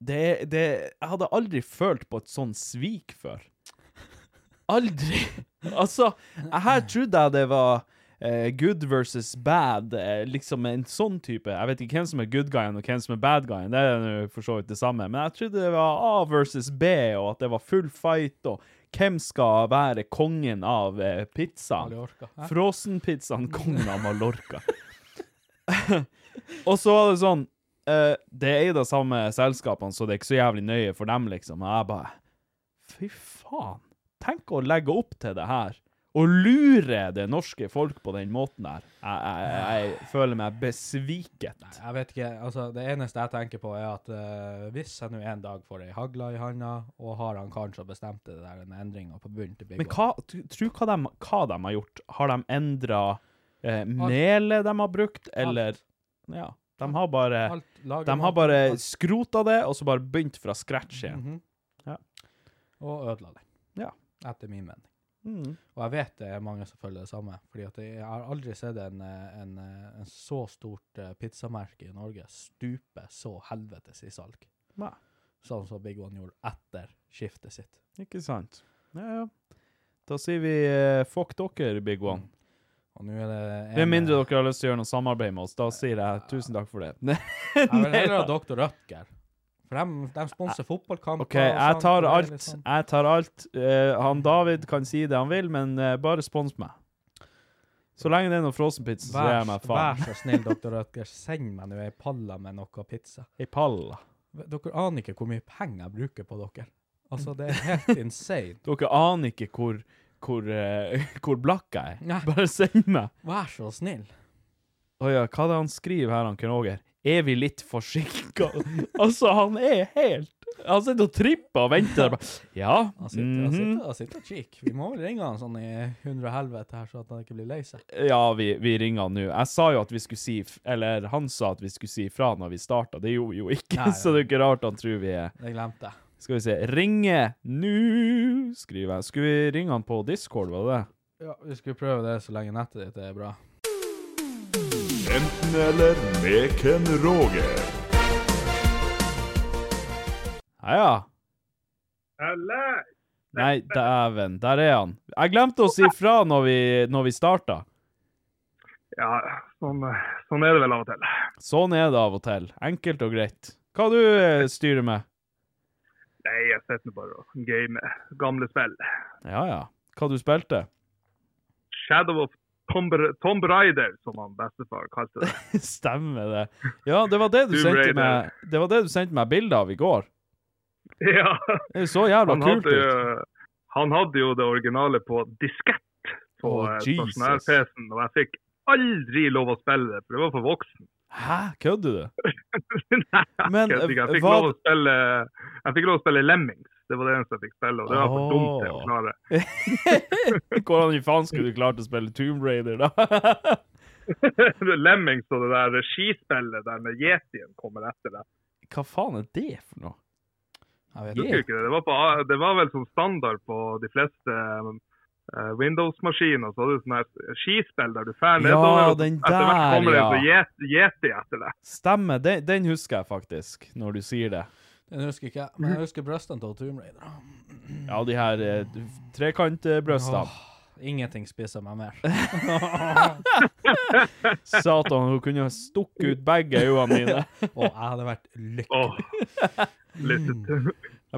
det, det Jeg hadde aldri følt på et sånt svik før. Aldri! Altså, jeg her trodde jeg det var eh, good versus bad, eh, liksom en sånn type. Jeg vet ikke hvem som er good guyen og hvem som er bad guyen, det er jo for så vidt det samme. Men jeg trodde det var A versus B, og at det var full fight, og hvem skal være kongen av eh, pizzaen?
Mallorca, hæ?
Frossenpizzaen, kongen av Mallorca. og så var det sånn eh, Det er eid av samme selskapene, så det er ikke så jævlig nøye for dem, liksom. Og jeg bare Fy faen. Tenk å legge opp til det her. Og lure det norske folk på den måten der. Jeg, jeg, jeg føler meg besviket.
Jeg vet ikke, altså Det eneste jeg tenker på, er at eh, hvis jeg nå en dag får ei hagla i handa, og har han karen som bestemte det der, den endringa på bunnen til Big
Men
One.
hva, tr- tro hva de, hva de har gjort. Har de endra eh, melet de har brukt, eller Ja. De har bare
Alt lager
De har
maten,
bare
alt,
skrota det, og så bare begynt fra scratch igjen.
mhm.
Ja.
Og ødela det.
Ja.
Etter min mening.
Mhm. Mm.
Og jeg vet det er mange som følger det samme. fordi at jeg har aldri sett en, eh, en, eh, en så stort eh, pizzamerke i Norge stupe så helvetes i salg.
Nei,
Sånn som Big One gjorde etter skiftet sitt.
ikke sant. Ja, ja. Da sier vi eh, fuck dere, Big One.
Mm. Og nå er det en, eh,
Med mindre dere har lyst til å gjøre noe samarbeid med oss, da sier jeg tusen takk for det.
Jeg vil heller ha Dr. Rødtger. For de, de sponser fotballkamper.
OK,
og
jeg
sånt, og
tar
det er litt
alt.
sånn.
Jeg tar alt. Eh, han David kan si det han vil, men eh, bare spons meg. Så lenge det er noe frossenpizza, så gir jeg
Vær,
meg
vær
faen.
så snill, Dr. Rødtger, send meg nå ei palle med noe pizza.
I palla.
Dere aner ikke hvor mye penger jeg bruker på dere. Altså, det er helt insane.
Dere aner ikke hvor, hvor, eh, hvor blakk jeg er.
Nei.
Bare send meg.
Vær så snill.
Å ja, hva er det han skriver her, han Ken-Åger? Er vi litt forsinka? altså, han er helt Han sitter og tripper og venter der bare Ja.
Han sitter, han
mhm.
sitter, han sitter og kikker. Vi må vel ringe han sånn i hundre og helvete her, så at han ikke blir lei seg.
mhm, Ja, vi, vi ringer han nå. Jeg sa jo at vi skulle si f- Eller han sa at vi skulle si fra når vi starta. Det gjorde vi jo ikke,
Nei,
så det er ikke rart han tror vi er
Det glemte jeg.
Skal vi se Ringe nå, skriver jeg. Skulle vi ringe han på Discord, var det det?
Ja, vi skulle prøve det så lenge nettet ditt er bra.
Enten eller med Ken Roger.
Ja, ja. Nei, dæven. Der er han. Jeg glemte å si fra når vi, når vi starta.
Ja, sånn, sånn er det vel av og til.
Sånn er det av og til. Enkelt og greit. Hva du eh, styrer med?
Nei, jeg sitter nå bare og gamer gamle spill.
Ja, ja. Hva du spilte?
Shadow of Tomb, Tomb Raider, som han bestefar kalte det.
Stemmer det. Ja, det var det du
Tomb
sendte
Raider.
meg Det var det du sendte meg bilde av i går.
Ja,
Det så jævla
han
kult
hadde, jo,
ut.
han hadde jo det originale på diskett på
Å,
eh,
Jesus.
stasjonær-PC-en, og jeg fikk aldri lov å spille det, for det var for voksen.
Hæ? Kødder du?
Nei,
Men, eh,
jeg, vet ikke, jeg, fikk
hva-
lov å spille, jeg fikk lov å spille Lemmings. Det var det eneste jeg fikk spille, og det var for dumt til å
Åh.
klare.
Hvordan i faen skulle du klart å spille Tomb Raider, da?
Lemmings og det der skispillet der med yetien kommer etter det.
Hva faen er det for noe?
Jeg vet
Jeg
ikke.
husker ikke det. Det var, på, det var vel som standard på de fleste eh, Windows-maskiner. Så hadde du sånn her skispill der du drar
Ja,
nedover, og
den
etter hvert
der,
kommer det en
ja.
sånn yeti etter deg.
Stemmer, den, den husker jeg faktisk, når du sier det.
Den husker ikke jeg, men jeg husker brystene til Tomb Raider.
Ja, de her eh, trekantbrøstene.
Ingenting spiser meg mer.
Satan, hun kunne stukket ut begge øynene mine.
Og jeg hadde vært lykkelig.
Åh. Litt,
men-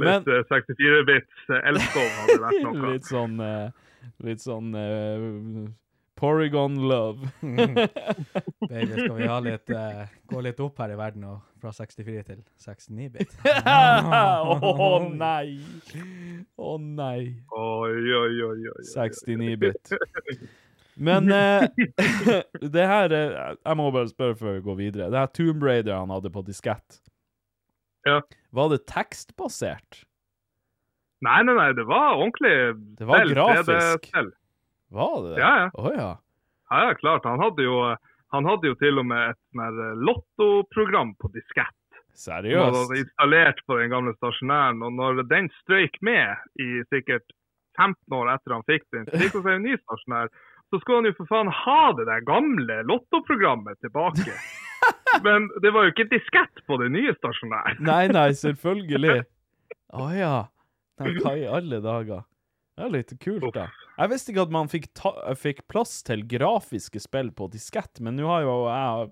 litt eh, 64-bits eh, elskov hadde vært noe.
Litt sånn eh, Litt sånn eh, Porygon love.
Baby, skal vi ha litt, eh, gå litt opp her i verden og fra 64 til 69 bit?
Å nei! Å nei.
Oi, oi, oi, oi.
69-bit. Men eh, det her eh, Jeg må bare spørre før vi går videre. Det her Tomb Raider han hadde på diskett,
Ja.
var det tekstbasert?
Nei, nei, nei, det var ordentlig
Det var
spill,
grafisk.
3D-spill.
Var det det?
Ja, ja.
Å ja.
Ja, ja, klart. Han hadde jo, han hadde jo til og med et sånn her, eh, lottoprogram på diskett. Som han hadde
Seriøst?
installert på den gamle stasjonæren. Og når den strøyk med i sikkert 15 år etter han fikk den, så fikk han seg en ny stasjonær. Så skulle han jo for faen ha det der gamle lottoprogrammet tilbake. Men det var jo ikke diskett på den nye stasjonæren.
Nei, nei, selvfølgelig. Å ja. Nei, hva i alle dager? Det er litt kult, da. Jeg visste ikke at man fikk, ta eh, fikk plass til grafiske spill på diskett, men nå har jo jeg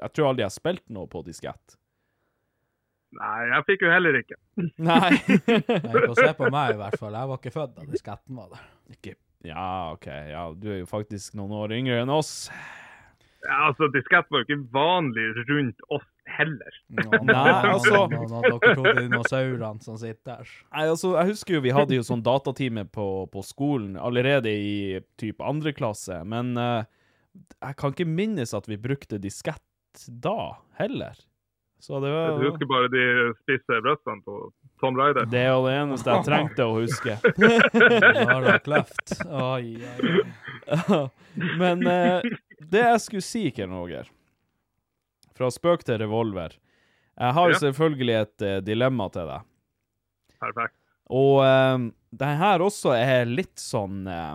Jeg tror aldri jeg har spilt noe på diskett.
Nei, jeg fikk jo heller ikke.
Nei.
Ikke å se på meg, i hvert fall. Jeg var ikke født da disketten var der.
Ikke Ja, OK. Ja, du er jo faktisk noen år yngre enn oss.
Ja, altså, diskett var jo ikke vanlig rundt oss heller.
Nå,
Nei, altså.
nå, nå, nå, dere to dinosaurene som sitter der.
Nei, altså, jeg husker jo vi hadde jo sånn datatime på, på skolen allerede i typ andre klasse, men eh, jeg kan ikke minnes at vi brukte diskett da, heller. Så det
Du
var
husker bare de spisse brystene på Tom Ryder.
Det er jo det eneste jeg trengte å huske.
Nå har dere kløft. Oi, oi, oi.
Men eh, det jeg skulle si, Ken Roger Fra spøk til revolver. Jeg har jo
Ja.
selvfølgelig et eh, dilemma til deg.
Perfekt.
Og um, den her også er litt sånn eh,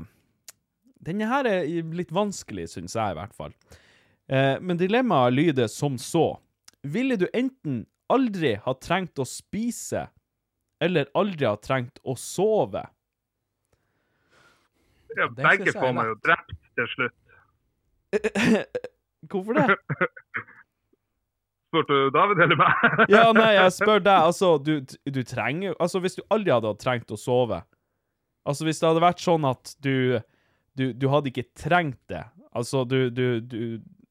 Denne her er litt vanskelig, syns jeg i hvert fall. Eh, men dilemmaet lyder som så. Ville du enten aldri ha trengt å spise, eller aldri ha trengt å sove?
Ja,
Den
begge
synes jeg er
får meg jo drept til slutt.
Hvorfor det?
Spurte du David eller meg?
Ja, nei, jeg spør deg. Altså, du, du trenger Altså, hvis du aldri hadde trengt å sove Altså, hvis det hadde vært sånn at du Du, du hadde ikke trengt det. Altså, du, du, du,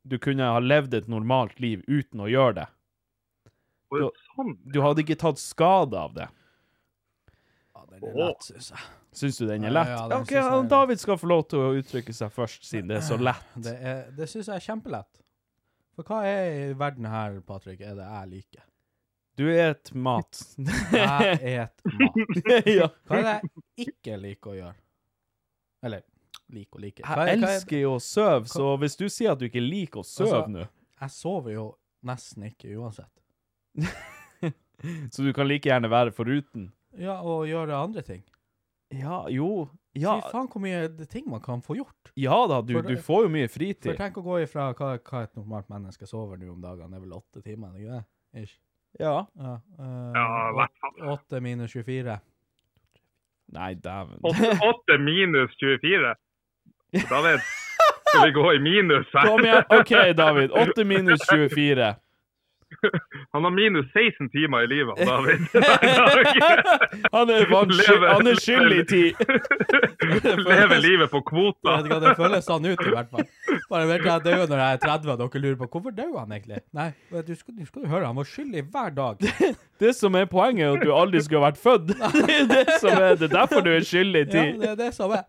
du kunne ha levd et normalt liv uten å gjøre det.
Og sånn.
Du hadde ikke tatt skade av det.
Ja, den er lett, synes jeg.
Syns du den er lett?
Ja, ja,
Ja,
den
OK,
synes jeg er
han David skal få lov til å uttrykke seg først, siden det er så lett.
Det, er, det syns jeg er kjempelett. For hva er i verden her, Patrick, er det jeg liker?
Du er et mat.
Jeg et mat.
ja.
Hva er det jeg ikke liker å gjøre? Eller liker og liker. Hva
Jeg
er- hva er-
elsker jo å sove, så hvis du sier at du ikke liker å sove
Altså-
nå
Jeg sover jo nesten ikke uansett.
Så du kan like gjerne være foruten.
Ja, og gjøre andre ting.
Ja, jo
Fy
Ja,
faen hvor mye det- ting man kan få gjort.
ja da, du,
For-
du får jo mye
For
fritid.
tenk å gå ifra hva, hva et normalt menneske sover nå om dagene, det er vel åtte timer, ikke det? Ish.
Ja.
Ja, eh,
Ja, i hvert fall.
åt- Åtte minus 24.
Nei, dæven.
8 minus 24. David, skal vi gå i minus her?
Kom igjen. OK, David. 8 minus 24.
Han har minus 16 timer i livet, han, David. Hver dag.
Han er, vans-
Lever-
han er skyldig i tid.
Lever livet på kvota.
Jeg vet ikke hva det føles sånn ut, i hvert fall. Bare vet jeg dør når jeg er 30, og dere lurer på hvorfor dør han egentlig? Nei, vet du skal, du skal jo høre, han var skyldig hver dag.
Det som er poenget, er at du aldri skulle vært født. Det er det som er det. er derfor du er skyldig i
Ja,
tid.
det er det som er.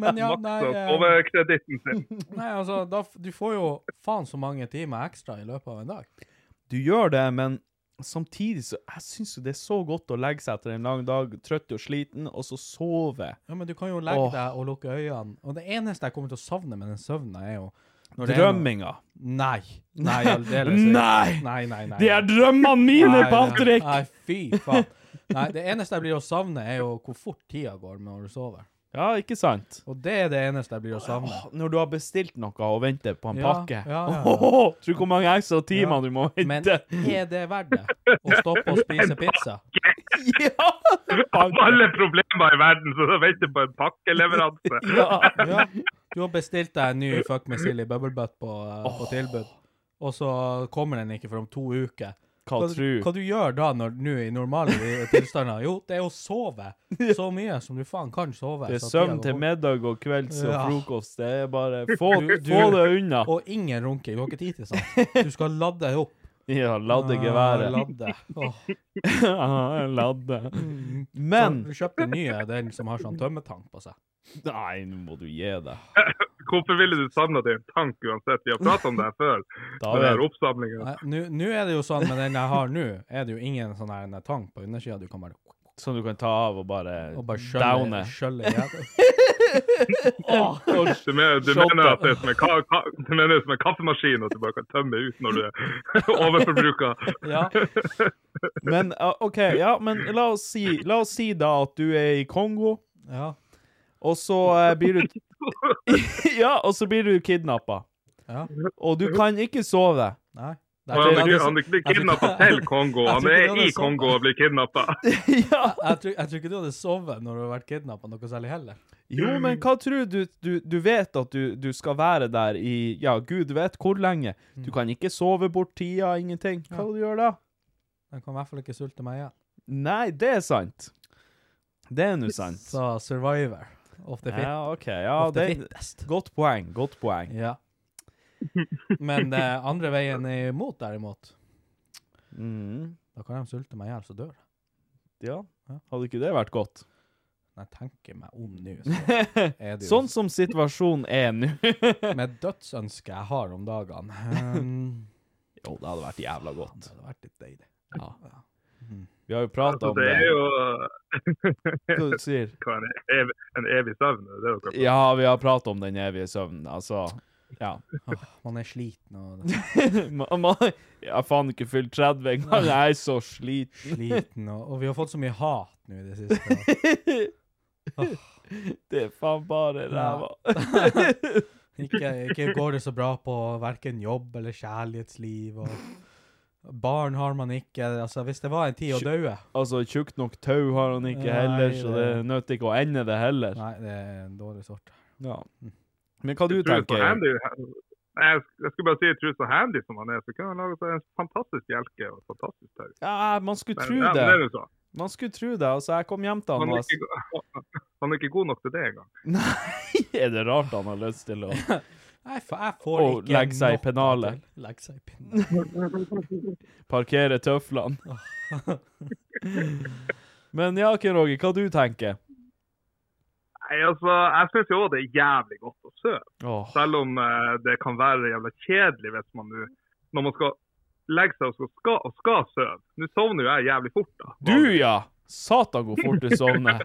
Men ja, nei,
Så
eh,
overkreditten sin.
nei altså, da, f- du får jo faen så mange timer ekstra i løpet av en dag.
Du gjør det, men samtidig så Jeg syns jo det er så godt å legge seg etter en lang dag, trøtt og sliten, og så sove.
Ja, men du kan jo legge
Åh.
deg og lukke øynene. Og det eneste jeg kommer til å savne med den søvna, er jo når det er noe-
Drømminga.
Nei. Nei, aldeles ikke.
Nei!
Nei, nei, nei.
Det er drømmene mine,
Nei,
Patrick!
Nei, nei, fy faen. Nei, det eneste jeg blir å savne, er jo hvor fort tida går når du sover.
Ja, ikke sant?
Og det er det eneste jeg blir å savne.
Åh, når du har bestilt noe og venter på en
Ja,
pakke
ja, ja, ja.
Åhåhå, Tror du hvor mange ekstra
Ja,
timer du må
Men
vente?
er det verdt det? Å stoppe å spise pizza?
ja!
Av alle problemer i verden, så da venter jeg på en pakkeleveranse.
ja.
Ja. Du har bestilt deg en ny fuck med silly bubble butt på, eh, på tilbud, og så kommer den ikke for om to uker.
Hva tru?
hva du gjør da når nå i normale i- tilstander? Jo, det er å sove så mye som du faen kan sove.
Det er
så tida
søvn
går
til
fort.
middag og kvelds og
Ja.
frokost. Det er bare Få,
Du- du-
få det unna.
Og ingen runking. Du har ikke tid til sånt. Du skal ladde opp.
Ja, ladde
Ah,
geværet.
Ladde. Åh.
Ja, ladde.
Mm.
Men
Så Du kjøpte den nye, den som har sånn tømmetank på seg.
Nei, nå må du gi deg.
Hvorfor ville du savna din tank uansett? Vi har pratet om det her før.
Da
Den her
vet
oppsamlingen.
Nei, Nå nå er det jo sånn med den jeg har nå, er det jo ingen sånn her en tank på undersida du kan bare
Som du kan ta av og bare,
og bare skjølle-
downe.
skjølle i hjel.
Åh, og-
Du mener, du
Shot,
mener
da.
at det er som en, ka ka du mener det er som en kaffemaskin, at du bare kan tømme ut når du er overforbruka?
Ja.
Men ah, OK, ja, men la oss si, la oss si da at du er i Kongo.
Ja.
Og så eh, blir du Ja, og så blir du kidnappa.
Ja.
Og du kan ikke sove.
Nei. Det
Han
er
blir
ikke-
han blir kidnappa til Kongo.
Jeg
Han
tror ikke
er
det
i
er sånn.
Kongo og blir kidnappa.
ja.
Jeg tror, jeg tror ikke du hadde sovet når du hadde vært kidnappa noe særlig heller.
Jo, men hva tror du Du, du vet at du, du skal være der i Ja, gud vet hvor lenge.
Mm.
Du kan ikke sove bort tida, ingenting. Hva vil du gjøre da?
Den kan i hvert fall ikke sulte meg igjen.
Nei, det er sant. Det er nå sant.
Så survivor of the fit.
Ja, OK. Ja,
of the
det
fittest.
Godt poeng. Godt poeng.
Ja. Men eh, andre veien imot, derimot,
Mm,
da kan de sulte meg i hjel, så dør jeg.
ja. Hadde ikke det vært godt?
Når jeg tenker meg om nå, så er det jo
Sånn som situasjonen er nå.
med dødsønsket jeg har om dagene. Um,
Jo, det hadde vært jævla godt.
det hadde vært litt deilig.
Ja.
Mhm.
Vi har jo prata
Så
om
det
det.
er jo
Hva du sier?
hva, en evig, en evig søvn. Det er jo hva-
Ja, vi har prata om den evige søvnen. Altså, Ja.
Åh, man er sliten og
Man- man- Jeg har faen ikke fylt 30 engang. Jeg er så sliten.
sliten, og, og vi har fått så mye hat nå i det siste.
Det er faen bare ræva.
Ikke, ikke går det så bra på verken jobb eller kjærlighetsliv. Og barn har man ikke. Altså, hvis det var en tid å daue
Altså, tjukt nok tau har han ikke
Nei,
heller, så det
det-
nødt ikke å ende det heller.
Nei, Mhm. det er en dårlig sort.
Ja. Men hva du
Truls og
tenker?
Handy jeg, jeg skulle bare si Truls og Handy som han er, så kunne han lage seg en fantastisk hjelke og et fantastisk tau.
Ja, man skulle
Men,
tro
ja, men det er
det.
jo så.
Man skulle tro det. Altså, jeg kom hjem til han
Han
og
er,
jeg
ikke, go- han er ikke god nok til det engang.
Nei, er det rart han har lyst til å
Jeg, fa- jeg får
Og
ikke
legge seg i
nok til-
pennalet.
Legge seg i pennalet.
parkere tøflene? Men ja, Ken Roger, hva du tenker?
Nei, altså, Jeg syns jo òg det er jævlig godt å sove.
Åh,
Selv om eh, det kan være jævla kjedelig hvis man nå Når man skal legge seg og skal, skal, og skal sove. Nå sovner jo jeg jævlig fort, da.
du ja! Satan hvor fort du sovner.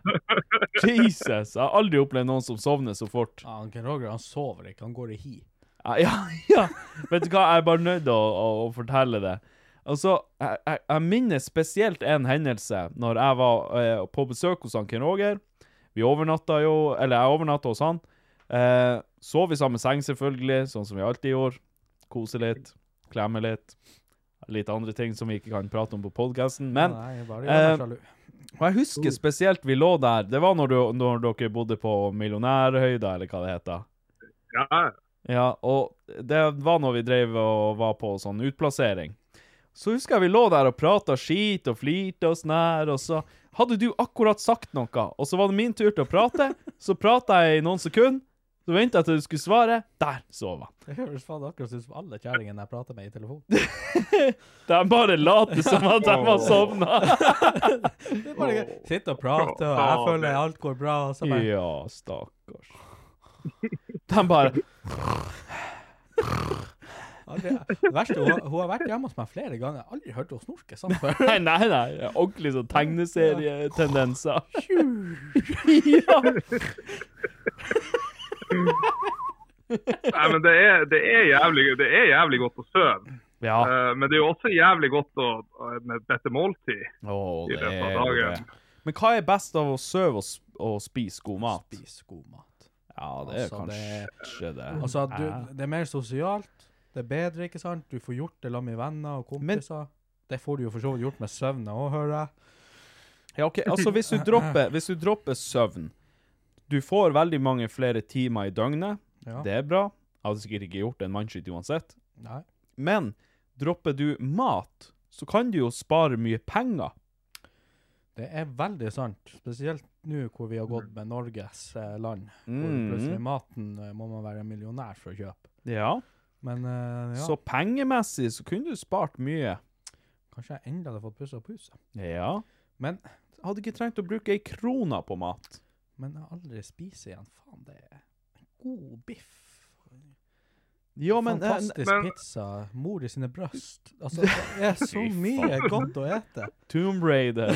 Jesus, jeg har aldri opplevd noen som sovner så fort.
Ja, han Ken Roger han sover ikke, han går i hi.
Ja, ja, ja. Vet du hva, jeg er bare nødt til å, å, å fortelle det. Altså, jeg, jeg, jeg minnes spesielt en hendelse når jeg var eh, på besøk hos han Ken Roger. Vi overnatta jo, eller jeg overnatta hos han. Eh, sov i samme seng selvfølgelig, sånn som vi alltid gjorde. Kose litt, klemme litt. Litt andre ting som vi ikke kan prate om på podkasten. Men
Nei, jeg bare gjør
eh,
meg sjalu.
og jeg husker spesielt vi lå der. Det var når, du, når dere bodde på millionærhøyda, eller hva det heter.
Ja, ja.
Ja, og det var når vi drev og var på sånn utplassering. Så husker jeg vi lå der og prata skit og flirte oss nær, og så hadde du akkurat sagt noe, og så var det min tur til å prate. Så prata jeg i noen sekunder, så venta jeg til du skulle svare. Der sov jeg.
Det høres faen akkurat ut som alle kjerringene jeg prater med i telefonen.
De bare later som at de var sovna.
Det er bare gøy. Sitte og prate, og jeg
Ja,
føler
det-
alt går bra, og så bare
Ja, stakkars. De bare
aldri, Det verste, hun, har- hun har vært hjemme hos meg flere ganger, jeg har aldri hørt henne snorke sånn før.
Nei, nei, nei. Ordentlig sånn tegneserietendenser. Ja.
Nei, men det er, det, er jævlig, det er jævlig godt å sove.
ja.
Eh, men det er jo også jævlig godt å, å- med dette måltid.
Åh,
i
det
løpet av
er jo
dagen.
det. Men hva er best av å sove og, sp og spise god mat?
Spis god mat.
Ja, det er
Altså,
kanskje det.
Altså, du, det er mer sosialt, det er bedre, ikke sant? Du får gjort det sammen med venner og
Men-
kompiser. det får du jo for så vidt gjort med søvn òg, hører jeg.
ja, ok, altså hvis du, dropper, hvis du dropper søvn Du får veldig mange flere timer i døgnet.
Ja.
Det er bra. Jeg hadde sikkert ikke gjort en mannskyt uansett.
Nei.
Men dropper du mat, så kan du jo spare mye penger.
Det er veldig sant, spesielt nå hvor vi har gått med Norges eh, land. Hvor
Mm.
plutselig maten eh, må man være millionær for å kjøpe.
Ja.
Men eh, ja,
Så pengemessig så kunne du spart mye.
kanskje jeg endelig hadde fått pussa på huset.
Ja.
Men,
Hadde ikke trengt å bruke ei krone på mat.
men jeg har aldri spist igjen. Faen, det er en god biff.
Ja, men eh,
Fantastisk
men-
pizza. Mor i sine bryst. Altså, det er så mye godt å ete.
Tomb Raider.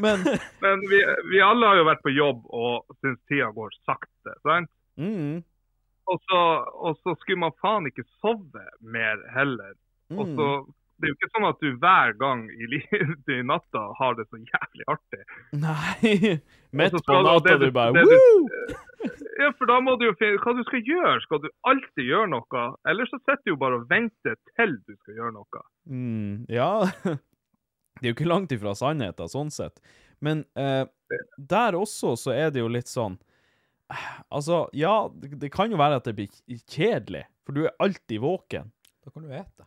men
Men vi, vi alle har jo vært på jobb og syns tida går sakte. sant?
mm,
Og så, og så skulle man faen ikke sove mer heller. Og så,
mm.
Det er jo ikke sånn at du hver gang i, li- i natta har det så jævlig artig.
Nei. Midt
Og
på
så skal- og
natta
det
du
du-
bare
det du-
Woo!
Ja, for da må du jo finne hva du skal gjøre. Skal du alltid gjøre noe? Eller så sitter du jo bare og venter til du skal gjøre noe.
Mm, ja. Det er jo ikke langt ifra sannheten, sånn sett. Men eh, der også så er det jo litt sånn eh, Altså, ja, det, det kan jo være at det blir k- kjedelig, for du er alltid våken.
Da kan du ete.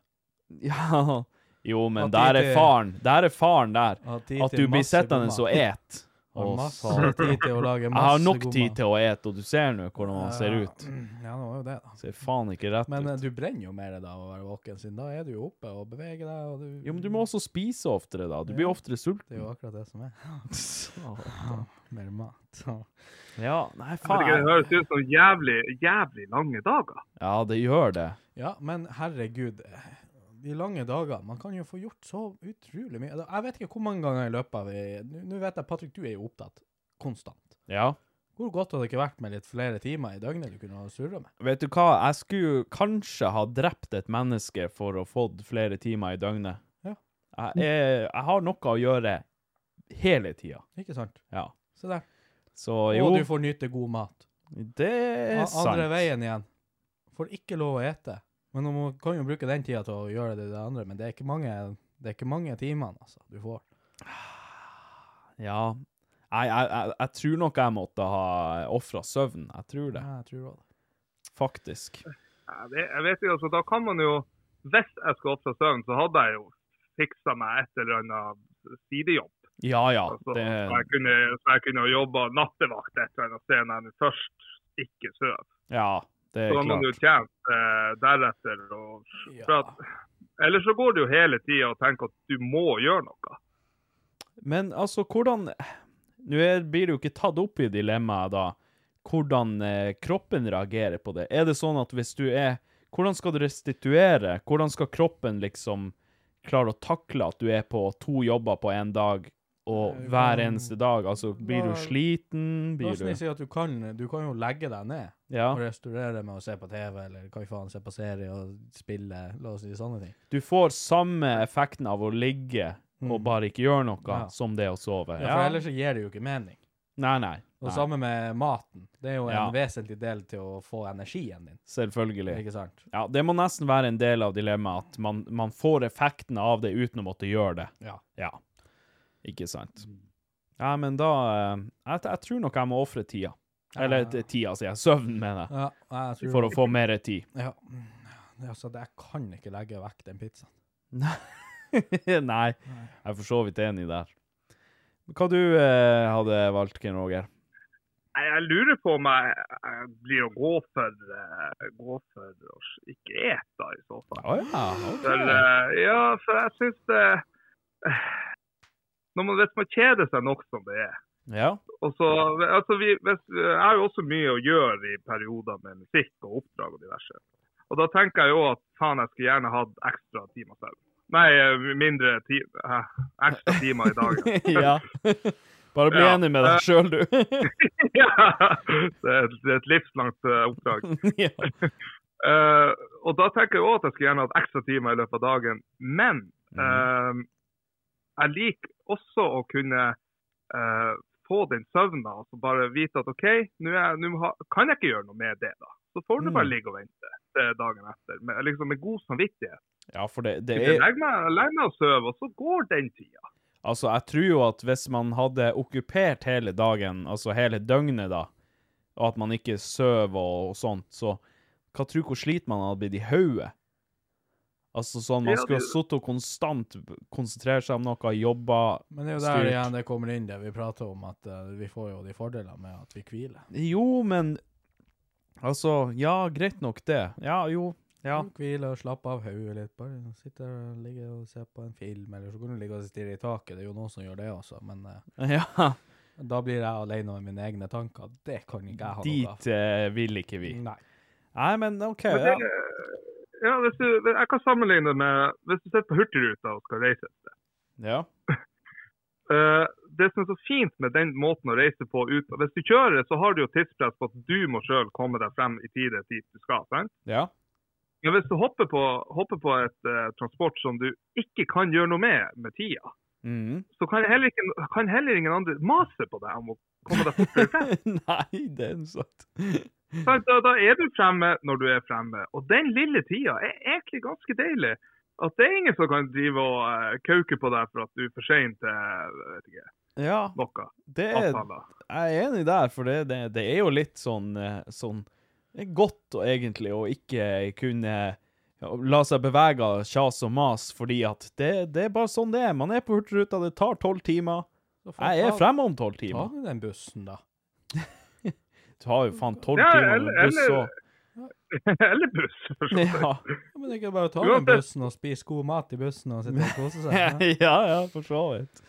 Ja. Jo,
At
men der
det-
er faren. Der er faren der.
Ha tid
At
til
du blir
masse god
sittende
mat.
og et.
Har
Å,
masse
satan.
tid til å lage
Jeg
masse
har nok
god
tid
mat.
til å ete, og du ser nå hvordan han ser ut.
Ja, det var jo det, da.
Ser faen ikke rett
Men eh,
ut.
du brenner jo mer da av å være våken, siden da er du jo oppe og beveger deg. Og du,
Jo, men du må også spise oftere, da. Du blir
Ja.
oftere sulten.
Det er jo akkurat det som er. Mer mat.
Ja, nei,
Jeg vet ikke, Det
faen.
høres ut som jævlig, jævlig lange dager.
Ja, det gjør det.
Ja, men herregud. De lange dager. Man kan jo få gjort så utrolig mye. Jeg vet ikke hvor mange ganger i løpet av i- Nå nå vet jeg, Patrick, du er jo opptatt. Konstant.
Ja.
Hvor godt hadde det ikke vært med litt flere timer i døgnet du kunne ha surra med?
Vet du hva, jeg skulle kanskje ha drept et menneske for å fått flere timer i døgnet.
Ja.
Jeg, er, jeg har noe å gjøre hele tida.
Ikke sant?
Ja.
Se der.
Så jo,
Og du får nyte god mat.
det
A-
er sant.
Andre veien igjen. Får ikke lov å ete. Men man kan jo bruke den tida til å gjøre det, det andre, men det er ikke mange, det er ikke mange timene altså, du får.
Ja. Nei, jeg, jeg, jeg tror nok jeg måtte ha ofra søvn. Jeg tror det,
Ja, jeg tror også det.
faktisk.
Jeg vet- Jeg vet ikke, altså, da kan man jo Hvis jeg skulle opp fra søvn, så hadde jeg jo fiksa meg et eller annet sidejobb.
Ja ja,
Altså,
det
så jeg kunne, så jeg kunne jobba nattevakt et eller annet sted når jeg først ikke sover.
Ja, det
Så
er
da må du
klart.
tjene eh, deretter. Og, for at, ellers så går du jo hele tida og tenker at du må gjøre noe.
Men altså, hvordan Nå er- blir det jo ikke tatt opp i dilemmaet, da, hvordan eh, kroppen reagerer på det. Er det sånn at hvis du er Hvordan skal du restituere? Hvordan skal kroppen liksom klare å takle at du er på to jobber på én dag, og
Nei,
hver
kan-
eneste dag? Altså, blir du
Da-
sliten?
La
Blir
oss nå
du
si at du kan, du kan jo legge deg ned
Ja.
og restaurere med å se på TV, eller hva i faen, se på serie og spille, la oss si sånne ting.
Du får samme effekten av å ligge og bare ikke gjøre noe,
Mm. Ja.
som det å sove.
Ja, for
Ja.
ellers så gir det jo ikke mening.
Nei, nei.
Og
nei.
samme med maten. Det er jo en
Ja.
vesentlig del til å få energien din.
Selvfølgelig.
Ikke sant?
Ja, det må nesten være en del av dilemmaet, at man, man får effekten av det uten å måtte gjøre det.
Ja.
Ja. Ikke sant. Ja, men da eh, Jeg, jeg tror nok jeg må ofre tida. Eller t- tida, sier jeg. Søvnen, mener jeg.
Ja, jeg tror
For å få mer tid.
Ja. Det, altså, det, jeg kan ikke legge vekk den pizzaen.
Nei, jeg er for så vidt enig der. Hva du eh, hadde valgt, Ken Roger?
Jeg, jeg lurer på om jeg, jeg blir å gå for, eh, gå for å ikke ete i så fall.
Å ja,
For,
OK.
eh, ja, for jeg syns det eh, når man, Hvis man kjeder seg nok som det er
Ja.
og så, altså vi, hvis, Jeg har jo også mye å gjøre i perioder med musikk og oppdrag og diverse. Og Da tenker jeg jo at faen, jeg skulle gjerne hatt ekstra timer selv. Nei, eh, mindre ti, eh, ekstra timer i dagen.
ja. Bare bli
Ja.
enig med deg sjøl, du.
ja, det er, det er et livslangt eh, oppdrag.
ja.
Eh, og da tenker jeg òg at jeg skulle gjerne hatt ekstra timer i løpet av dagen. Men
Mhm.
eh, jeg liker også å kunne eh, få den søvna og så bare vite at OK, nå er jeg- nå har- kan jeg ikke gjøre noe med det, da. Så får du
Mhm.
bare ligge og vente til dagen etter, med, liksom med god samvittighet.
ja, for det, det er
Legg meg, legg meg og sove, og så går den tida.
Altså, jeg tror jo at hvis man hadde okkupert hele dagen, altså hele døgnet da, og at man ikke søv og, og sånt, så hva tror du hvor slit man hadde blitt i hodet? Altså sånn, man
Ja,
skulle ha
det-
sittet og konstant b- konsentrere seg om noe, jobba
Men det er jo der
Styrt.
igjen det kommer inn det vi prater om, at eh, vi får jo de fordelene med at vi hviler.
Jo, men Altså, ja, greit nok det. Ja, jo. Ja.
Hvile og slappe av hodet litt. Bare sitte og ligge og se på en film, eller så kan du ligge og stirre i taket. Det er jo noen som gjør det også, men eh,
ja.
da blir jeg alene med mine egne tanker. Det kan ikke jeg ha noe av.
Dit eh, vil ikke vi.
Nei.
Nei, men OK.
Men
Ja.
det- Ja, hvis du, jeg kan sammenligne det med hvis du sitter på Hurtigruta og skal reise.
ja.
Eh, det som er så fint med den måten å reise på ut, Hvis du kjører, så har du jo tidspress på at du må sjøl komme deg frem i tide dit du skal. Sant?
Ja.
Men hvis du hopper på, hopper på et eh, transport som du ikke kan gjøre noe med med tida,
Mhm.
så kan heller, ikke, kan heller ingen andre mase på deg om å komme deg fortere frem.
Nei, det er sant.
Sant? Da, da er du fremme når du er fremme. Og den lille tida er egentlig ganske deilig. At det er ingen som kan drive og eh, kauke på deg for at du er for sein til jeg vet ikke,
Ja,
noe.
det er
Avtaler.
Jeg er enig der, for det, det, det er jo litt sånn, eh, sånn Det er godt å egentlig å ikke kunne la seg bevege av kjas og mas, fordi at det, det er bare sånn det er. Man er på Hurtigruta, det tar tolv timer.
Så får
Jeg er
ta-
fremme om tolv
Ta
timer.
nå den bussen, da.
Det tar jo faen tolv
Ja,
timer med
eller-
buss
eller-
og
Eller buss, for så vidt.
ja.
Ja, men det er ikke bare å ta
Uansett.
den bussen og spise god mat i bussen og sitte og kose seg. Ja.
ja, ja, for så vidt.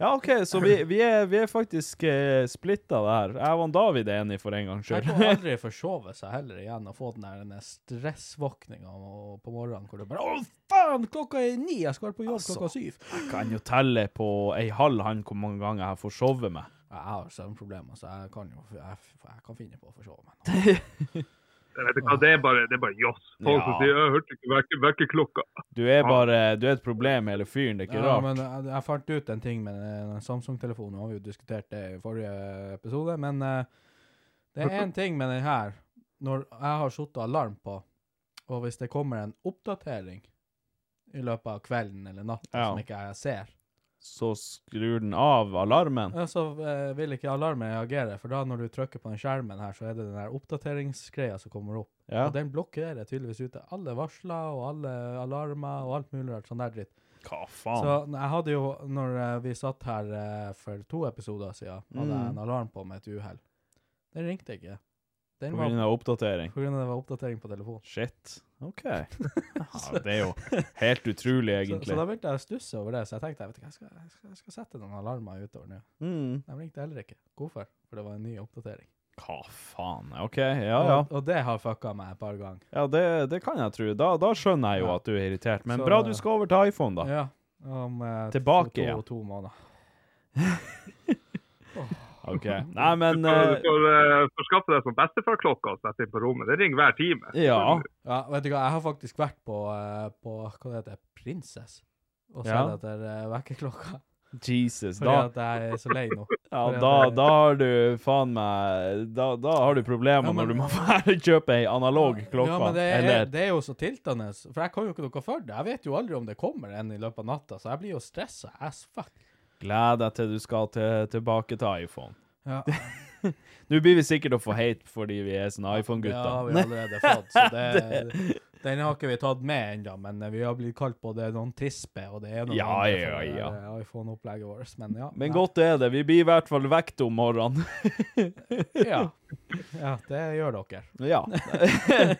Ja, OK, så vi, vi, er, vi er faktisk eh, splitta der. Jeg og David er enig for en gangs
Jeg
skyld.
får aldri forsove seg heller igjen og få den der denne stressvåkninga om- på morgenen hvor du bare 'Å, faen, klokka er ni! Jeg skal være på jobb
Altså.
klokka syv!'
kan jo telle på ei halv hand hvor mange ganger jeg har forsovet meg.
Jeg har søvnproblemer, så jeg kan jo jeg, jeg kan finne på å forsove meg.
Jeg vet ikke hva, det er bare, det er bare joss. Folk som
Ja.
sier 'jeg hørte ikke vekke, vekkerklokka'.
Du er bare Du er et problem, hele fyren. Det er ikke
Ja,
rart.
men eh, jeg, jeg fant ut en ting med den- den Samsung-telefonen. og Vi har jo diskutert det i forrige episode, men eh, det er én ting med den her. Når jeg har satt alarm på, og hvis det kommer en oppdatering i løpet av kvelden eller natta
Ja.
som ikke jeg ser,
Så skrur den av alarmen.
ja, så eh, vil ikke alarmen reagere. For da når du trykker på den skjermen her, så er det den der oppdateringsgreia som kommer opp.
Ja.
Og den blokkerer tydeligvis ute alle varsler og alle alarmer og alt mulig rart sånn der dritt.
Hva faen?
Så jeg hadde jo, når eh, vi satt her eh, for to episoder siden, hadde jeg
Mm.
en alarm på med et uhell. Den ringte ikke. Den
På
var
grunn av oppdatering.
på grunn av det var oppdatering på telefonen.
Shit. OK. Ja, det er jo helt utrolig,
Så, så da
egentlig.
begynte jeg å stusse over det, så jeg tenkte jeg vet ikke, jeg skal, jeg skal, jeg skal sette noen alarmer utover nå.
Mm.
De ringte heller ikke. Hvorfor? For det var en ny oppdatering.
Hva faen? OK, ja ja.
Og, og det har fucka meg et par ganger.
Ja, Det, det kan jeg tro. Da, da skjønner jeg jo
Ja.
at du er irritert. Men
Så-
bra du skal over til iPhone, da.
Ja, om eh, to,
Tilbake
to,
igjen.
to måneder.
OK. Nei, men
Du
eh,
får eh, forskaffe deg som bestefarklokka og sette inn på rommet. Det ringer hver time.
Ja.
Ja, vet du hva, jeg har faktisk vært på, eh, på hva det heter, Princess, og sett
Ja.
etter uh, vekkerklokka.
Jesus.
Fordi
Da,
at jeg er så lei nå.
ja,
fordi at
da,
jeg-
da har du faen meg Da, da har du problemer
Ja, men-
når du må være- kjøpe ei analog klokke.
Ja, men det er,
eller
det er jo så tiltende, for jeg kan jo ikke noe for det. Jeg vet jo aldri om det kommer en i løpet av natta, så jeg blir jo stressa as fuck.
gled deg til du skal til, tilbake til iPhone.
Ja,
Nå blir vi sikkert å få hate fordi vi er sånne
det har
iPhone-gutter.
vi allerede fått, så det, den har ikke vi tatt med ennå. Men vi har blitt kalt både noen tispe, og det er noe
Ja,
annet
ja,
for det
ja.
der iPhone-opplegget vårt. Men ja.
Men
nei.
godt er det. Vi blir i hvert fall vekt om morgenen.
Ja. ja, det gjør dere.
ja.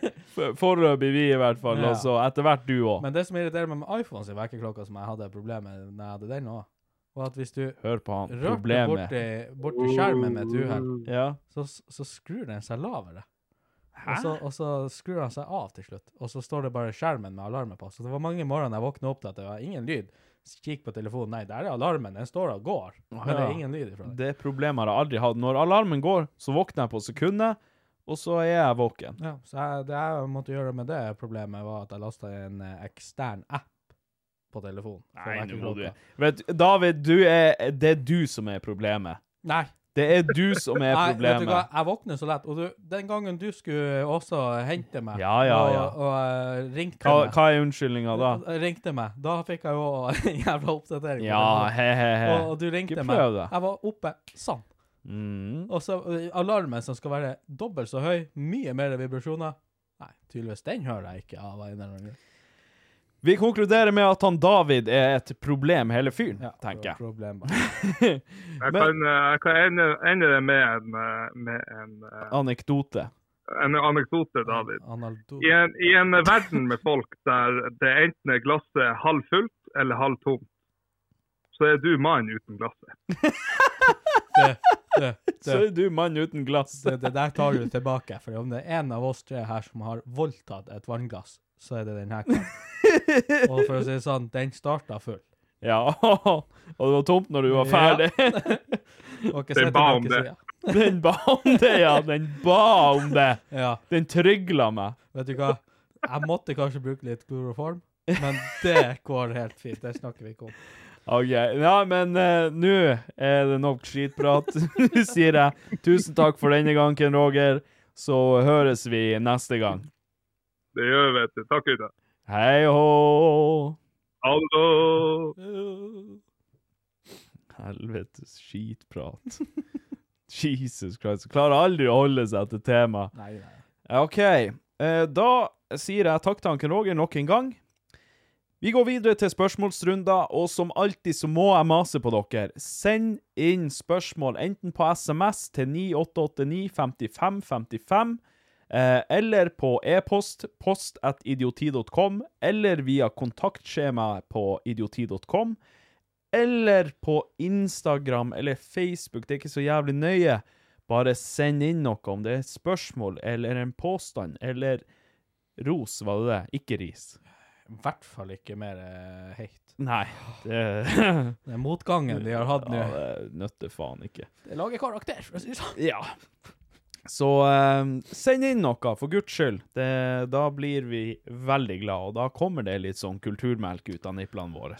For- Foreløpig vi, i hvert fall.
Ja.
Og så etter hvert du òg.
Men det som irriterer meg med iPhones i vekkerklokka, som jeg hadde problemer med når jeg hadde den òg, var at hvis du
Hør på han.
rørte
Problemet.
borti, borti skjermen med et uhell
Ja.
så, så skrur den seg lavere. Og så, og så skrur den seg av til slutt, og så står det bare skjermen med alarmen på. Så det var mange morgener jeg våkna opp til at det var ingen lyd. Så Kikk på telefonen, nei, der er alarmen, den står og går. Men det
Ja.
er ingen lyd ifra den.
Det problemet har jeg aldri hatt. Når alarmen går, så våkner jeg på sekundet, og så er jeg våken.
Ja, så jeg, det jeg måtte gjøre med det problemet, var at jeg lasta en eh, ekstern app på telefonen. for
Nei, nå må
vekkerklokka.
du- Vet, du, David, du er, det er du som er problemet.
Nei,
Det er du som er
nei vet du hva,
problemet.
jeg våkner så lett. Og du, den gangen du skulle også hente meg
Ja, ja, ja.
og, og eh, ringte
Hva,
meg
hva er unnskyldninga da?
Eh, Ringte meg. Da fikk jeg jo en jævla oppdatering. på
Ja,
telefonen.
he-he-he.
og, og du ringte
Ikke
meg.
prøv det.
Jeg var oppe sånn.
Mm.
Og så ø, alarmen som skal være dobbelt så høy, mye mer vibrasjoner. Nei, tydeligvis den hører jeg ikke av. en eller annen grunn.
Vi konkluderer med at han David er et problem, hele fyren,
Ja,
tenker jeg.
Problem bare.
Jeg
Men-
kan, eh, jeg kan ende, ende det med en, eh, med en, eh,
Anekdote.
en anekdote, David.
Analdo-
I en, I en verden med folk der det enten er glasset halvfullt eller halvtomt, så er du mann uten glasset.
Det, det,
Så
det,
er du mann uten glass.
det, det der tar du tilbake. For om det er en av oss tre her som har voldtatt et vannglass, så er det den her. karen. Og for å si det sånn, den starta full.
Ja, og det var tomt når du var ferdig.
Og ikke
Den
sett
ba
dere
om det.
siden.
Den ba om det, ja. Den ba om det.
Ja.
Den trygla meg.
Vet du hva? Jeg måtte kanskje bruke litt kloroform, men det går helt fint. Det snakker vi ikke om.
OK. Ja, men eh, nå er det nok skitprat. Nå sier jeg tusen takk for denne gang, Ken Roger. Så høres vi neste gang.
Det gjør vi, vet du. Takk, Uda.
Hei hå!
Hallo!
Helvetes skitprat. Jesus Christ. Klarer aldri å holde seg til tema.
Nei, nei.
OK. eh, Da sier jeg takk til Anken Roger nok en gang. Vi går videre til spørsmålsrunder, og som alltid så må jeg mase på dere. Send inn spørsmål enten på SMS til 98895555, eh, eller på e-post post at idioti.com, eller via kontaktskjemaet på idioti.com, eller på Instagram eller Facebook, det er ikke så jævlig nøye. Bare send inn noe, om det er et spørsmål eller en påstand, eller ros, var det det? Ikke ris.
I hvert fall ikke mer eh, heit.
Nei. Det,
Den motgangen de har hatt nå.
Ja, det nøtter faen ikke.
Det lager karakter, for å si det sånn.
Ja. Så eh, send inn noe, for guds skyld. Det, da blir vi veldig glad, og da kommer det litt sånn kulturmelk ut av niplene våre.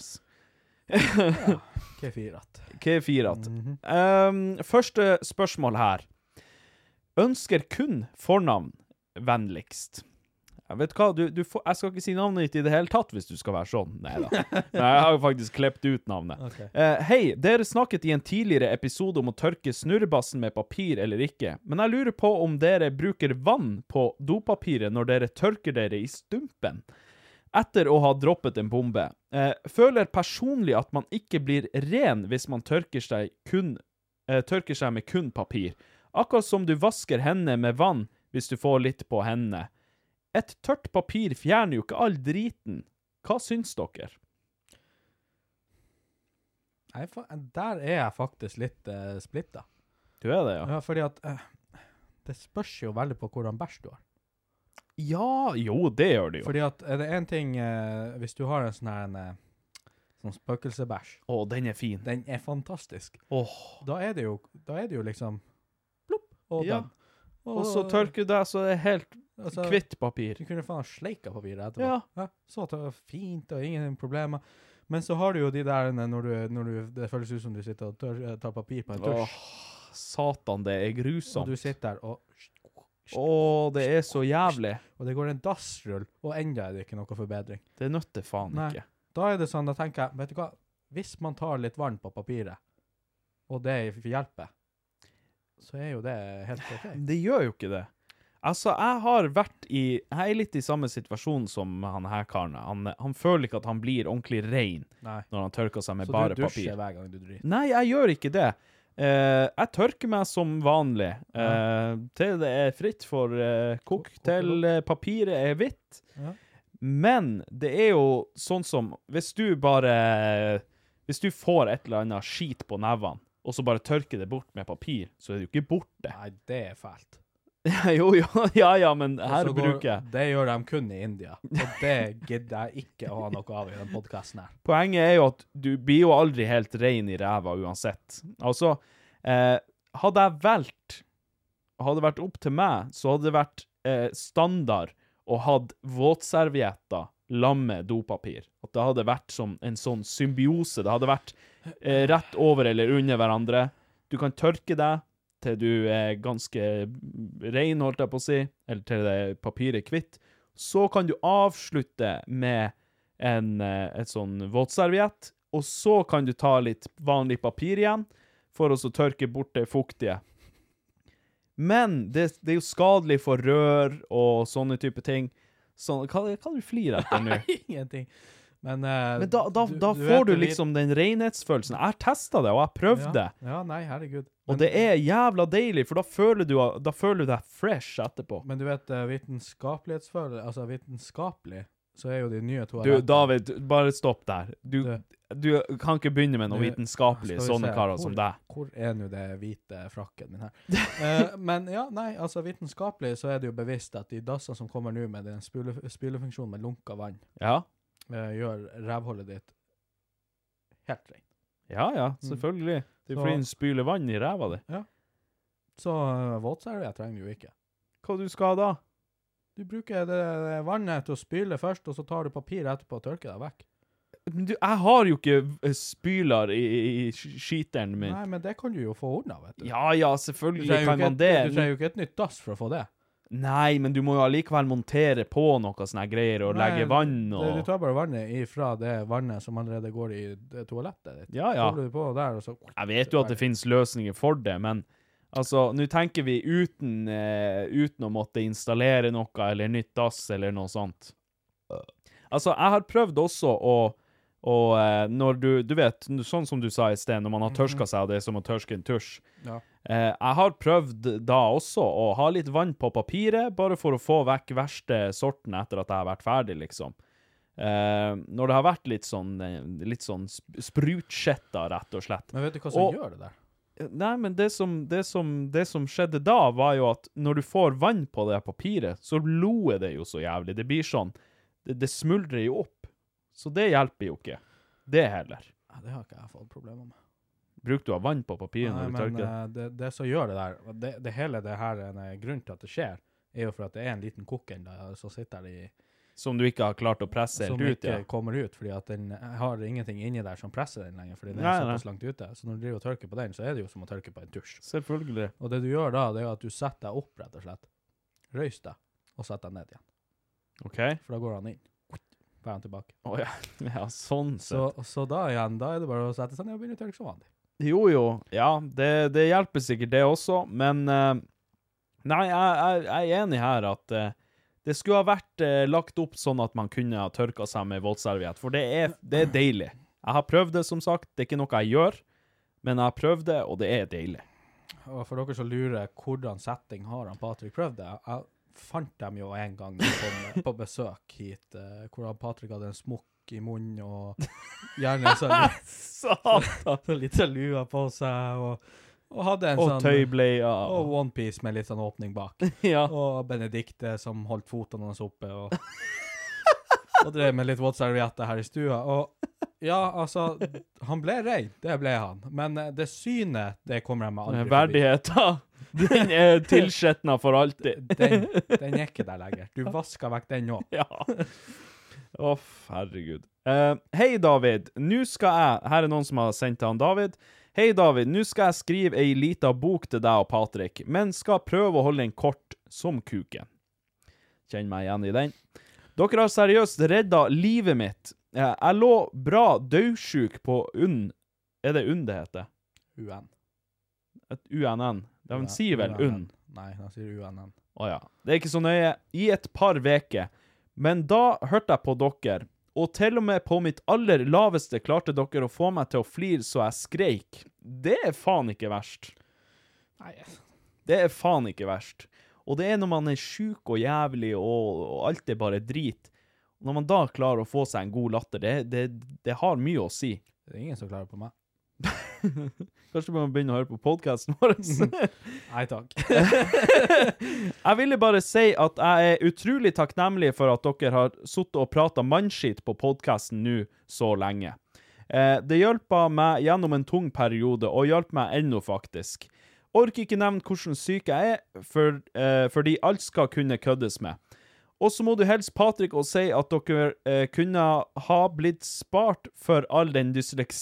Kefirat.
Kefirat. um, første spørsmål her. Ønsker kun fornavn vennligst. Jeg vet hva, du, du får, jeg skal ikke si navnet ditt i det hele tatt hvis du skal være sånn. Nei da. Men jeg har jo faktisk klept ut navnet.
Ok.
Eh, Hei, dere snakket i en tidligere episode om å tørke snurrebassen med papir eller ikke, men jeg lurer på om dere bruker vann på dopapiret når dere tørker dere i stumpen etter å ha droppet en bombe. Eh, føler personlig at man ikke blir ren hvis man tørker seg, kun, eh, tørker seg med kun papir. Akkurat som du vasker hendene med vann hvis du får litt på hendene. Et tørt papir fjerner jo ikke all driten. Hva syns dere?
Nei, fa- der er jeg faktisk litt uh, splitta.
Du er det,
Ja. fordi at eh, Det spørs jo veldig på hvordan bæsj du har.
Ja, jo, det gjør det jo.
Fordi at er det én ting eh, Hvis du har en sånn her en, eh, sånn spøkelsebæsj
Å, den er fin.
Den er fantastisk.
Åh.
Da er det jo, da er det jo liksom plopp, og
Ja.
den.
Og så tørker du deg, så det er helt
altså,
kvitt papir.
Du kunne faen ha sleika papiret etterpå.
Ja.
så at det var fint, og ingen problemer. Men så har du jo de der når du, når du Det føles ut som du sitter og tør, eh, tar papir på en
Åh,
tusj,
satan, det er
og
grusomt.
du sitter der og
Åh, det er så jævlig.
Og det går en dassrull, og enda er det ikke noe forbedring.
Det nøtter faen
Nei.
ikke.
Da er det sånn, da tenker jeg, vet du hva, hvis man tar litt vann på papiret, og det hjelper, så er jo det helt ok.
Det gjør jo ikke det. Altså, jeg har vært i Jeg er litt i samme situasjon som han her karen. Han, han føler ikke at han blir ordentlig rein
Nei.
når han tørker seg med
Så
bare
du dusjer
papir.
hver gang du driter.
Nei, jeg gjør ikke det. Eh, jeg tørker meg som vanlig eh, til det er fritt for eh, kokk,
Ko-
til eh, papiret er hvitt.
Ja.
Men det er jo sånn som Hvis du bare Hvis du får et eller annet skit på nevene, og så bare tørker det bort med papir, så er det jo ikke borte.
Nei, det er fælt.
jo, jo, ja ja, men
Og
her
så går-
bruker jeg
Det gjør de kun i India, og det gidder jeg ikke å ha noe av i den podcasten her.
Poenget er jo at du blir jo aldri helt rein i ræva uansett. Altså, eh, hadde jeg valgt Hadde det vært opp til meg, så hadde det vært eh, standard å ha våtservietter lamme dopapir. At det hadde vært som en sånn symbiose. Det hadde vært eh, rett over eller under hverandre. Du kan tørke deg til du er ganske rein, holdt jeg på å si, eller til det papiret er kvitt. Så kan du avslutte med en, eh, et sånn våtserviett, og så kan du ta litt vanlig papir igjen for å så tørke bort det fuktige. Men det, det er jo skadelig for rør og sånne type ting. Sånn, hva, hva du flirer etter nå?
Ingenting. Men, eh,
Men da, da, da
vet
får du
jo litt-
liksom den renhetsfølelsen. Jeg testa det, og jeg prøvde.
Ja, ja, nei, herregud.
Og det er jævla deilig, for da føler du, da føler du deg fresh etterpå.
Men du vet, eh, vitenskapelighetsfølelse, altså vitenskapelig, så er jo de nye
Du,
toalettene.
David, bare stopp der. Du,
Det-
du kan ikke begynne med noe
Det-
vitenskapelig,
Skal vi
sånne
se,
karer
hvor-
som deg.
Hvor er nå det hvite frakken min her? Eh, men ja, nei, altså vitenskapelig så er det jo bevisst at de dassene som kommer nå med den spyle, spylefunksjonen med lunka vann,
Ja,
eh, gjør rævhullet ditt helt rent.
ja, ja selvfølgelig. Det
Mm.
er
Så-
fordi den spyler vann i ræva di.
Så uh, våtserviett trenger du jo ikke.
Hva du skal da?
Du bruker det, det vannet til å spyle først, og så tar du papir etterpå og tørker deg vekk.
Men du, jeg har jo ikke eh, spyler i, i, i sk- skiteren min.
Nei, men det kan du jo få ordna, vet du.
Ja ja,
Du
selvfølgelig
trenger jo
kan
ikke
man
et-
det.
Du trenger jo ikke et nytt dass for å få det.
Nei, men du må jo allikevel montere på noe sånne greier og
Nei,
legge vann og
Du tar bare vannet ifra det vannet som allerede går i det toalettet ditt.
Ja, ja.
Så holder du på der, og så
Jeg vet jo at det finnes løsninger for det, men altså, nå tenker vi uten, eh, uten å måtte installere noe eller nytt dass eller noe sånt. Altså, jeg har prøvd også å og eh, når du, du vet, sånn som du sa i sted, når man har tørska seg, og det er som å tørske en tusj.
Ja.
Eh, jeg har prøvd da også å ha litt vann på papiret, bare for å få vekk verste sorten etter at jeg har vært ferdig, liksom. Eh, når det har vært litt sånn, eh, litt sånn sp- sprutskjetter, rett og slett.
Men vet du hva som
Og-
gjør det der?
Nei, men det som, det, som, det som skjedde da, var jo at når du får vann på det papiret, så loer det jo så jævlig. Det blir sånn det, det smuldrer jo opp. Så det hjelper jo ikke. Det heller.
Ja, det har ikke jeg fått problemer med.
Bruker du av vann på papiret
Nei,
når du
men
tørker?
eh, det, det som gjør det der, og det, det hele det her eh, grunnen til at det skjer, er jo for at det er en liten kokken der som sitter der i
Som du ikke har klart å presse
som
helt ut,
ikke
ja.
kommer ut, fordi at den har ingenting inni der som presser den lenger, fordi den
Nei,
er
nei.
såpass langt ute. Så når du driver og tørker på den, så er det jo som å tørke på en tusj.
Selvfølgelig.
Og det du gjør da, det er jo at du setter deg opp, rett og slett. Røys deg, og setter deg ned igjen.
OK?
For da går han inn. Så er han tilbake.
Å ja. ja, sånn sett.
Så, så da igjen, da er det bare å sette seg ned og begynne å tørke som vanlig.
Jo, jo. Ja, det, det hjelper sikkert det også, men eh, Nei, jeg, jeg, jeg er enig her at eh, det skulle ha vært eh, lagt opp sånn at man kunne ha tørka seg med våtserviett, for det er, det er deilig. Jeg har prøvd det, som sagt. Det er ikke noe jeg gjør, men jeg har prøvd det, og det er deilig.
Og for dere som lurer hvordan setting har han Patrick prøvd det, jeg fant dem jo en gang da jeg kom på besøk hit, eh, hvor han Patrick hadde en smokk i munnen og gjerne en sånn
Satan!
litt sånn lua på seg, og, og hadde en
Og
sånn
tøybleier.
Og OnePiece med litt sånn åpning bak.
Ja.
Og Benedicte som holdt fotene hans oppe, og, og drev med litt våtservietter her i stua. Og ja, altså Han ble rein, det ble han. Men eh, det synet, det kommer jeg meg aldri forbi.
Verdigheten, den er tilskjetna for alltid.
Den, den er ikke der lenger. Du vaska vekk den nå.
Ja. Uff, herregud. Eh, Hei, David. Nå skal jeg Her er noen som har sendt til han David. Hei, David. Nå skal jeg skrive ei lita bok til deg og Patrick, men skal prøve å holde den kort som kuken. Kjenn meg igjen i den. Dere har seriøst redda livet mitt. Eh, Jeg lå bra daudsjuk på UNN Er det UNN det heter?
UN.
Et UNN? De sier vel UNN?
Nei, de sier UNN.
Å ja. Det er ikke så nøye. I et par veker. Men da hørte jeg på dere, og til og med på mitt aller laveste klarte dere å få meg til å flire så jeg skreik. Det er faen ikke verst.
Nei,
Det er faen ikke verst. Og det er når man er sjuk og jævlig og, og alt er bare drit. Når man da klarer å få seg en god latter, det, det, det har mye å si.
det er ingen som klarer på meg.
Kanskje man begynner å høre på podkasten vår.
Nei takk.
Jeg ville bare si at jeg er utrolig takknemlig for at dere har sittet og prata mannskitt på podkasten nå så lenge. Eh, det hjelper meg gjennom en tung periode, og hjalp meg ennå, faktisk. Orker ikke nevne hvordan syk jeg er, for, eh, fordi alt skal kunne køddes med. Og så må du helst Patrick og si at dere eh, kunne ha blitt spart for all den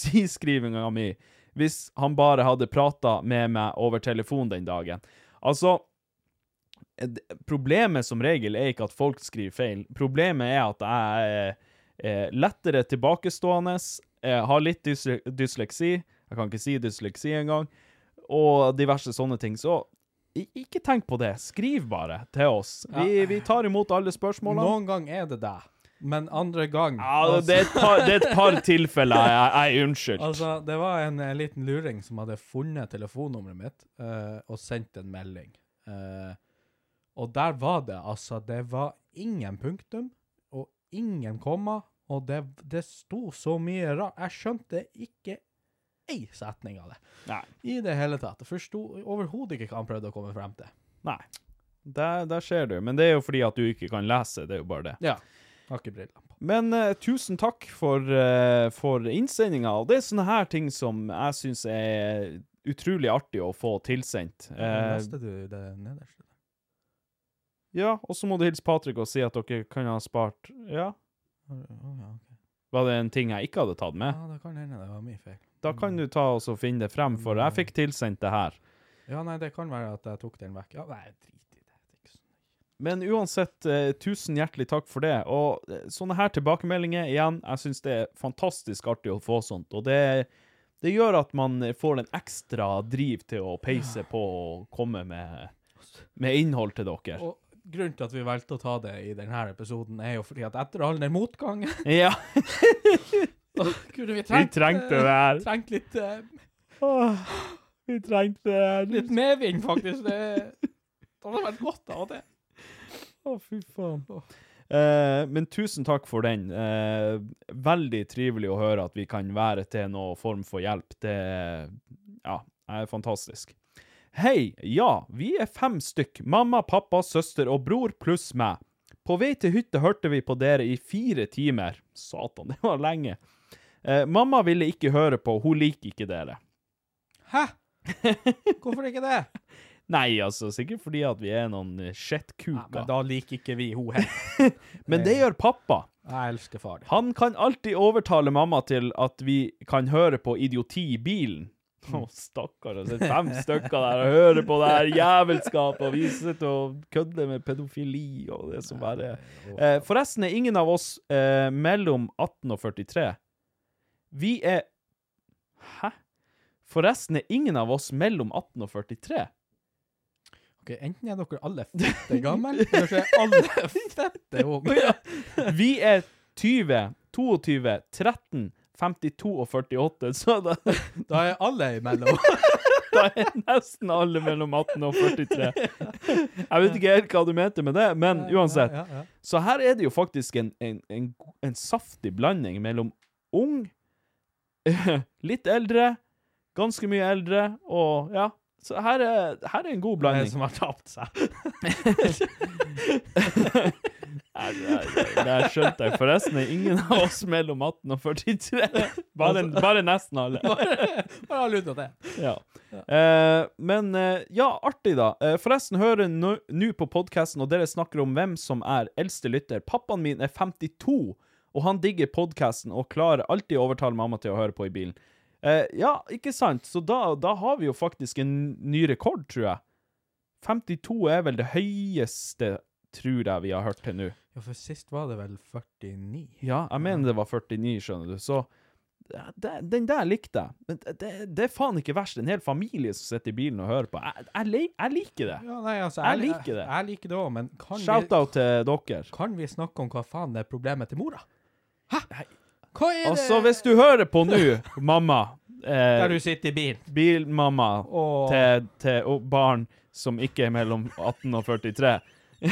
dysleksiskrivinga mi hvis han bare hadde prata med meg over telefon den dagen. Altså eh, d- Problemet som regel er ikke at folk skriver feil. Problemet er at jeg er eh, lettere tilbakestående, eh, har litt dysle dysleksi Jeg kan ikke si dysleksi engang. Og diverse sånne ting. Så i- ikke tenk på det. Skriv bare til oss. Vi,
Ja.
vi tar imot alle spørsmålene.
Noen gang er det deg, men andre gang
Ja, det, er et par, det er et par tilfeller jeg, jeg er unnskyldt.
Altså, det var en eh, liten luring som hadde funnet telefonnummeret mitt eh, og sendt en melding. Eh, og der var det, altså, det var ingen punktum og ingen komma, og det, det sto så mye rart. Jeg skjønte ikke ei setning av det.
Nei.
I det hele tatt. Jeg Forsto overhodet ikke hva han prøvde å komme frem til.
Nei. Der, der ser du. Men det er jo fordi at du ikke kan lese, det er jo bare det.
Ja. Har ikke brillene på.
Men eh, tusen takk for, uh, for innsendinga. Og det er sånne her ting som jeg syns er utrolig artig å få tilsendt. Eh,
Leste du det nederste?
ja, og så må du hilse Patrick og si at dere kan ha spart Ja,
Å, ja, ok.
var det en ting jeg ikke hadde tatt med?
Ja, det kan hende det var min feil.
Da kan du ta og så finne det frem, for
Mm.
jeg fikk tilsendt det her.
Ja, nei, det kan være at jeg tok den vekk. Ja, nei, drit i det. det er ikke så
Men uansett, eh, tusen hjertelig takk for det. Og eh, sånne her tilbakemeldinger, igjen, jeg syns det er fantastisk artig å få sånt. Og det, det gjør at man får en ekstra driv til å peise på og komme med, med innhold til dere.
Og grunnen til at vi valgte å ta det i denne episoden, er jo fordi at etter all den motgangen
Ja,
kunne vi
vi
trengt,
trengte
eh,
det her.
trengt litt, eh,
Åh, Vi trengte det her.
litt medvind, faktisk. Det, det hadde vært godt av og til.
Å, fy faen. Eh, men tusen takk for den. Eh, veldig trivelig å høre at vi kan være til noe form for hjelp. Det ja, er fantastisk. Hei, ja, vi er fem stykk. Mamma, pappa, søster og bror pluss meg. På vei til hytta hørte vi på dere i fire timer. Satan, det var lenge. Eh, mamma ville ikke høre på, hun liker ikke dere.
Hæ? Hvorfor ikke det?
Nei, altså, sikkert fordi at vi er noen
Ja,
eh,
men
shitkuker.
da liker ikke vi ho heller.
men det gjør pappa.
Jeg elsker far din.
Han kan alltid overtale mamma til at vi kan høre på idioti i bilen. Å, stakkar. altså, Det sitter fem stykker der og hører på det her jævelskapet, og vi sitter og kødder med pedofili og det som bare eh, Forresten er ingen av oss eh, mellom 18 og 43. Vi er Hæ? Forresten er ingen av oss mellom 18 og 43.
Ok, Enten er dere alle fette gamle, eller så er alle fette unge.
Vi er 20, 22, 13, 52 og 48, så da
Da er alle imellom.
Da er nesten alle mellom 18 og 43. Jeg vet ikke helt hva du mente med det, men uansett.
Ja, ja, ja.
Så her er det jo faktisk en, en, en, go- en saftig blanding mellom ung, litt eldre, ganske mye eldre, og ja. Så her er, her er en god
Det er
blanding.
som har tapt seg.
Nei, Det det- det her skjønte jeg. Forresten er ingen av oss mellom 18 og 43. Bare, bare nesten alle.
Bare ha lyd av det.
Ja. Eh, men eh, ja, artig, da. Eh, forresten, hører nå nå på podkasten, og dere snakker om hvem som er eldste lytter. Pappaen min er 52, og han digger podkasten og klarer alltid å overtale mamma til å høre på i bilen. Eh, ja, ikke sant? Så da, da har vi jo faktisk en ny rekord, tror jeg. 52 er vel det høyeste, tror jeg vi har hørt til nå.
Ja, for sist var det vel 49.
Ja, jeg mener det var 49, skjønner du. Så det, det- den der likte jeg. Men det, det, det er faen ikke verst. En hel familie som sitter i bilen og hører på. Jeg, jeg, li- jeg liker det.
Ja, nei, altså,
Jeg liker det.
Jeg, liker det òg, men kan vi,
Shout-out til dere.
kan vi snakke om hva faen er problemet til mora? Hæ? Hva er det
Altså, hvis du hører på nå, mamma
der du
eh,
sitter i bilen?
Bilmamma
Åh.
til, til og barn som ikke er mellom 18 og 43.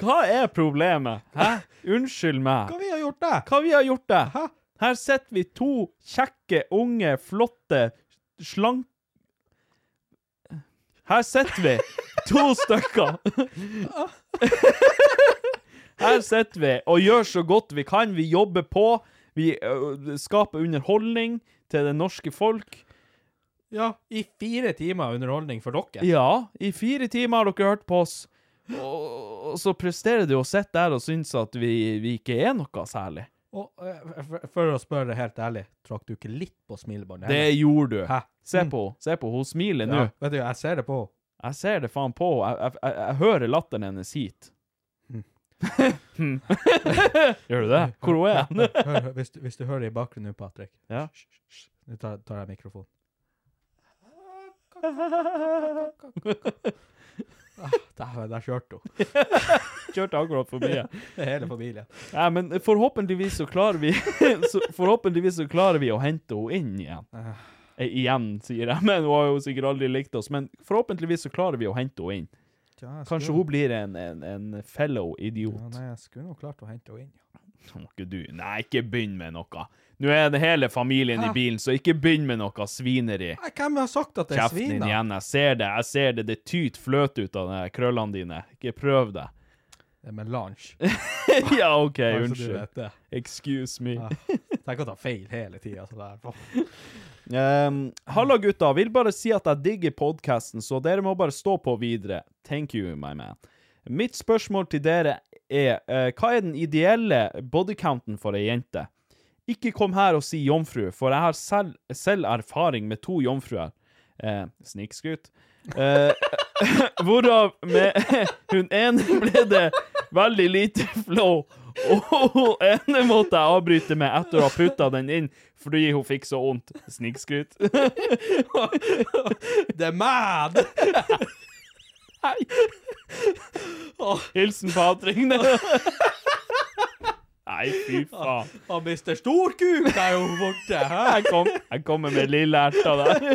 Hva er problemet? Hæ? Unnskyld meg.
Hva vi har gjort der?
Hva vi har gjort det?
Hæ?
Her sitter vi to kjekke, unge, flotte, slank... Her sitter vi, to stykker. Her sitter vi og gjør så godt vi kan. Vi jobber på. Vi ø, skaper underholdning til det norske folk.
Ja, i fire timer underholdning for dere.
Ja, i fire timer har dere hørt på oss. Og og så presterer du å sitte der og synes at vi, vi ikke er noe særlig.
Og eh, for, for å spørre helt ærlig, trakk du ikke litt på smilebåndet?
Det gjorde du. Mm.
Hæ?
Se på henne. Se på henne. Hun smiler nå.
Ja, vet du, jeg ser det på henne.
Jeg ser det faen på henne. Jeg, jeg, jeg, jeg hører latteren hennes hit. Hmm. Gjør du det? Hvor hun er hun?
Hør, hør, hvis, du- hvis du hører i bakgrunnen nå, Patrick
Ja.
Hysj, hysj, hysj. Nå tar, tar jeg mikrofonen. Ah, Der, der kjørte hun.
Kjørte akkurat forbi. jeg.
Det er hele familien.
Nei, men forhåpentligvis så klarer vi så Forhåpentligvis så klarer vi å hente henne inn igjen. Eh, Igjen, sier jeg, men hun har jo sikkert aldri likt oss. Men forhåpentligvis så klarer vi å hente henne inn. Kanskje hun blir en, en, en fellow
ja,
idiot.
Nei, jeg skulle nok klart å hente henne inn. ja.
Må ikke du Nei, ikke begynn med noe. Nå er det hele familien i
Hæ?
bilen, så ikke begynn med noe svineri.
Nei, Hvem har sagt at det er
Kjeften din
svin? da?
igjen. Jeg ser det. Jeg ser det. Det tyter fløt ut av de krøllene dine. Ikke prøv det.
Det er melange.
ja, OK,
Bare så du
unnskyld.
vet det.
Excuse me.
Ja. Tenk å ta feil hele tida.
Um, Halla, gutta. Vil bare si at jeg digger podkasten, så dere må bare stå på videre. Thank you, my man. Mitt spørsmål til dere er eh, hva er den ideelle bodycounten for ei jente? Ikke kom her og si jomfru, for jeg har selv, selv erfaring med to jomfruer. Eh, Snikskryt. Eh, hvorav med hun ene ble det veldig lite flow, og hun ene måtte jeg avbryte med etter å ha putta den inn fordi hun fikk så vondt. Snikskryt.
Det er mad!
Hilsen Patrik. Nei, fy faen.
Og Mr. Storkuk er jo borte! Hæ?
Jeg, kom, jeg kommer med lille erta der.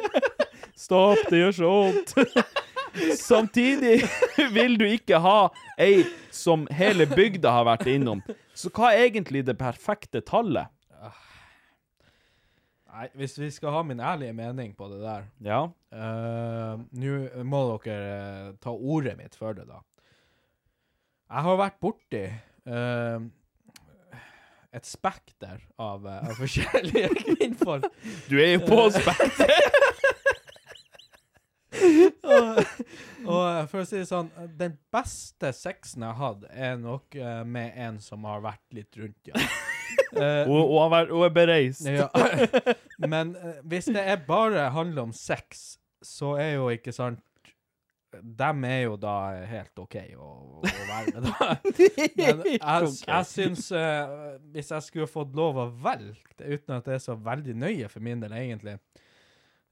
Stopp, det gjør så vondt. Samtidig vil du ikke ha ei som hele bygda har vært innom. Så hva er egentlig det perfekte tallet?
Nei, hvis vi skal ha min ærlige mening på det der
Ja.
eh, Nå må dere eh, ta ordet mitt for det, da. Jeg har vært borti eh, et spekter av, eh, av forskjellige kvinnfolk.
Du er jo på spekter!
og, og for å si det sånn, den beste sexen jeg har hatt, er nok eh, med en som har vært litt rundt, ja. Eh,
Hun, hun, har vært, hun er bereist.
ja. Men eh, hvis det er bare handler om sex, så er jo ikke sant Dem er jo da helt OK å, å være med, da. Men jeg, jeg syns eh, Hvis jeg skulle fått lov å velge, det, uten at det er så veldig nøye for min del, egentlig,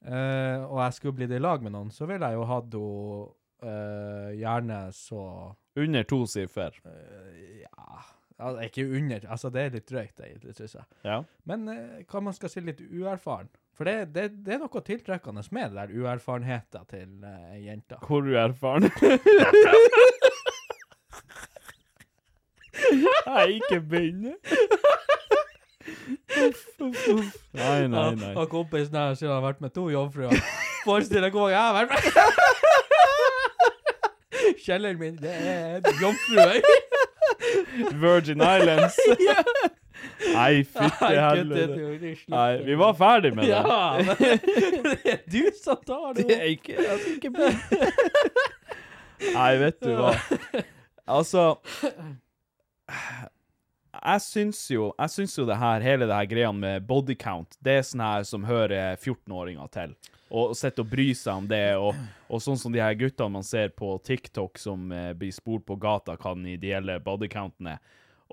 eh, og jeg skulle blitt i lag med noen, så ville jeg jo hatt henne eh, gjerne så
Under to siffer.
eh, Ja altså, Ikke under Altså, det er litt drøyt, egentlig, syns jeg.
Ja.
Men eh, hva man skal si, litt uerfaren. For det, det, det er noe tiltrekkende med det der uerfarenheten til uh, jenta.
Hvor du er erfaren? Nei, ikke begynne. Uff, uff, uff. Nei, nei, nei.
Og, og kompisen her sier han har vært med to jomfruer. Forestill deg hvor mange jeg har vært med! Kjelleren min, det er jomfruer.
Virgin Islands. Nei, fytti helvete. Nei, vi var ferdig med det.
Ja, men det er du som tar det
Det er ikke, altså, ikke Nei, vet du hva. Altså Jeg syns jo Jeg syns jo det her, hele det her greia med body count, det er sånn her som hører 14-åringer til. Og sitter og bryr seg om det, og, og sånn som de her guttene man ser på TikTok som eh, blir spurt på gata hva den ideelle body counten er.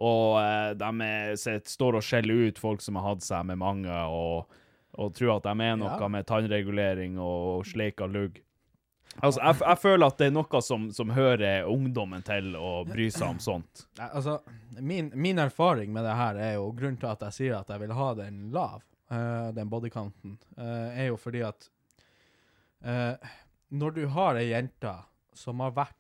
Og eh, de er, sitter- står og skjeller ut folk som har hatt seg med mange, og, og tror at de er noe
Ja.
med tannregulering og sleika lugg. Altså, jeg, jeg føler at det er noe som, som hører ungdommen til å bry seg om sånt.
Nei, altså, min, min erfaring med det her er jo grunnen til at jeg sier at jeg vil ha den lav, eh, den bodycounten, eh, er jo fordi at eh, når du har ei jente som har vært,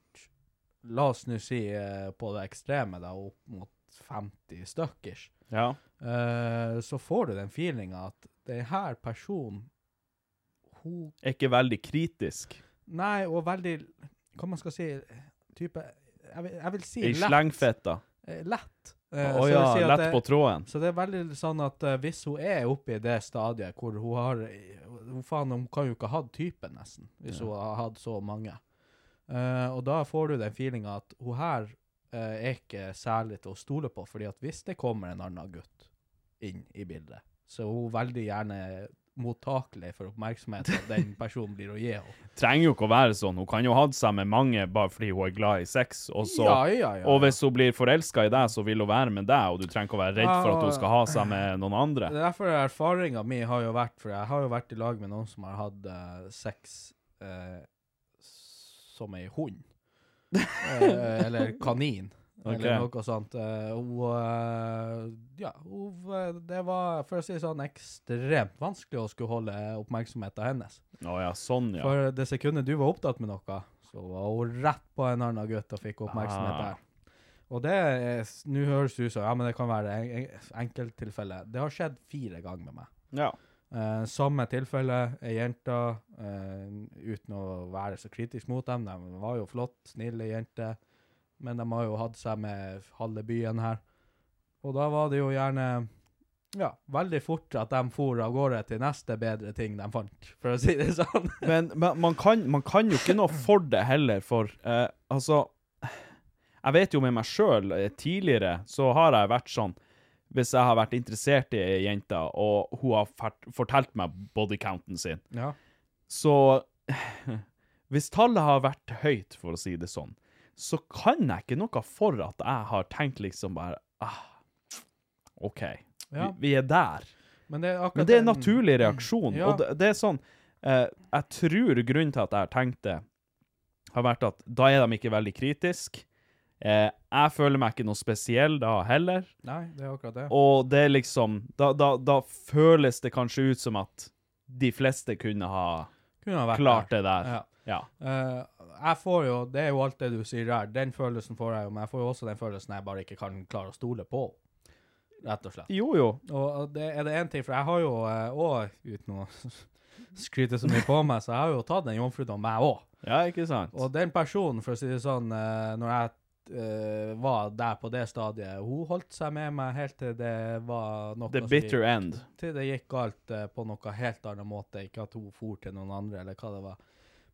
la oss nå si eh, på det ekstreme, da, opp mot 50 stykkers,
Ja.
eh, så får du den feelinga at det her personen hun
Er ikke veldig kritisk.
Nei, og veldig Hva man skal si Type Jeg vil, jeg vil si
I
lett.
slengfetta.
eh, Lett.
Å
Eh, så jeg
ja,
vil si at
lett
det-
på tråden.
så det er veldig sånn at eh, hvis hun er oppe i det stadiet hvor hun har eh, Hun faen, hun kan jo ikke ha hatt typen, nesten, hvis hun har hatt så mange. Eh, og da får du den feelinga at hun her eh, er ikke særlig til å stole på, fordi at hvis det kommer en annen gutt inn i bildet, så er hun veldig gjerne mottakelig for oppmerksomhet at den personen blir å gi henne.
Trenger jo ikke å være sånn. Hun kan jo ha hatt seg med mange bare fordi hun er glad i sex. Og, så,
Ja, ja, ja.
og hvis hun blir forelska i deg, så vil hun være med deg, og du trenger ikke å være redd for
Ah.
at hun skal ha seg med noen andre.
Det er derfor erfaringa mi har jo vært For jeg har jo vært i lag med noen som har hatt eh, sex eh, som ei hund. Eh, eller kanin. Eller
Ok.
noe sånt. Eh, hun eh, Ja, hun eh, Det var, for å si det sånn, ekstremt vanskelig å skulle holde oppmerksomheten hennes.
Å ja, sånn, ja.
For det sekundet du var opptatt med noe, så var hun rett på en annen gutt og fikk oppmerksomhet
Ah.
der. Og det er Nå høres det ut som ja, men det kan være en- en- enkelttilfelle. Det har skjedd fire ganger med meg.
ja.
Eh, samme tilfelle, ei jente, eh, uten å være så kritisk mot dem, de var jo flott, snille jenter, men de har jo hatt seg med halve byen her. Og da var det jo gjerne ja, veldig fort at de for av gårde til neste bedre ting de fant, for å si det sånn.
Men, men man, kan, man kan jo ikke noe for det heller, for eh, altså Jeg vet jo med meg sjøl, tidligere så har jeg vært sånn Hvis jeg har vært interessert i ei jente, og hun har fert, fortalt meg bodycounten sin,
Ja.
så Hvis tallet har vært høyt, for å si det sånn, så kan jeg ikke noe for at jeg har tenkt liksom bare ah, OK,
Ja.
vi, vi er der.
Men det er akkurat
Men det er en
den- Mm,
naturlig reaksjon.
Ja.
Og det, det er sånn eh, Jeg tror grunnen til at jeg har tenkt det, har vært at da er de ikke veldig kritiske. Eh, jeg føler meg ikke noe spesiell da heller.
Nei, det er akkurat det.
Og det er liksom Da, da, da føles det kanskje ut som at de fleste kunne ha
Kunne ha vært
klart
der.
det der.
Ja.
Ja.
Eh, jeg får jo, det er jo alt det du sier der, den følelsen får jeg jo, men jeg får jo også den følelsen jeg bare ikke kan klare å stole på, rett og slett.
Jo, jo.
Og det er det én ting, for jeg har jo òg, uten å skryte så mye på meg, så jeg har jo tatt en jomfrudom, jeg òg.
Ja, ikke sant?
Og den personen, for å si det sånn, eh, når jeg eh, var der på det stadiet. Hun holdt seg med meg helt til det var noe
The
som
bitter
gikk-
end.
Til det gikk galt eh, på noe helt annen måte. Ikke at hun for til noen andre, eller hva det var.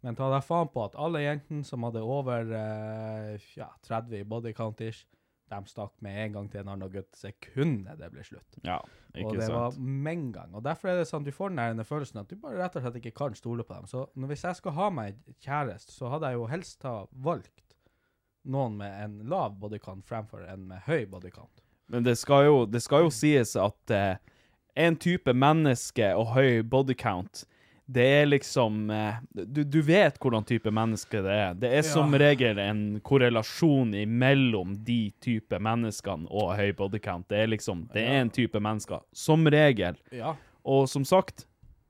Men ta deg faen på at alle jentene som hadde over eh, ja, 30 i body count-ish, de stakk med en gang til en annen gutt sekundet det ble slutt.
Ja,
og
ikke
det
sant.
var med en gang. Og derfor er det sånn, du får den der følelsen at du bare rett og slett ikke kan stole på dem. Så når, hvis jeg skal ha meg kjæreste, så hadde jeg jo helst ha valgt noen med en lav bodycount fremfor en med høy bodycount.
Men det skal jo, det skal jo sies at eh, en type menneske og høy body count, det er liksom eh, du, du vet hvordan type menneske det er. Det er som regel en korrelasjon imellom de type menneskene og høy body count. Det er liksom, det er en type mennesker, som regel.
Ja,
Og som sagt,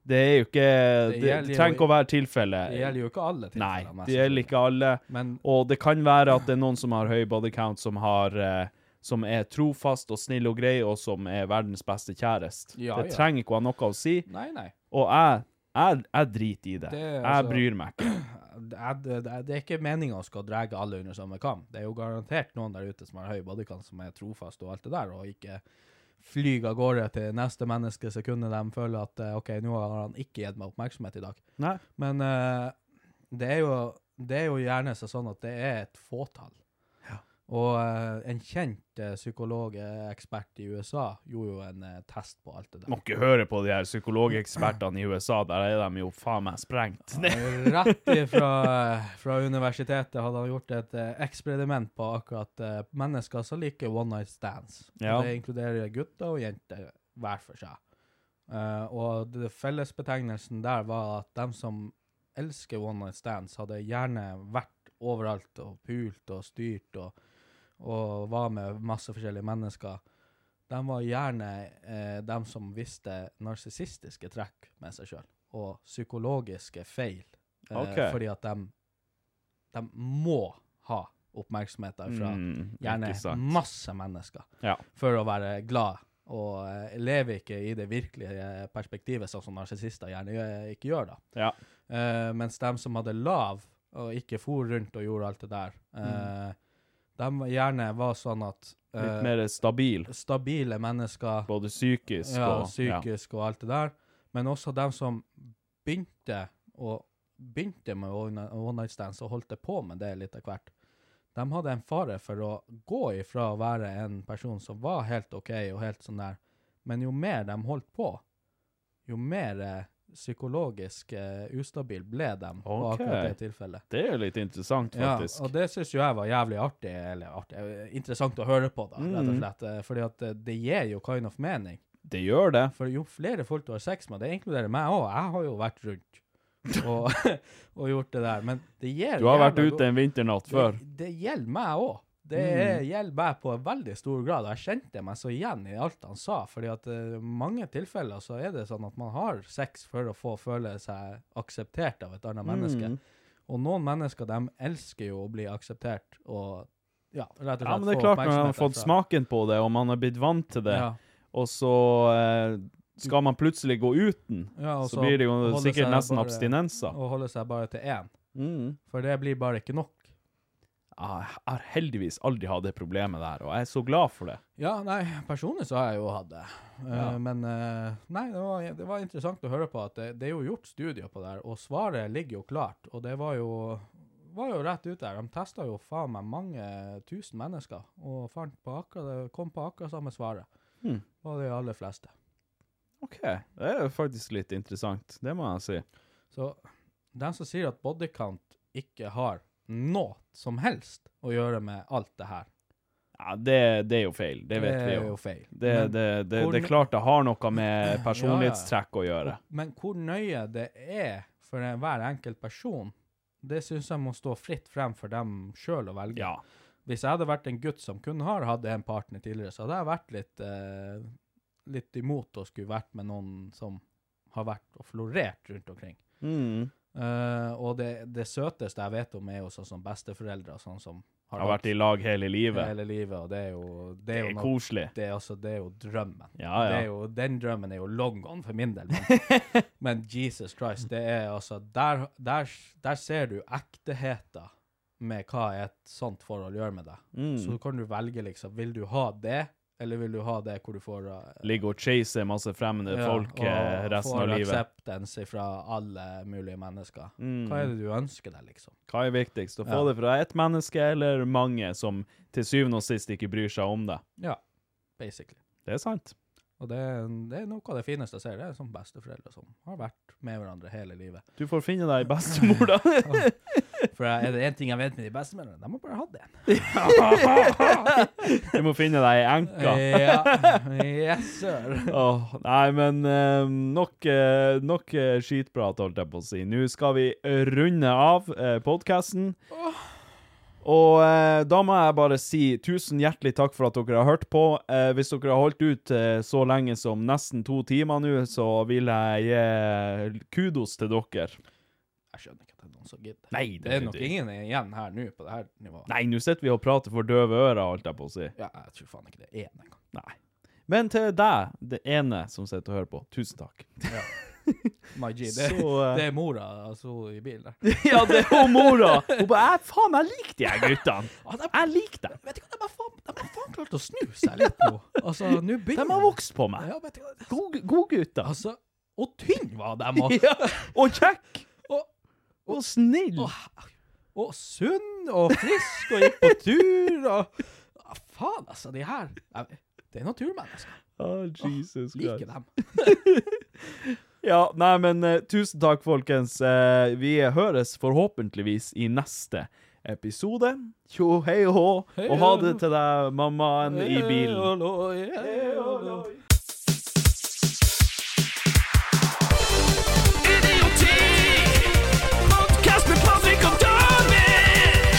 det er jo ikke Det,
Det
det,
gjelder jo-
trenger ikke å være tilfellet.
det gjelder jo ikke alle
Nei,
tilfellene. mest
det gjelder
sannsynlig.
ikke alle.
Men-
og det kan være at det er noen som har høy body count, som, har, eh, som er trofast og snill og grei, og som er verdens beste kjæreste.
Ja,
det
ja.
trenger ikke å ha noe å si.
Nei, nei.
Og jeg, jeg, jeg driter i det.
Det er
jeg
altså-
bryr meg ikke.
Det er, det, er- det er ikke meninga å skal dra alle under samme kam. Det er jo garantert noen der ute som har høy bodycount, som er trofast og alt det der, og ikke flyr av gårde til neste menneske sekundet de føler at eh, OK, nå har han ikke gitt meg oppmerksomhet i dag.
Nei.
Men eh, det, er jo, det er jo gjerne så sånn at det er et fåtall. Og eh, en kjent uh, psykologekspert i USA gjorde jo en eh, test på alt det der.
Må ikke høre på de her psykologekspertene i USA. Der er de jo faen meg sprengt.
Rett ifra fra universitetet hadde han gjort et eh, eksperiment på akkurat eh, mennesker som liker one night stands. Og
Ja.
Det inkluderer gutter og jenter hver for seg. Eh, og det fellesbetegnelsen der var at de som elsker one night stands, hadde gjerne vært overalt og pult og styrt og, og var med masse forskjellige mennesker. De var gjerne eh, de som visste narsissistiske trekk med seg sjøl, og psykologiske feil. Eh,
Ok.
Fordi at de, de må ha oppmerksomhet derfra.
Mm,
gjerne
ikke sant.
masse mennesker
Ja.
for å være glad. Og eh, lever ikke i det virkelige perspektivet, sånn som narsissister gjerne gjør- ikke gjør. da.
Ja.
Eh, mens de som hadde lav, og ikke for rundt og gjorde alt det der,
Mm.
eh, de gjerne var sånn at eh,
Litt mer stabil,
stabile mennesker,
både psykisk
ja,
og
psykisk og alt det der, men også de som begynte, å, begynte med one one night stands og holdt det på med det litt av hvert, de hadde en fare for å gå ifra å være en person som var helt ok og helt sånn der, men jo mer de holdt på, jo mer eh, psykologisk eh, ustabil ble de på
Ok.
akkurat det tilfellet.
Det er jo litt interessant, faktisk.
Ja, og det syns jo jeg var jævlig artig, eller artig, eh, interessant å høre på, da, rett og
Mm.
slett. eh, Fordi at eh, det gir jo kind of mening.
det gjør det.
For jo flere folk du har sex med, det inkluderer meg òg, jeg har jo vært rundt og, og gjort det der, men det gir
Du har vært
jævla go-
ute en vinternatt før. Mm.
Det, det gjelder meg òg. Det er- gjelder meg på en veldig stor grad. og Jeg kjente meg så igjen i alt han sa, fordi at eh, mange tilfeller så er det sånn at man har sex for å få føle seg akseptert av et annet menneske.
Mm.
Og noen mennesker, de elsker jo å bli akseptert og ja, rett og slett
Ja, men det er
få
klart, når man har
oppmerksomhet
fått
derfra.
smaken på det, og man har blitt vant til det,
Ja,
og så eh, skal man plutselig gå uten,
Ja, og
så,
så
blir det jo
holder
sikkert
seg
nesten
bare-
abstinenser.
og holde seg bare til én.
Mm.
For det blir bare ikke nok.
Ah, Jeg har heldigvis aldri hatt det problemet der, og jeg er så glad for det.
Ja, nei, personlig så har jeg jo hatt det. Eh,
Ja.
Men eh, nei, det var, det var interessant å høre på at det, det er jo gjort studier på det her, og svaret ligger jo klart. Og det var jo, var jo rett ut der. De testa jo faen meg mange tusen mennesker, og fant på akkurat, det- kom på akkurat samme svaret.
Hmm.
Var de aller fleste.
OK, det er jo faktisk litt interessant, det må jeg si.
Så den som sier at bodycount ikke har noe som helst å gjøre med alt det her,
Ja, det, det er jo feil, det vet vi
er
jo.
jo feil.
Det,
Men-
det, det,
hvor
det er
nø-
klart det har noe med
Ja, ja.
personlighetstrekk å gjøre.
Men hvor nøye det er for en- hver enkelt person, det syns jeg må stå fritt frem for dem sjøl å velge.
Ja.
Hvis jeg hadde vært en gutt som kun har hatt en partner tidligere, så hadde jeg vært litt, eh, litt imot å skulle vært med noen som har vært og florert rundt omkring.
Mm.
Eh, og det, det søteste jeg vet om, er jo sånn som besteforeldre, og sånn som
Har vært i lag hele livet.
hele livet, og det er jo Det
Det
er, jo
er
noe-
koselig.
det er, altså, det er jo drømmen.
Ja, Ah, ja.
Det er jo, den drømmen er jo long gone for min del. Men, men Jesus Christ, det er altså Der, der, der ser du ektheten med hva et sånt forhold gjør med deg.
Mm.
Så kan du velge, liksom, vil du ha det, eller vil du ha det hvor du får eh,
Ligge og chase masse fremmede
ja,
folk eh,
og
resten
får
av livet.
acceptance fra alle mulige mennesker.
Mm.
Hva er det du ønsker deg, liksom?
Hva er viktigst? Å få
Ja.
det fra ett menneske eller mange som til syvende og sist ikke bryr seg om deg?
Ja, basically.
Det er sant.
Og det, er- det er noe av det fineste jeg ser. Det er som besteforeldre som har vært med hverandre hele livet.
Du får finne deg bestemor, da.
For er det én ting jeg vet med de besteforeldrene, de har bare hatt en.
Du må finne deg ei
Eh,
enke.
Ja. Yes, sir.
Åh, nei, men eh, nok, eh, nok eh, skitprat, holdt jeg på å si. Nå skal vi runde av uh, podkasten. Og eh, da må jeg bare si tusen hjertelig takk for at dere har hørt på. Eh, hvis dere har holdt ut eh, så lenge som nesten to timer nå, så vil jeg gi eh, kudos til dere.
Jeg skjønner ikke at det er noen som gidder.
Nei,
det er nok ingen igjen her nå på det her nivået.
Nei, nå sitter vi og prater for døve ører, holdt jeg på å si.
Ja, jeg tror faen ikke det er én engang.
Nei. Men til deg, det ene som sitter og hører på, tusen takk.
My G, det,
Så, eh,
det er mora altså, i bilen der.
Ja, det er hun mora. Hun bare «Jeg- Faen, jeg liker de her guttene. Jeg liker dem.
Vet du hva, de har faen, de har faen klart å snu seg litt nå. Altså, nå
De
begynner
har vokst på meg.
Ja, vet du hva.
God, god gutter.
Altså, og tynn var de, og,
Ja. Og kjekk.
og,
Og snill.
og, og sunn og frisk og gikk på tur og ah, Faen, altså, de her jeg- Det er naturmennesker.
Å, Jesus
Liker
Christ.
dem.
Ja, nei, men eh, tusen takk, folkens. Eh, vi høres forhåpentligvis i neste episode. Tjo hei og hå, og ha det til deg, mammaen i
Eh,
bilen.
Idioti. Podcast med Patrick og David.